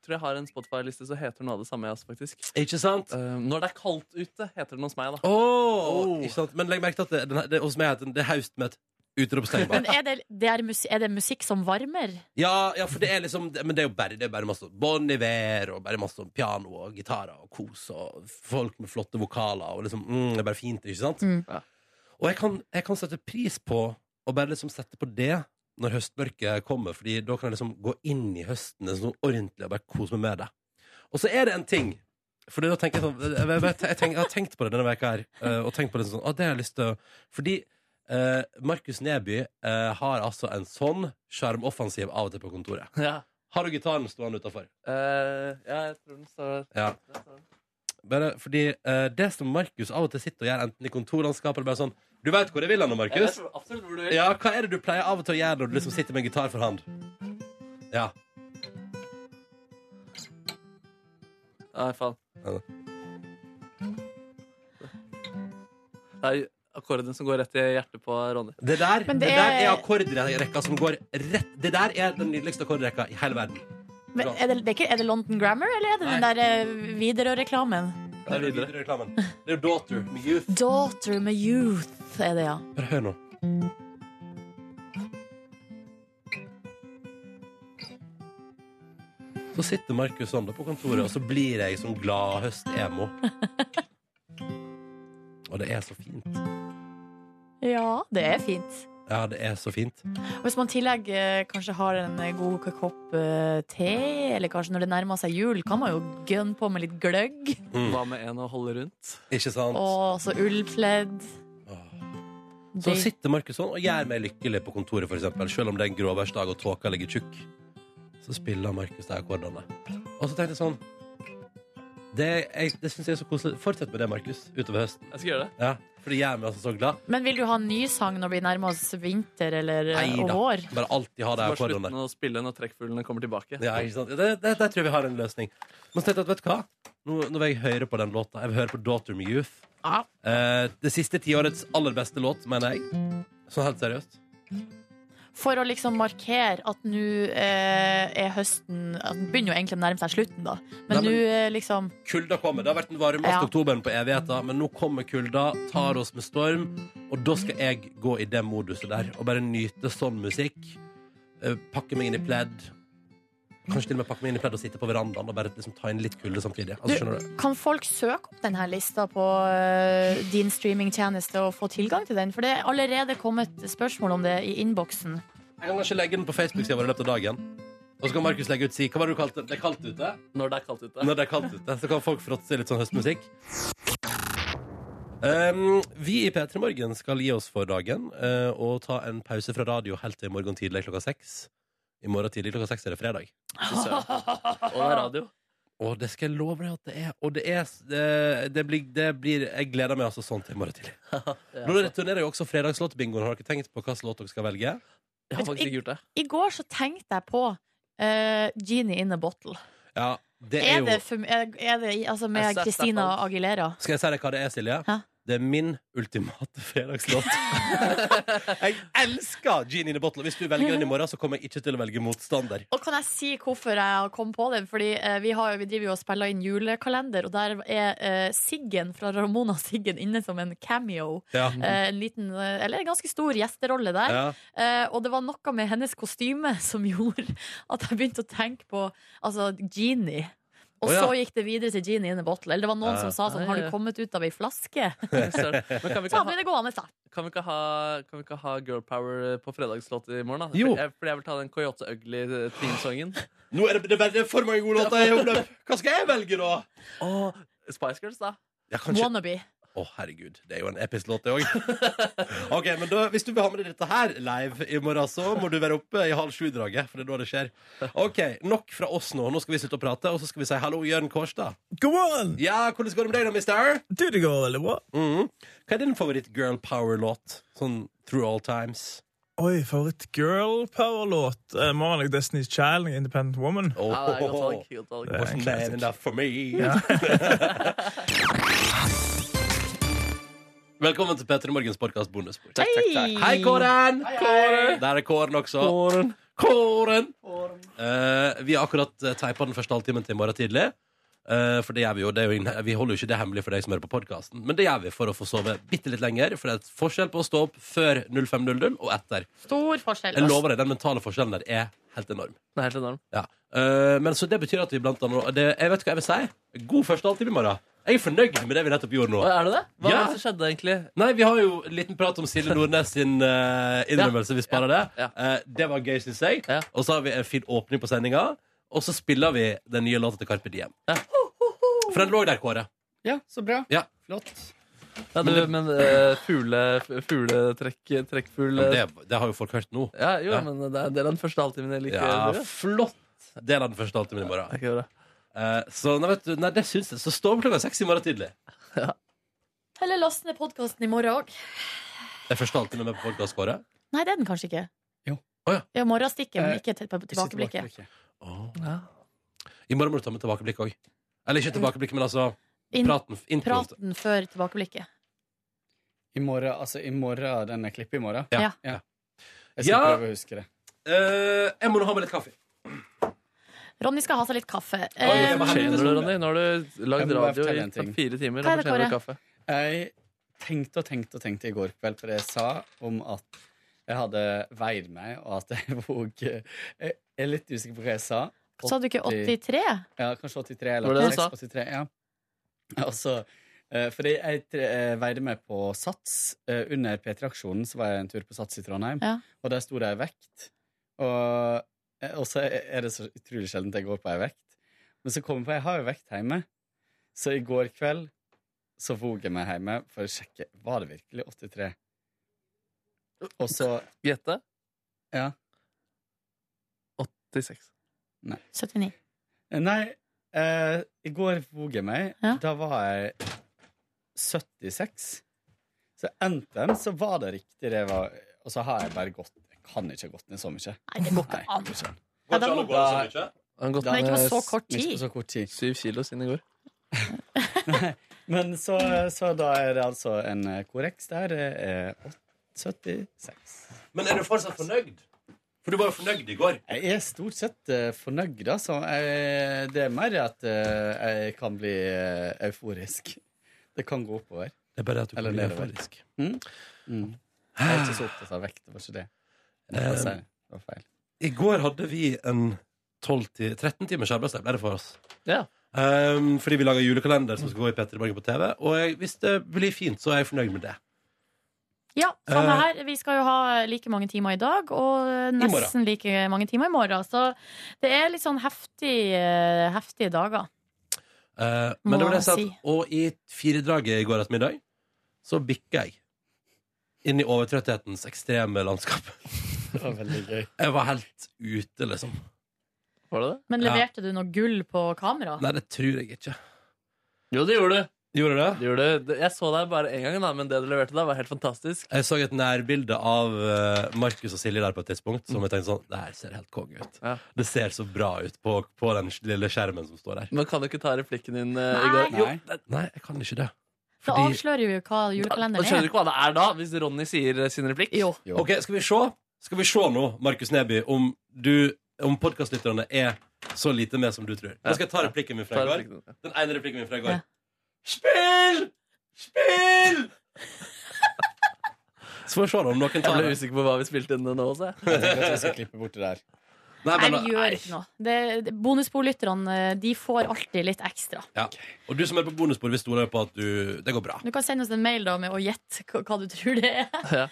[SPEAKER 4] Tror jeg har en Spotify-liste som heter noe av det samme, jeg også, faktisk.
[SPEAKER 2] Ikke sant?
[SPEAKER 4] Eh, når det er kaldt ute, heter den hos meg, da.
[SPEAKER 2] Åh,
[SPEAKER 4] Oh.
[SPEAKER 2] Ikke sant? Men legg merke til at det, den her- det, hos meg heter den Det er haust med et utropstegn
[SPEAKER 3] <laughs>
[SPEAKER 2] bak.
[SPEAKER 3] Men er det, det er, musikk, er det musikk som varmer?
[SPEAKER 2] Ja, ja, for det er liksom det- Men det er jo bare, det er bare masse Bon Iver og bare masse sånn piano og gitarer og kos og folk med flotte vokaler og liksom mm, Det er bare fint, ikke sant?
[SPEAKER 3] Mm.
[SPEAKER 4] Ja.
[SPEAKER 2] Og jeg kan, jeg kan sette pris på å bare liksom sette på det når høstmørket kommer, Fordi da kan jeg liksom gå inn i høsten sånn ordentlig og bare kose meg med det. Og så er det en ting Fordi da tenker jeg sånn Jeg, jeg, vet- jeg, tenker, jeg har tenkt på det denne veka her, eh, og tenkt på det sånn Å, det har jeg lyst til å Fordi eh, Markus Neby eh, har altså en sånn sjarmoffensiv av og til på kontoret.
[SPEAKER 4] <laughs> Ja.
[SPEAKER 2] Har du gitaren stående utafor?
[SPEAKER 4] Eh, ja, jeg tror den står der.
[SPEAKER 2] Ja.
[SPEAKER 4] Der står den.
[SPEAKER 2] Bare fordi eh, det som Markus av og til sitter og gjør, enten i kontorlandskapet eller bare sånn Du veit hvor jeg vil hen nå,
[SPEAKER 4] Jeg
[SPEAKER 2] Markus?
[SPEAKER 4] tror absolutt hvor du vil.
[SPEAKER 2] Ja, hva er det du pleier av og til å gjøre når du liksom sitter med en gitar for hand? Ja.
[SPEAKER 4] Nei, faen.
[SPEAKER 2] Ja.
[SPEAKER 4] Det er akkorden som går rett i hjertet på Ronny.
[SPEAKER 2] Det der,
[SPEAKER 3] Men
[SPEAKER 2] det
[SPEAKER 3] det
[SPEAKER 2] der er
[SPEAKER 3] er-
[SPEAKER 2] akkordrekka som går rett Det der er den nydeligste akkordrekka i hele verden.
[SPEAKER 3] Men er det, det er, ikke, er det London Grammar, eller er det den
[SPEAKER 2] Nei.
[SPEAKER 3] der eh, Widerøe-reklamen?
[SPEAKER 2] Det er videre reklamen. Det er jo Daughter med Youth.
[SPEAKER 3] Daughter med youth er det, ja.
[SPEAKER 2] Bare hør nå. Så sitter Markus sånn da på kontoret, og så blir jeg som glad høstemo. Og det er så fint.
[SPEAKER 3] Ja, det er fint.
[SPEAKER 2] Ja, det er så fint.
[SPEAKER 3] Og Hvis man i tillegg eh, kanskje har en eh, god kopp eh, te, eller kanskje når det nærmer seg jul, kan man jo gønne på med litt gløgg.
[SPEAKER 2] Mm.
[SPEAKER 4] Hva med en å holde rundt?
[SPEAKER 2] Ikke sant?
[SPEAKER 3] Og så ullpledd.
[SPEAKER 2] Så
[SPEAKER 3] Det-
[SPEAKER 2] sitter Markus sånn og gjør meg lykkelig på kontoret, for eksempel. Selv om det er en gråværsdag og tåka ligger tjukk. Så spiller Markus de akkordene. Og så tenkte jeg sånn Det, jeg- det syns jeg er så koselig. Fortsett med det, Markus, utover høsten.
[SPEAKER 4] Jeg skal gjøre det.
[SPEAKER 2] Ja, for det gjør meg altså så glad.
[SPEAKER 3] Men vil du ha en ny sang når vi nærmer oss vinter eller eh,
[SPEAKER 2] Nei
[SPEAKER 3] og
[SPEAKER 2] da.
[SPEAKER 3] vår?
[SPEAKER 2] Bare alltid ha de
[SPEAKER 4] Så bare slutt
[SPEAKER 2] akkordene der.
[SPEAKER 4] med å spille når trekkfuglene kommer tilbake.
[SPEAKER 2] Ja, ikke sant? Det, det, der tror jeg vi har en løsning. Men så tenkte jeg at, vet du hva? Nå, nå vil jeg høre på den låta. Jeg vil høre på 'Daughter Me Youth'.
[SPEAKER 3] Ja.
[SPEAKER 2] Eh, det siste tiårets aller beste låt, mener jeg. Sånn helt seriøst.
[SPEAKER 3] For å liksom markere at nå eh, er høsten at Den begynner jo egentlig å nærme seg slutten, da.
[SPEAKER 2] Nei,
[SPEAKER 3] Men
[SPEAKER 2] men-
[SPEAKER 3] nå eh, liksom
[SPEAKER 2] Kulda kommer. Det har vært den varmeste
[SPEAKER 3] Ja.
[SPEAKER 2] oktoberen på evigheter, men nå kommer kulda, tar oss med storm, og da skal jeg gå i det moduset der og bare nyte sånn musikk. Eh, Pakke meg inn i pledd. Kanskje til og med pakke meg inn i pledd og sitte på verandaen og bare liksom ta inn litt kulde samtidig. Altså, skjønner du?
[SPEAKER 3] Kan folk søke opp denne lista på eh, din streamingtjeneste og få tilgang til den? For det er allerede kommet spørsmål om det i innboksen.
[SPEAKER 2] Jeg kan kanskje legge den på Facebook-sida vår i løpet av dagen. Og så kan Markus legge ut si Hva var det du kalte det? Det er kaldt ute?
[SPEAKER 4] Når det er kaldt ute.
[SPEAKER 2] Når det er kaldt ute, så kan folk fråtse litt sånn høstmusikk. Um, vi i P3 Morgen skal gi oss for dagen eh, og ta en pause fra radio helt til i morgen tidlig klokka seks. I morgen tidlig klokka seks er det fredag.
[SPEAKER 4] Fy søren. Og det er radio.
[SPEAKER 2] Og det skal jeg love deg at det er. Og det er det, det, blir, det blir Jeg gleder meg altså sånn til i morgen tidlig. Nå returnerer jo også fredagslåtbingoen. Har dere tenkt på hvilken låt dere skal velge?
[SPEAKER 4] Jeg har faktisk ikke gjort det.
[SPEAKER 3] I går så tenkte jeg på eh, Genie in a bottle.
[SPEAKER 2] Ja, det
[SPEAKER 3] Er
[SPEAKER 2] er jo
[SPEAKER 3] det, for, er, er det i- altså
[SPEAKER 4] Jeg
[SPEAKER 3] med
[SPEAKER 4] setter
[SPEAKER 3] Christina
[SPEAKER 4] alt.
[SPEAKER 3] Aguilera?
[SPEAKER 2] Skal jeg si deg hva det er, Silje?
[SPEAKER 3] Hæ?
[SPEAKER 2] Det er min ultimate fredagslåt. jeg elsker Gin in a Bottle. Hvis du velger den i morgen, så kommer jeg ikke til å velge motstander.
[SPEAKER 3] Og kan jeg si hvorfor jeg har kommet på den? Fordi eh, vi, har, vi driver jo og spiller inn julekalender, og der er eh, Siggen fra Ramona Siggen inne som en cameo.
[SPEAKER 2] Ja.
[SPEAKER 3] Eh, en liten, eh, eller en ganske stor gjesterolle der.
[SPEAKER 2] Ja.
[SPEAKER 3] Eh, og det var noe med hennes kostyme som <laughs> gjorde at jeg begynte å tenke på altså, Genie. Og
[SPEAKER 2] Å, ja.
[SPEAKER 3] så gikk det videre til Genie in a bottle. Eller det var noen som sa sånn, har du kommet ut av ei flaske?
[SPEAKER 4] Fy søren. Men kan vi
[SPEAKER 3] Så
[SPEAKER 4] ikke
[SPEAKER 3] da
[SPEAKER 4] ha,
[SPEAKER 3] ble det gående, da.
[SPEAKER 4] kan vi ikke ha, kan vi ikke ha Girl Power eh, på fredagslåt i morgen? da?
[SPEAKER 2] Jo.
[SPEAKER 4] For jeg, for jeg vil ta den Coyote eh, Ugly-teamsongen.
[SPEAKER 2] Nå er det, det er bare- det er for mange gode låter i omløp. Hva skal jeg velge, da?
[SPEAKER 4] Og Spice Girls, da.
[SPEAKER 2] Ja, kanskje
[SPEAKER 3] Wannabe.
[SPEAKER 2] Å, herregud. Det er jo en episk låt, det òg. <laughs> OK, men da, hvis du vil ha med deg dette her live i morgen, så må du være oppe i halv sju-draget. For det er da det skjer. OK, nok fra oss nå. Nå skal vi slutte å prate, og så skal vi si hallo, Jørn Kårstad.
[SPEAKER 10] Go on!
[SPEAKER 2] Ja, hvordan går det med deg da, mister?
[SPEAKER 10] Do the goal, eller hva?
[SPEAKER 2] Mhm. Hva er din favoritt-girl power-låt? Sånn through all times.
[SPEAKER 10] Oi, for et girl power-låt. Eh, Må ha nok Destiny's Child, Independent Woman.
[SPEAKER 2] Oh,
[SPEAKER 4] Ja, det er godt valg. Godt valg.
[SPEAKER 10] Det er en
[SPEAKER 2] Wasn't man
[SPEAKER 10] classic.
[SPEAKER 2] enough for me? <laughs> Velkommen til Petter i Morgens podkast Bondespor. Hei, Kåren! Der er Kåren også. Kåren! Eh, vi har akkurat eh, teipet den første halvtimen til i morgen tidlig. Eh, for det gjør Vi jo, det er jo, ingen- vi holder jo ikke det hemmelig for deg som hører på podkasten, men det gjør vi for å få sove bitte litt lenger. For det er et forskjell på å stå opp før 05.00 og etter.
[SPEAKER 3] Stor forskjell.
[SPEAKER 2] Jeg lover deg, Den mentale forskjellen der er helt enorm.
[SPEAKER 4] Det er helt enormt.
[SPEAKER 2] Ja. Eh, men så det betyr at vi blant annet det, Jeg vet hva jeg vil si. God første halvtime i morgen. Jeg er fornøyd med det vi nettopp gjorde nå.
[SPEAKER 4] Å, er du det? Hva
[SPEAKER 2] ja.
[SPEAKER 4] var det som skjedde, egentlig?
[SPEAKER 2] Nei, vi har jo en liten prat om Silje Nordnes sin eh, innrømmelse. Vi sparer det. Eh, det var gøy, syns jeg. Og så har vi en fin åpning på sendinga. Og så spiller vi den nye låta til Carpe Diem. For den lå der, Kåre.
[SPEAKER 8] Ja, så bra.
[SPEAKER 2] Ja.
[SPEAKER 8] Flott.
[SPEAKER 4] Ja, du, men eh, fugle, f- fugletrekk trekkfugl
[SPEAKER 2] Ja, men det, det har jo folk hørt nå.
[SPEAKER 4] eh, Ja, jo,
[SPEAKER 2] Ja.
[SPEAKER 4] men det er, det er den første halvtimen jeg liker.
[SPEAKER 2] Ja,
[SPEAKER 4] bedre.
[SPEAKER 2] flott! Del av den første halvtimen i morgen. Eh, så nei, vet du, nei, det syns jeg. Så stå opp klokka seks i morgen tidlig.
[SPEAKER 3] Eller last ned podkasten i morgen òg.
[SPEAKER 2] Det er første halvtimen med på podcast, Kåre.
[SPEAKER 3] Nei, det er den kanskje ikke.
[SPEAKER 2] Jo. Å, ja.
[SPEAKER 3] Ja, morgenstikket, men
[SPEAKER 2] Eh,
[SPEAKER 3] ikke til- på tilbakeblikket.
[SPEAKER 2] I morgen må du ta med tilbakeblikk òg. Eller ikke tilbakeblikk, men altså
[SPEAKER 3] Inn-
[SPEAKER 2] praten. introen.
[SPEAKER 3] Praten før tilbakeblikket.
[SPEAKER 8] I morgen, altså i morgen, den er klippet i morgen?
[SPEAKER 3] Ja.
[SPEAKER 8] Jeg skal
[SPEAKER 2] Ja.
[SPEAKER 8] prøve å huske det.
[SPEAKER 2] Eh, jeg må nå ha med litt kaffe.
[SPEAKER 3] Ronny skal ha seg litt kaffe.
[SPEAKER 4] Oi,
[SPEAKER 3] Eh,
[SPEAKER 4] hva skjer nå, Ronny? Nå har du
[SPEAKER 8] Jeg
[SPEAKER 4] lagd
[SPEAKER 8] må bare
[SPEAKER 4] radio
[SPEAKER 8] fortelle
[SPEAKER 4] i
[SPEAKER 8] en ting.
[SPEAKER 4] fire timer.
[SPEAKER 3] Hva er
[SPEAKER 4] Nå
[SPEAKER 3] det,
[SPEAKER 4] fortjener du
[SPEAKER 3] Kåre?
[SPEAKER 4] kaffe.
[SPEAKER 8] Jeg tenkte og tenkte og tenkte i går kveld på det jeg sa om at jeg hadde veid meg, og at jeg våg Jeg er litt usikker på hva jeg sa.
[SPEAKER 3] sa du ikke 83?
[SPEAKER 8] Ja, kanskje 83
[SPEAKER 3] Var
[SPEAKER 8] eller
[SPEAKER 3] det det du
[SPEAKER 8] 86, 83. Ja. Og så, eh, fordi jeg tre- eh, veide meg på Sats. eh, Under P3-aksjonen så var jeg en tur på Sats i Trondheim,
[SPEAKER 3] Ja.
[SPEAKER 8] og der sto det ei vekt. Og, eh, og så er det så utrolig sjelden jeg går på ei vekt. Men så kommer jeg på jeg har jo vekt hjemme. Så i går kveld så vog jeg meg hjemme for å sjekke var det virkelig 83. Og så
[SPEAKER 4] Gjette?
[SPEAKER 8] Ja.
[SPEAKER 4] 86.
[SPEAKER 8] Nei.
[SPEAKER 3] 79.
[SPEAKER 8] Nei, eh, i går våg jeg meg. Da var jeg 76. Så enten så var det riktig, det var, og så har jeg bare gått Jeg kan ikke ha gått ned så mye.
[SPEAKER 3] Nei, det går ikke an. Nei, da må-
[SPEAKER 2] eh?
[SPEAKER 8] Da-
[SPEAKER 3] Men ikke på så kort
[SPEAKER 8] Ikke på
[SPEAKER 3] tid.
[SPEAKER 8] så kort tid.
[SPEAKER 4] Syv kilo siden i går.
[SPEAKER 8] Men så, så da er det altså en eh, korreks der. eh, åt- 76.
[SPEAKER 2] Men er du fortsatt fornøyd? For du var jo fornøyd i går.
[SPEAKER 8] Jeg er stort sett eh, fornøyd, altså. Jeg, det er mer at eh, jeg kan bli eh, euforisk. Det kan gå oppover.
[SPEAKER 2] Det er bare at du
[SPEAKER 8] Eller
[SPEAKER 2] kan bli
[SPEAKER 8] nedover.
[SPEAKER 2] euforisk.
[SPEAKER 8] Mm? Mm. Jeg er ikke så opptatt av vekt. Det var ikke det. Det var feil. Det var feil.
[SPEAKER 2] Eh, I går hadde vi en 12 ti- 13 timers arbeidsdag, ble det for oss.
[SPEAKER 4] Ja.
[SPEAKER 2] Ehm, fordi vi lager julekalender som skal gå i Petter i morgen på TV. Og jeg, hvis det blir fint, så er jeg fornøyd med det.
[SPEAKER 3] Ja, samme
[SPEAKER 2] Eh,
[SPEAKER 3] her. Vi skal jo ha like mange timer i dag, og nesten like mange timer i morgen. Så det er litt sånn heftig, eh, heftige dager.
[SPEAKER 2] Eh, men
[SPEAKER 3] Må
[SPEAKER 2] det var det jeg sa.
[SPEAKER 3] si.
[SPEAKER 2] Og i firedraget i går ettermiddag så bikka jeg inn i overtrøtthetens ekstreme landskap.
[SPEAKER 8] <laughs> Det var veldig gøy.
[SPEAKER 2] Jeg var helt ute, liksom.
[SPEAKER 4] Var det det?
[SPEAKER 3] Men leverte du noe gull på kamera?
[SPEAKER 2] Nei, det tror jeg ikke.
[SPEAKER 4] Jo, det gjorde du.
[SPEAKER 2] Gjorde du det?
[SPEAKER 4] Det- Jeg så deg bare én gang, da, men det du leverte da, var helt fantastisk.
[SPEAKER 2] Jeg så et nærbilde av eh, Markus og Silje der på et tidspunkt.
[SPEAKER 8] Mm.
[SPEAKER 2] Som jeg tenkte sånn, Det her ser helt konge ut. Det ser så bra ut på, på den lille skjermen som står der.
[SPEAKER 4] Men kan du ikke ta replikken din eh, i
[SPEAKER 3] Nei.
[SPEAKER 4] går? Jo, det-
[SPEAKER 2] Nei, jeg kan ikke det.
[SPEAKER 3] Da
[SPEAKER 4] fordi-
[SPEAKER 3] avslører jo hva
[SPEAKER 4] Og skjønner du
[SPEAKER 3] julekalenderen er.
[SPEAKER 4] ikke hva det er da, hvis Ronny sier eh, sin replikk?
[SPEAKER 2] Ok, Skal vi se Skal vi se nå, Markus Neby, om, du- om podkastlytterne er så lite med som du tror. Nå skal jeg ta replikken min fra i
[SPEAKER 4] Ta
[SPEAKER 2] går.
[SPEAKER 4] replikken.
[SPEAKER 2] Den ene replikken min fra i går.
[SPEAKER 11] Spill! Spill!
[SPEAKER 2] Så får vi se da om noen
[SPEAKER 4] Jeg
[SPEAKER 2] tar
[SPEAKER 4] ble
[SPEAKER 2] det.
[SPEAKER 4] usikker på hva vi spilte inn nå også.
[SPEAKER 3] <laughs>
[SPEAKER 8] Jeg vet at jeg skal klippe bort det der.
[SPEAKER 2] Nei,
[SPEAKER 3] Nei, vi gjør ikke noe. Det- det- Bonusbordlytterne eh, de får alltid litt ekstra.
[SPEAKER 2] Ja. Og du som er på bonusbord, vi stoler på at du Det går bra.
[SPEAKER 3] Du kan sende oss en mail da med å gjette hva- hva du tror det er.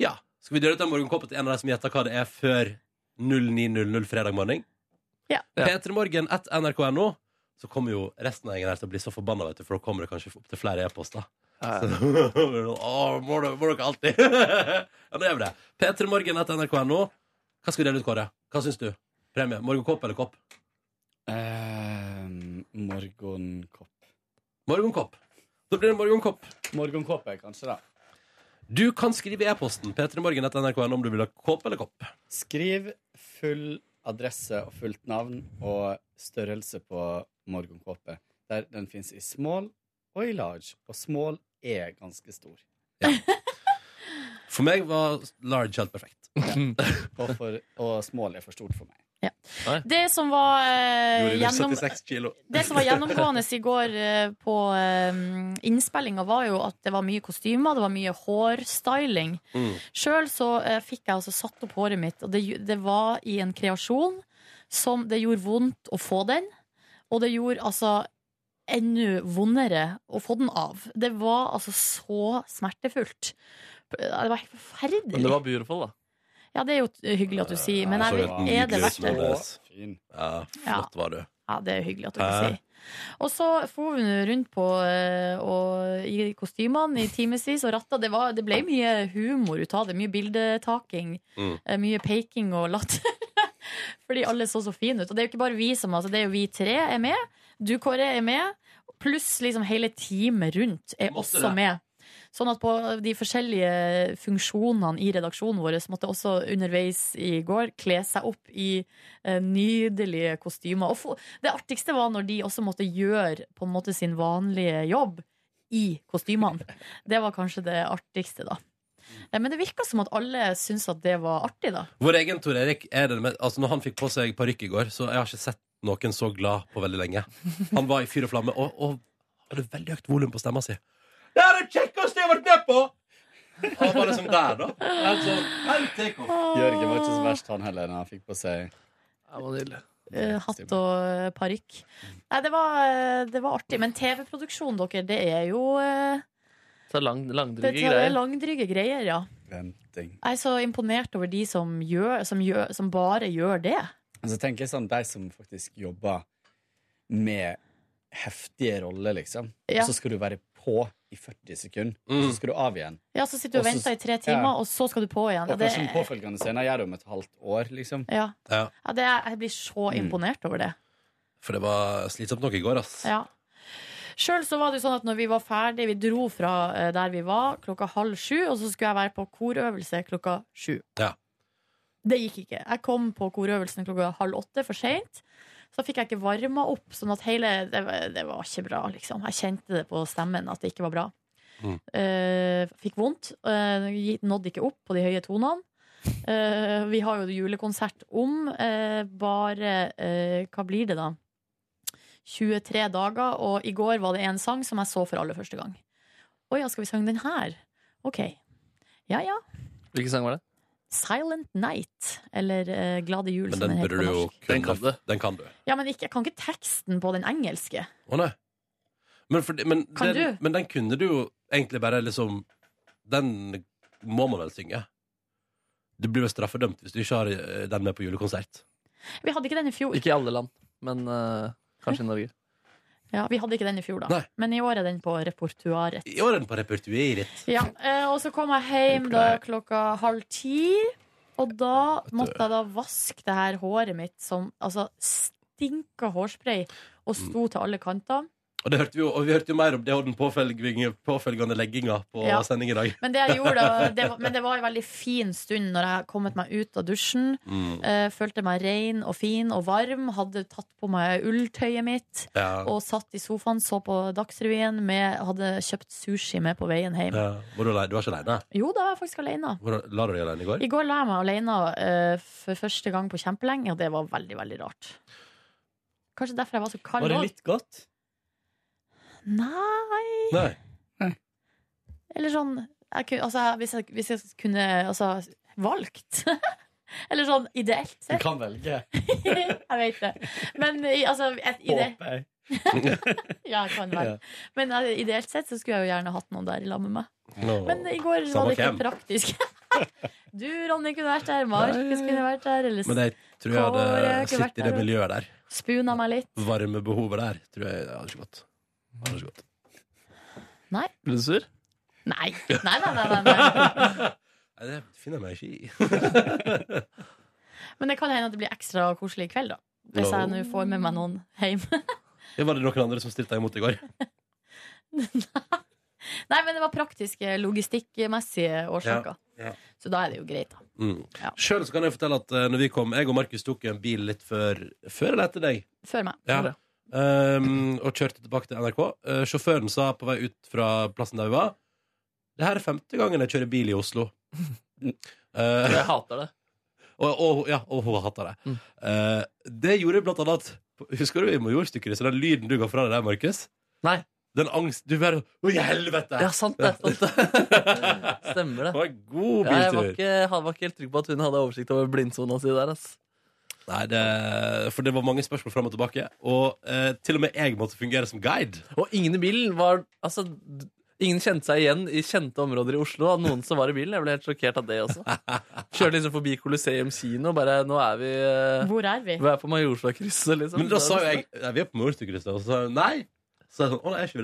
[SPEAKER 2] Ja. Skal vi dele ut den morgenkåpen til en av de som gjetter hva det er før 09.00 fredag morgen?
[SPEAKER 3] Ja.
[SPEAKER 2] P3morgen at nrk.no. Så kommer jo resten av gjengen her til å bli så forbanna, vet du, for da kommer det kanskje opp til flere e-poster. Så- sånn, Åh, må, du- må dere alltid <laughs> Ja, nå gjør vi det. P3morgen at nrk.no. Hva skal vi dele ut, Kåre? Hva syns du? Premie? Morgenkåp eller kopp?
[SPEAKER 8] Ehm, morgenkopp.
[SPEAKER 2] Morgenkopp. Da blir det morgenkopp.
[SPEAKER 8] Morgenkopp er kanskje, da.
[SPEAKER 2] Du kan skrive i e-posten p3morgen at nrk.no om du vil ha kåp eller kopp.
[SPEAKER 8] Skriv full adresse og fullt navn og størrelse på morgenkåpe. Der den fins i small og i large. Og small er ganske stor.
[SPEAKER 2] For meg var large helt perfekt.
[SPEAKER 8] Og, for, og small er for stort for meg.
[SPEAKER 3] Det som var, eh, gjennom,
[SPEAKER 2] kilo.
[SPEAKER 3] <laughs> det som var gjennomgående i går eh, på eh, innspillinga, var jo at det var mye kostymer, det var mye hårstyling. Sjøl så eh, fikk jeg altså satt opp håret mitt, og det, gj- det var i en kreasjon som det gjorde vondt å få den. Og det gjorde altså enda vondere å få den av. Det var altså så smertefullt. Det var helt forferdelig.
[SPEAKER 4] <laughs> Men det var beautiful, da.
[SPEAKER 3] Ja, det er jo hyggelig at du sier, men
[SPEAKER 8] altså,
[SPEAKER 3] jeg, vet- er det verdt det?
[SPEAKER 2] Ja,
[SPEAKER 3] Ja.
[SPEAKER 2] flott var du.
[SPEAKER 3] Ja, det er hyggelig at
[SPEAKER 2] Hæ?
[SPEAKER 3] dere sier. Og så for vi nå rundt på eh, og, i kostymene i timevis og ratta. Det, var, det ble mye humor ut av det. Mye bildetaking.
[SPEAKER 2] Mm.
[SPEAKER 3] eh, Mye peking og latter. Fordi alle så så fine ut. Og det er jo ikke bare vi som altså, det er jo vi tre er med. Du, Kåre, er med. Pluss liksom hele teamet rundt er
[SPEAKER 12] Måtte
[SPEAKER 3] også
[SPEAKER 12] det.
[SPEAKER 3] med. Sånn at på de forskjellige funksjonene i redaksjonen vår måtte også underveis i går kle seg opp i eh, nydelige kostymer. Og få- det artigste var når de også måtte gjøre på en måte sin vanlige jobb i kostymene. Det var kanskje det artigste, da. Eh, Men det virka som at alle syntes at det var artig, da.
[SPEAKER 2] Vår egen Tor Erik er den med, altså Når han fikk på seg parykk i går, så jeg har ikke sett noen så glad på veldig lenge. Han var i fyr og flamme og, og hadde veldig høyt volum på stemma si.
[SPEAKER 11] Det er det kjekkeste jeg har vært med på! Altså,
[SPEAKER 2] Han var liksom der, da. Helt sånn, helt take off.
[SPEAKER 8] Jørgen var ikke så verst, han heller, når han fikk på seg
[SPEAKER 3] Eh, Hatt og eh, parykk. Nei, det var, eh, det var artig. Men TV-produksjon, dere, det er jo eh,
[SPEAKER 4] Så lang,
[SPEAKER 3] Det
[SPEAKER 4] langdryge
[SPEAKER 3] er
[SPEAKER 4] greier.
[SPEAKER 3] langdrygge greier, ja. Jeg er så imponert over de som, gjør, som, gjør, som bare gjør det.
[SPEAKER 8] Og så tenker jeg sånn, de som faktisk jobber med heftige roller, liksom.
[SPEAKER 3] Ja.
[SPEAKER 8] Og så skal du være på i 40 sekunder, og så skal du av igjen.
[SPEAKER 3] Ja, Så sitter du og
[SPEAKER 8] Og så-
[SPEAKER 3] venter i tre timer,
[SPEAKER 8] ja.
[SPEAKER 3] og så skal du på igjen.
[SPEAKER 8] Og
[SPEAKER 3] Det,
[SPEAKER 8] kanskje den påfølgende scenen gjør det om et halvt år, liksom.
[SPEAKER 3] ja. Ja, det er, jeg blir så imponert over det.
[SPEAKER 2] For det var slitsomt nok i går, ass.
[SPEAKER 3] Ja. Sjøl så var det jo sånn at når vi var ferdig, vi dro fra eh, der vi var klokka halv sju, og så skulle jeg være på korøvelse klokka sju.
[SPEAKER 2] Ja.
[SPEAKER 3] Det gikk ikke. Jeg kom på korøvelsen klokka halv åtte for seint. Så fikk jeg ikke varma opp, sånn at hele det, var- det var ikke bra, liksom. Jeg kjente det på stemmen at det ikke var bra. Eh, fikk vondt. eh, gi- nådde ikke opp på de høye tonene. Eh, vi har jo julekonsert om eh, bare eh, Hva blir det, da? 23 dager, og i går var det en sang som jeg så for aller første gang. Å ja, skal vi synge den her? OK. Ja ja.
[SPEAKER 4] Hvilken sang var det?
[SPEAKER 3] Silent Night, eller eh, Glade jul,
[SPEAKER 2] Men
[SPEAKER 3] som
[SPEAKER 2] den
[SPEAKER 3] den heter
[SPEAKER 2] burde du
[SPEAKER 3] på
[SPEAKER 2] jo
[SPEAKER 3] norsk.
[SPEAKER 2] kunne. Den kan du. Den kan du.
[SPEAKER 3] Ja, men ikke, jeg kan ikke teksten på den engelske.
[SPEAKER 2] Å nei. Men, for, men,
[SPEAKER 3] Kan
[SPEAKER 2] den,
[SPEAKER 3] du?
[SPEAKER 2] men den kunne du jo egentlig bare liksom Den må man vel synge. Du blir vel straffedømt hvis du ikke har eh, den med på julekonsert.
[SPEAKER 3] Vi hadde ikke den i fjor.
[SPEAKER 4] Ikke i alle land, men eh, kanskje i Norge.
[SPEAKER 3] Ja, vi hadde ikke den i fjor, da.
[SPEAKER 4] Nei.
[SPEAKER 3] Men i år er den på repertoaret.
[SPEAKER 2] I år er den på repertueret.
[SPEAKER 3] Ja, eh, og så kom jeg hjem da klokka halv ti, og da måtte jeg da vaske det her håret mitt som altså stinka hårspray og
[SPEAKER 2] Mm.
[SPEAKER 3] sto til alle kanter.
[SPEAKER 2] Og, det hørte vi jo, og vi hørte jo mer om det og den påfølgende, påfølgende legginga på
[SPEAKER 3] Ja.
[SPEAKER 2] sending i dag.
[SPEAKER 3] Men det jeg gjorde, da- det var, men det var en veldig fin stund når jeg kommet meg ut av dusjen.
[SPEAKER 2] Mm.
[SPEAKER 3] Eh, følte meg ren og fin og varm. Hadde tatt på meg ulltøyet mitt
[SPEAKER 2] Ja.
[SPEAKER 3] og satt i sofaen, så på Dagsrevyen. Med, hadde kjøpt sushi med på veien hjem.
[SPEAKER 2] Ja. Var du, alene? du var ikke aleine?
[SPEAKER 3] Jo, da var jeg faktisk alene.
[SPEAKER 2] La du deg aleine i går?
[SPEAKER 3] I går la jeg meg alene eh, for første gang på kjempelenge, og det var veldig, veldig rart. Kanskje derfor jeg var så kald. også.
[SPEAKER 8] godt?
[SPEAKER 3] Nei.
[SPEAKER 2] Nei.
[SPEAKER 3] <laughs> Eller sånn jeg kunne, altså, hvis, jeg, hvis jeg kunne altså, valgt. <laughs> Eller sånn ideelt
[SPEAKER 8] Du
[SPEAKER 3] sett.
[SPEAKER 8] kan velge.
[SPEAKER 3] <laughs> Jeg vet det. Men i- altså et, ide,
[SPEAKER 8] Håper jeg.
[SPEAKER 3] ja, jeg kan vel.
[SPEAKER 8] Ja.
[SPEAKER 3] Men eh, ideelt sett så skulle jeg jo gjerne hatt noen der i lag med meg.
[SPEAKER 2] <laughs> Nå.
[SPEAKER 3] Men i går var
[SPEAKER 2] Samme
[SPEAKER 3] det ikke
[SPEAKER 2] hvem.
[SPEAKER 3] praktisk. <laughs> Du, Ronny, kunne vært der. Markus kunne vært der. Eller
[SPEAKER 2] Men jeg tror jeg
[SPEAKER 3] Kåre
[SPEAKER 2] hadde
[SPEAKER 3] kunne vært
[SPEAKER 2] sittet i det
[SPEAKER 3] der.
[SPEAKER 2] miljøet der.
[SPEAKER 3] spuna meg litt.
[SPEAKER 2] Varmebehovet der tror jeg det hadde ikke gått. Det hadde ikke gått.
[SPEAKER 3] Nei.
[SPEAKER 4] Ble du sur?
[SPEAKER 2] <laughs>
[SPEAKER 3] Nei. Nei, nei, nei, nei, nei.
[SPEAKER 2] Nei, det finner jeg meg ikke i.
[SPEAKER 3] Men det kan hende at det blir ekstra koselig i kveld, da. Hvis jeg nå får med meg noen hjem. <laughs>
[SPEAKER 2] Ja, var <laughs> det noen andre som stritta imot i går?
[SPEAKER 3] Nei, men det var praktiske, logistikkmessige årsaker.
[SPEAKER 2] Ja.
[SPEAKER 3] Så da er det jo greit, da.
[SPEAKER 2] Mm. Sjøl kan jeg fortelle at eh, når vi kom, jeg og Markus tok en bil litt før, før eller etter deg.
[SPEAKER 3] Før meg.
[SPEAKER 2] Ja. Um, og kjørte tilbake til NRK. Eh, sjåføren sa på vei ut fra plassen der vi var Det her er femte gangen jeg kjører bil i
[SPEAKER 4] <laughs>
[SPEAKER 2] Oslo. Eh,
[SPEAKER 4] Jeg hater det.
[SPEAKER 2] <laughs> og, og, ja, og hun hater det.
[SPEAKER 4] Mm.
[SPEAKER 2] Eh, det gjorde blant annet Husker du i Majorstykket? Så den lyden du ga fra deg der, Markus?
[SPEAKER 4] Nei
[SPEAKER 2] Den angst Du bare Å, i helvete!
[SPEAKER 4] Ja, sant det. Sant det. Stemmer det.
[SPEAKER 2] god
[SPEAKER 4] Ja, jeg var
[SPEAKER 2] biltur.
[SPEAKER 4] ikke, han var ikke helt trygg på at hun hadde oversikt over blindsona si der. Ass.
[SPEAKER 2] Nei, det, for det var mange spørsmål fram og tilbake. Og eh, til og med jeg måtte fungere som guide.
[SPEAKER 4] Og ingen i bilen var Altså, d- ingen kjente seg igjen i kjente områder i Oslo av noen som var i bilen. Jeg ble helt sjokkert av det også. Kjørte liksom forbi Colosseum kino, bare Nå er vi eh,
[SPEAKER 3] Hvor er vi?
[SPEAKER 4] Vi er på Majorstadkrysset, liksom.
[SPEAKER 2] Men da sa
[SPEAKER 4] <laughs>
[SPEAKER 2] jo jeg Nei, vi er på Majorstukrysset. Og så sa hun nei. Så sa jeg sånn Å, nei, er ikke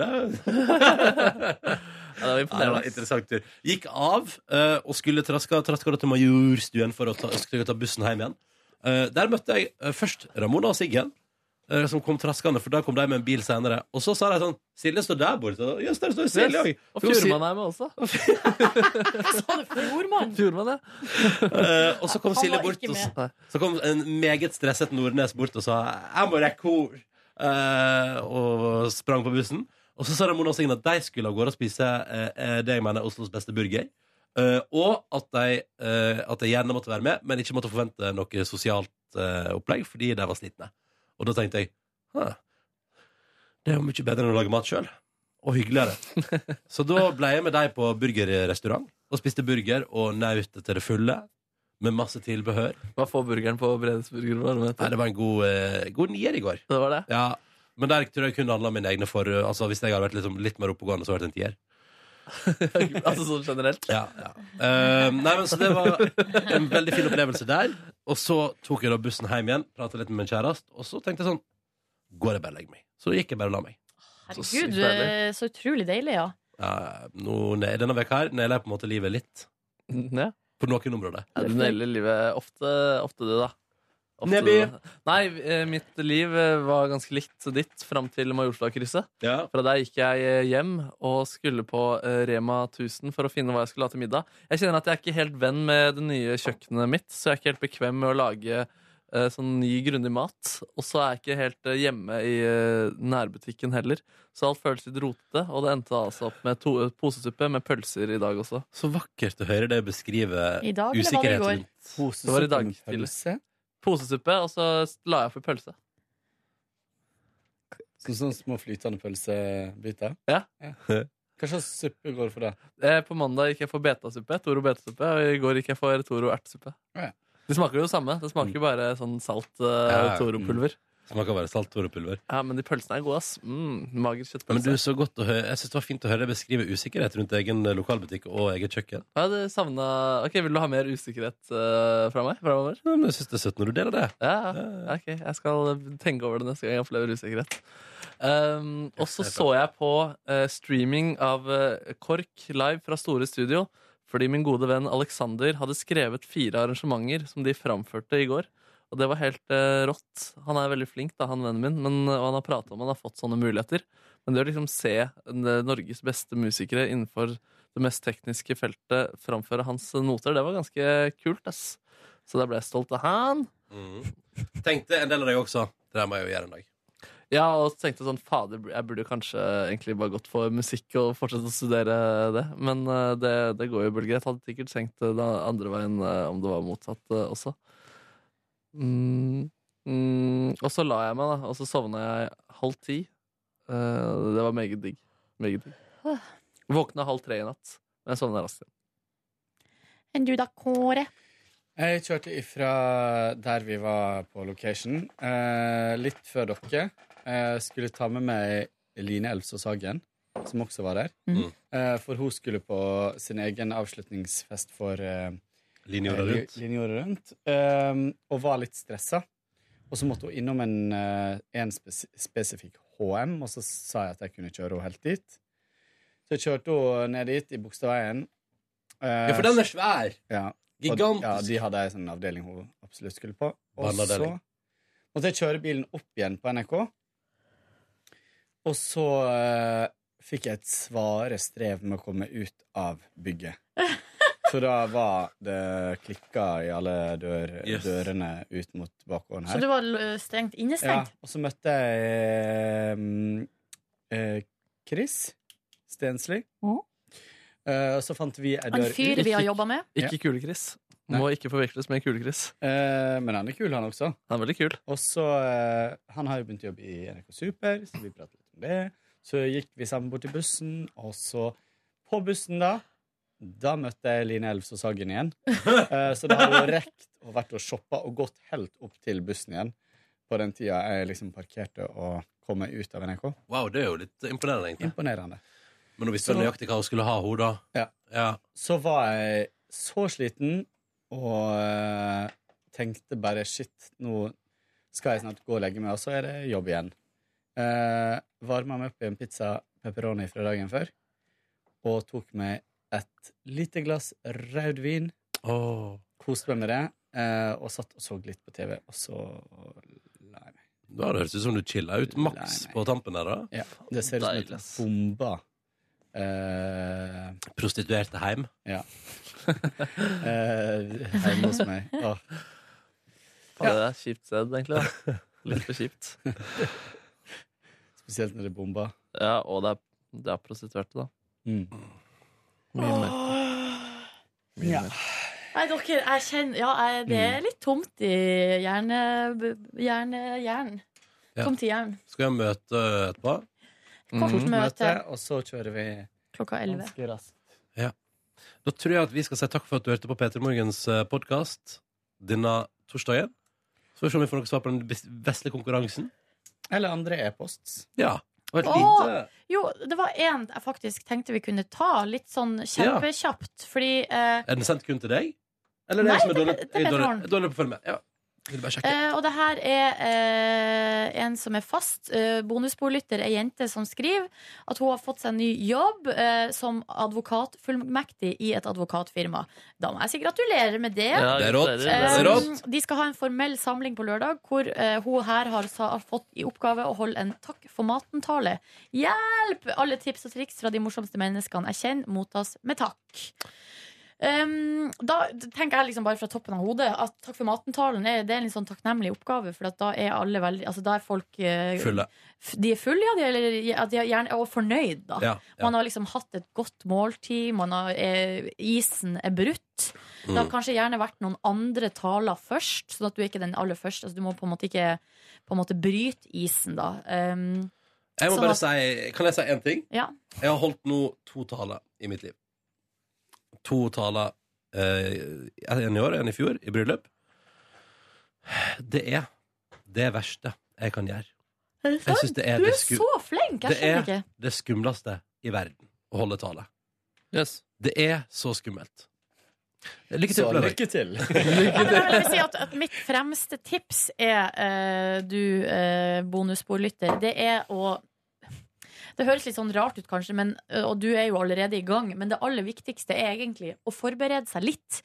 [SPEAKER 2] vi
[SPEAKER 4] <laughs>
[SPEAKER 2] det?
[SPEAKER 4] Ja, det var
[SPEAKER 2] Nei, det var
[SPEAKER 4] imponerende.
[SPEAKER 2] en interessant tur. Gikk av eh, og skulle traska, traska da til Majorstuen for å ta, skulle ta bussen hjem igjen. Eh, der møtte jeg eh, først Ramona og Siggen, eh, som kom traskende, for da kom de med en bil senere. Og så sa de sånn Silje står der borte. Og, Jøss, der står Silje òg.
[SPEAKER 4] Og Fjordmann er med også.
[SPEAKER 3] Fjordmann?
[SPEAKER 4] Fjordmann, ja.
[SPEAKER 2] Eh, og så kom
[SPEAKER 4] Han
[SPEAKER 2] Silje
[SPEAKER 4] var
[SPEAKER 2] bort
[SPEAKER 4] ikke
[SPEAKER 2] og, s-
[SPEAKER 4] med.
[SPEAKER 2] Så kom en meget stresset Nordnes bort og sa 'Jeg må rekke henne', eh, og sprang på bussen. Og så sa Ramona og Signe at de skulle av gårde og spise eh, eh, det jeg mener er Oslos beste burger. Eh, og at de, eh, at de gjerne måtte være med, men ikke måtte forvente noe sosialt eh, opplegg fordi de var slitne. Og da tenkte jeg «Hæ, det er jo mye bedre enn å lage mat sjøl. Og hyggeligere. Så da ble jeg med deg på burgerrestaurant og spiste burger og naut det til det fulle. Med masse tilbehør.
[SPEAKER 4] Hva får burgeren på Bredesburger?
[SPEAKER 2] Nei, det var en god, eh, god nier i går.
[SPEAKER 4] Det var det?
[SPEAKER 2] Ja, Men der tror jeg kun handla om mine egne for Altså Hvis jeg hadde vært liksom litt mer oppegående, så hadde det vært en tier.
[SPEAKER 4] <laughs> altså sånn generelt?
[SPEAKER 2] Ja, ja. Eh, nei, men så det var en veldig fin opplevelse der. Og så tok jeg da bussen hjem igjen, prata litt med min kjæreste, og så tenkte jeg sånn Går jeg bare og legger meg? Så gikk jeg bare og la meg. Så sykt
[SPEAKER 3] Herregud,
[SPEAKER 2] deilig.
[SPEAKER 3] eh, så utrolig deilig, ja.
[SPEAKER 2] Ja, nå, ne- denne veka her nailer jeg på en måte livet litt.
[SPEAKER 4] Mm, Ja.
[SPEAKER 2] På noen områder.
[SPEAKER 4] Ja, du nailer livet ofte, ofte du, da. Ofte
[SPEAKER 2] Neby.
[SPEAKER 4] du, da. Nei, eh, mitt liv eh, var ganske likt ditt fram til Majorstadkrysset. Fra der gikk jeg eh, hjem og skulle på eh, Rema 1000 for å finne hva jeg skulle ha til middag. Jeg kjenner at jeg er ikke helt venn med det nye kjøkkenet mitt, så jeg er ikke helt bekvem med å lage eh, sånn ny, grundig mat. Og så er jeg ikke helt eh, hjemme i eh, nærbutikken heller, så alt føles litt rotete. Og det endte altså opp med to posesuppe med pølser i dag også.
[SPEAKER 2] Så vakkert å høre deg beskrive
[SPEAKER 3] I dag, eller var det i
[SPEAKER 2] usikkerhet
[SPEAKER 3] går?
[SPEAKER 2] rundt
[SPEAKER 4] Det var i dag tidlig. Posesuppe, og så la jeg på pølse.
[SPEAKER 8] Sånn, sånn små flytende pølsebiter?
[SPEAKER 4] Ja.
[SPEAKER 8] Hva slags suppe går det for da?
[SPEAKER 4] Eh, På mandag gikk jeg for betasuppe, Toro betasuppe, og i går gikk jeg for Toro ertesuppe.
[SPEAKER 8] Ja.
[SPEAKER 4] Det smaker jo det samme. Det smaker jo bare sånn salt eh,
[SPEAKER 2] Mm. Ja, Mm. ja.
[SPEAKER 4] Toro-pulver.
[SPEAKER 2] Smaker bare salt Toro-pulver.
[SPEAKER 4] Ja, men de pølsene er gode, ass. Mm, mager
[SPEAKER 2] Ja, Men du,
[SPEAKER 4] kjøttpølse.
[SPEAKER 2] så godt å høre Jeg synes det var fint å høre deg beskrive usikkerhet rundt egen eh, lokalbutikk og eget kjøkken.
[SPEAKER 4] Ja, det savna Ok, vil du ha mer usikkerhet eh, fra meg fremover?
[SPEAKER 2] Ja, Men jeg synes det er søtt når du deler det.
[SPEAKER 4] Ja, ja. ok. Jeg skal tenke over det neste gang jeg opplever usikkerhet. Um, og så så jeg på eh, streaming av eh, KORK live fra Store Studio. Fordi min gode venn Alexander hadde skrevet fire arrangementer som de framførte i går. Og det var helt eh, rått. Han er veldig flink, da, han vennen min, men, og han har pratet om han har fått sånne muligheter. Men det å liksom se en, eh, Norges beste musikere innenfor det mest tekniske feltet framføre hans noter, det var ganske kult, ass. Så da ble jeg stolt av han.
[SPEAKER 8] Mm.
[SPEAKER 2] Tenkte en del av deg også. Det der må jeg jo gjøre en dag.
[SPEAKER 4] Ja, og så tenkte jeg sånn Fader, jeg burde kanskje egentlig bare gått for musikk og fortsette å studere det. Men eh, det, det går jo bølger. Jeg hadde sikkert tenkt det da- andre veien eh, om det var motsatt eh, også. Mm, mm, og så la jeg meg, da. Og så sovna jeg halv ti. Eh, det var meget digg. Meget digg. Våkna halv tre i natt. Men jeg sovna raskt igjen.
[SPEAKER 3] Enn du da, Kåre?
[SPEAKER 8] Jeg kjørte ifra der vi var på location, eh, litt før dere. Jeg skulle ta med meg Line Elvsås Hagen, som også var der.
[SPEAKER 3] Mhm.
[SPEAKER 8] Eh, for hun skulle på sin egen avslutningsfest for eh,
[SPEAKER 2] Linje året
[SPEAKER 8] eh,
[SPEAKER 2] rundt.
[SPEAKER 8] Li- Linje året rundt. Eh, og var litt stressa. Og så måtte hun innom en, eh, en spes spesifikk HM, og så sa jeg at jeg kunne kjøre henne helt dit. Så jeg kjørte henne ned dit, i Bogstadveien.
[SPEAKER 2] Ja, for den er svær!
[SPEAKER 8] Ja.
[SPEAKER 2] Gigantisk.
[SPEAKER 8] Og, ja, de hadde ei sånn avdeling hun absolutt skulle på. Og så
[SPEAKER 2] Barneavdeling.
[SPEAKER 8] måtte jeg kjøre bilen opp igjen på NRK. Og så eh, fikk jeg et svare strev med å komme ut av bygget. Så da var det klikka i alle dør,
[SPEAKER 2] Yes.
[SPEAKER 8] dørene ut mot bakgården her.
[SPEAKER 3] Så du var eh, strengt innestengt?
[SPEAKER 8] Ja, og så møtte jeg mm, eh, Chris Stensli. Eh, og så fant vi ei dør
[SPEAKER 3] En fyr vi har jobba med?
[SPEAKER 4] Ikke Kule-Chris. Må ikke forveksles med Kule-Chris.
[SPEAKER 8] Eh, men han er kul, han også.
[SPEAKER 4] Han er veldig kul.
[SPEAKER 8] Og så eh, Han har jo begynt å jobbe i NRK Super, så vi pratet litt om det. Så gikk vi sammen bort til bussen, og så På bussen, da, Da møtte jeg Line Elvsås Hagen igjen. Eh, så da hadde hun rekt og vært og shoppa og gått helt opp til bussen igjen på den tida jeg liksom parkerte og kom meg ut av NRK.
[SPEAKER 2] Wow, det er jo litt imponerende, egentlig.
[SPEAKER 8] Imponerende.
[SPEAKER 2] Men nå visste du nøyaktig hva hun skulle ha, hun, da.
[SPEAKER 8] Ja. Så var jeg så sliten og eh, tenkte bare shit, nå skal jeg snart gå og legge meg, og så er det jobb igjen. Uh, Varma meg opp i en pizza pepperoni fra dagen før og tok meg et lite glass rødvin.
[SPEAKER 2] Oh.
[SPEAKER 8] Koste meg med det, eh, og satt og så litt på TV, og så
[SPEAKER 2] Da høres det ut som du chilla ut maks på tampen der, da.
[SPEAKER 8] Ja, det ser ut som et bomba. Eh,
[SPEAKER 2] Prostituerte heim.
[SPEAKER 8] Ja. eh, heim hos meg. Åh.
[SPEAKER 4] Ja. Det er kjipt sted, egentlig.
[SPEAKER 8] <laughs>
[SPEAKER 4] da. Litt for kjipt.
[SPEAKER 8] Spesielt når det er bomba.
[SPEAKER 4] Ja, og det er, det er prostituerte, da.
[SPEAKER 2] Mm.
[SPEAKER 4] Mye mer. Mye
[SPEAKER 8] Ja.
[SPEAKER 4] mer.
[SPEAKER 3] Nei, dere, jeg kjenner Ja, jeg, det er litt tomt i hjerne... b- hjerne... Jern.
[SPEAKER 2] Ja.
[SPEAKER 3] Tomt i jern.
[SPEAKER 2] Skal jeg møte etterpå?
[SPEAKER 4] Mm.
[SPEAKER 3] Kort Mhm. møte.
[SPEAKER 8] Og så kjører vi
[SPEAKER 3] Klokka elleve.
[SPEAKER 8] ganske raskt.
[SPEAKER 2] Ja. Da tror jeg at vi skal si takk for at du hørte på P3 Morgens podkast denne torsdagen. Så får vi se om vi får noe svar på den bes- vesle konkurransen.
[SPEAKER 8] Eller andre e-posts.
[SPEAKER 2] Ja. Og et
[SPEAKER 3] Åh!
[SPEAKER 2] lite
[SPEAKER 3] Jo, det var en jeg faktisk tenkte vi kunne ta litt sånn kjempekjapt, fordi eh,
[SPEAKER 2] Er den sendt kun til deg? Eller er det
[SPEAKER 3] Nei,
[SPEAKER 2] jeg som er
[SPEAKER 3] det-
[SPEAKER 2] dårlig,
[SPEAKER 3] det
[SPEAKER 2] jeg er
[SPEAKER 3] vet
[SPEAKER 2] dårlig,
[SPEAKER 3] han.
[SPEAKER 2] jeg er dårlig på å følge med? Ja. Vil bare sjekke.
[SPEAKER 3] Eh, og det her er eh, en som er fast eh, bonusbordlytter, ei jente som skriver at hun har fått seg en ny jobb eh, som advokatfullmektig i et advokatfirma. Da må jeg si gratulerer med det.
[SPEAKER 2] Ja, Det er rått.
[SPEAKER 3] Eh,
[SPEAKER 2] Det er rått.
[SPEAKER 3] De skal ha en formell samling på lørdag, hvor eh, hun her har, sa, har fått i oppgave å holde en takk for maten-tale. Hjelp! Alle tips og triks fra de morsomste menneskene jeg kjenner, mottas med takk. Um, da tenker jeg liksom bare fra toppen av hodet at takk for maten-talen er, det er en litt sånn takknemlig oppgave. For at da er alle veldig altså da er folk eh,
[SPEAKER 2] Fulle.
[SPEAKER 3] f- De er fulle, ja. De er, eller, ja, de er gjerne, og fornøyd, da.
[SPEAKER 2] Ja, ja.
[SPEAKER 3] Man har liksom hatt et godt måltid. Man har, eh, isen er brutt. Det har
[SPEAKER 12] Mm.
[SPEAKER 3] kanskje gjerne vært noen andre taler først, sånn at du er ikke den aller første. Altså, du må på en måte ikke på en måte bryte isen, da. Um,
[SPEAKER 2] Jeg må
[SPEAKER 3] sånn
[SPEAKER 2] bare
[SPEAKER 3] at-
[SPEAKER 2] si, kan jeg si én ting?
[SPEAKER 3] Ja.
[SPEAKER 2] Jeg har holdt nå to taler i mitt liv. To taler eh, En i år, en i fjor, i bryllup. Det er det verste jeg kan gjøre.
[SPEAKER 3] Er det
[SPEAKER 2] Jeg synes
[SPEAKER 3] sant?
[SPEAKER 2] det er
[SPEAKER 3] du
[SPEAKER 2] det
[SPEAKER 3] er
[SPEAKER 2] sku-
[SPEAKER 3] så flink! Jeg
[SPEAKER 2] Det
[SPEAKER 3] skjønner
[SPEAKER 2] er
[SPEAKER 3] ikke.
[SPEAKER 2] det skumleste i verden å holde tale. Det er så skummelt. Lykke til.
[SPEAKER 8] Så
[SPEAKER 2] på lørdag.
[SPEAKER 8] lykke til.
[SPEAKER 3] Ja, men jeg vil si at, at mitt fremste tips er, eh, du eh, bonusbordlytter, det er å det høres litt sånn rart ut, kanskje, men, og du er jo allerede i gang, men det aller viktigste er egentlig å forberede seg litt.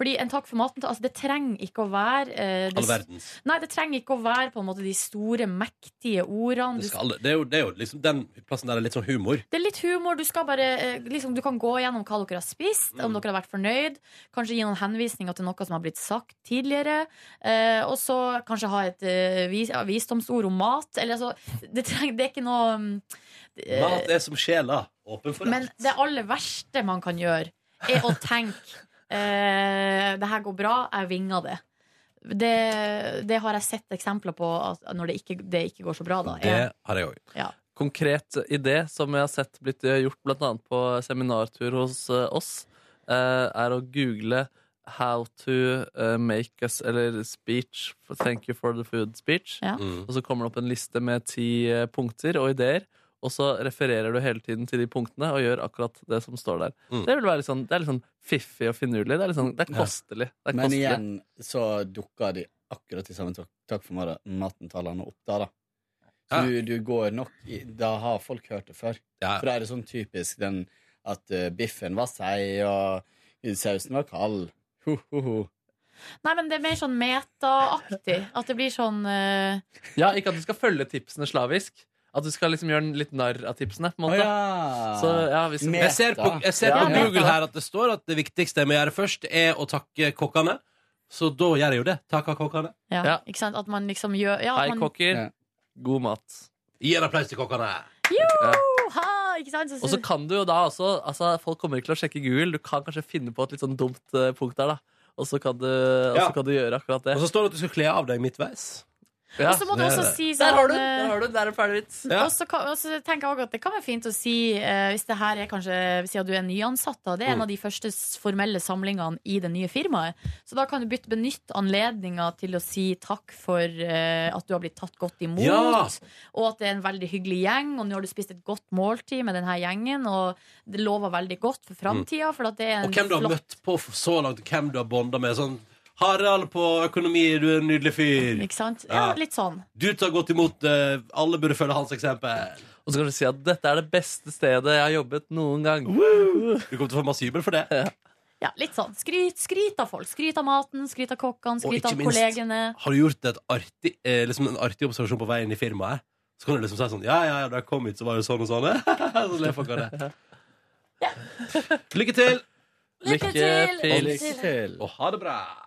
[SPEAKER 3] Fordi en takk for maten altså, Det trenger ikke å være eh, det,
[SPEAKER 2] All verdens.
[SPEAKER 3] Nei, det trenger ikke å være på en måte de store, mektige ordene.
[SPEAKER 2] Det,
[SPEAKER 3] Du
[SPEAKER 2] skal, aldri- det, er jo, det er jo liksom den plassen der er litt sånn humor.
[SPEAKER 3] det er litt humor. Du, skal bare, eh, liksom, du kan gå gjennom hva dere har spist, om
[SPEAKER 2] Mm.
[SPEAKER 3] dere har vært fornøyd. Kanskje gi noen henvisninger til noe som har blitt sagt tidligere. Eh, og så kanskje ha et eh, vis, ja, visdomsord om mat. Eller, altså, det, treng, det er ikke noe mm, eh,
[SPEAKER 2] Mat er som sjela. Åpen for
[SPEAKER 3] Men
[SPEAKER 2] alt.
[SPEAKER 3] det aller verste man kan gjøre, er å tenke eh, Det her går bra, jeg vinger det. det. Det har jeg sett eksempler på at når det ikke, det ikke går så bra, da.
[SPEAKER 4] Det
[SPEAKER 3] er-
[SPEAKER 2] har jeg òg.
[SPEAKER 3] Ja.
[SPEAKER 4] Konkret idé som jeg har sett blitt gjort bl.a. på seminartur hos eh, oss, eh, er å google 'How to eh, make us Eller speech for 'Thank you for the food speech'.
[SPEAKER 3] Ja.
[SPEAKER 2] Mm.
[SPEAKER 4] Og så kommer det opp en liste med ti eh, punkter og ideer. Og så refererer du hele tiden til de punktene og gjør akkurat det som står der.
[SPEAKER 2] Mm.
[SPEAKER 4] Det, vil være litt sånn, det er litt sånn fiffig og finurlig. Det er, litt sånn, det er kostelig. Det er
[SPEAKER 8] Men
[SPEAKER 4] kostelig.
[SPEAKER 8] igjen så dukka de akkurat de samme tak- takk for mat- maten-talene opp da, da. Så du, du går nok i, Da har folk hørt det før.
[SPEAKER 2] Ja.
[SPEAKER 8] For da er det sånn typisk den at eh, biffen var seig, og sausen var kald. Ho, ho, ho.
[SPEAKER 3] Nei, men det er mer sånn metaaktig. At det blir sånn eh,
[SPEAKER 4] Ja, ikke at du skal følge tipsene slavisk. At du skal liksom gjøre den litt narr av tipsene. på en måte. Så, ja, vi skal...
[SPEAKER 2] Jeg ser på, jeg ser på Google her at det står at det viktigste jeg må gjøre først, er å takke kokkene. Så da gjør jeg jo det. Takka kokkene.
[SPEAKER 3] ja, Ikke sant? At man liksom gjør ja, man,
[SPEAKER 4] God mat.
[SPEAKER 2] Gi en applaus til kokkene.
[SPEAKER 3] Jo, ha, ikke sant? Så,
[SPEAKER 4] Og så kan du jo da også altså, Folk kommer ikke til å sjekke Google. Du kan kanskje finne på et litt sånn dumt eh, punkt der, da. Og så kan du, og
[SPEAKER 2] Ja.
[SPEAKER 4] så kan du gjøre akkurat det.
[SPEAKER 2] Og så står det at du skal kle av deg midtveis.
[SPEAKER 4] Ja.
[SPEAKER 3] Og så må du
[SPEAKER 4] Det-
[SPEAKER 3] også si
[SPEAKER 4] Der har du,
[SPEAKER 3] sånn, eh,
[SPEAKER 4] der har du, der er ferdig vits.
[SPEAKER 3] Og så kan- og så tenker jeg også at Det kan være fint å si, eh, hvis det her er kanskje siden du er nyansatt da, Det er en
[SPEAKER 4] Mm.
[SPEAKER 3] av de første s- formelle samlingene i det nye firmaet. Så da kan du bytte benytte anledninga til å si takk for eh, at du har blitt tatt godt imot.
[SPEAKER 12] Ja.
[SPEAKER 3] Og at det er en veldig hyggelig gjeng, og nå har du spist et godt måltid med denne gjengen. Og det lover veldig godt for framtida. For at det er en
[SPEAKER 2] Og hvem du har
[SPEAKER 3] flott-
[SPEAKER 2] møtt på for så langt, og hvem du har bonda med. Sånn Harald på økonomi, du er en nydelig fyr.
[SPEAKER 3] Ikke sant? Ja,
[SPEAKER 2] Ja.
[SPEAKER 3] litt sånn.
[SPEAKER 2] Du tar godt imot eh, Alle burde følge hans eksempel.
[SPEAKER 4] Og så kan du si at dette er det beste stedet jeg har jobbet noen gang.
[SPEAKER 2] Du kommer til å få masse jubel for det.
[SPEAKER 3] Ja, litt sånn. Skryt, skryt av folk. Skryt av maten, skryt av kokkene,
[SPEAKER 2] Og
[SPEAKER 3] skryt
[SPEAKER 2] ikke
[SPEAKER 3] av
[SPEAKER 2] minst,
[SPEAKER 3] kollegene.
[SPEAKER 2] har du gjort et artig, eh, liksom en artig observasjon på veien i firmaet, så kan du liksom si sånn Ja, ja, ja, da jeg kom hit, så var det sånn og sånn. <laughs> så ler folk av det. Lykke til!
[SPEAKER 1] Lykke til!
[SPEAKER 2] Og
[SPEAKER 1] Lykke til.
[SPEAKER 2] Og ha det bra.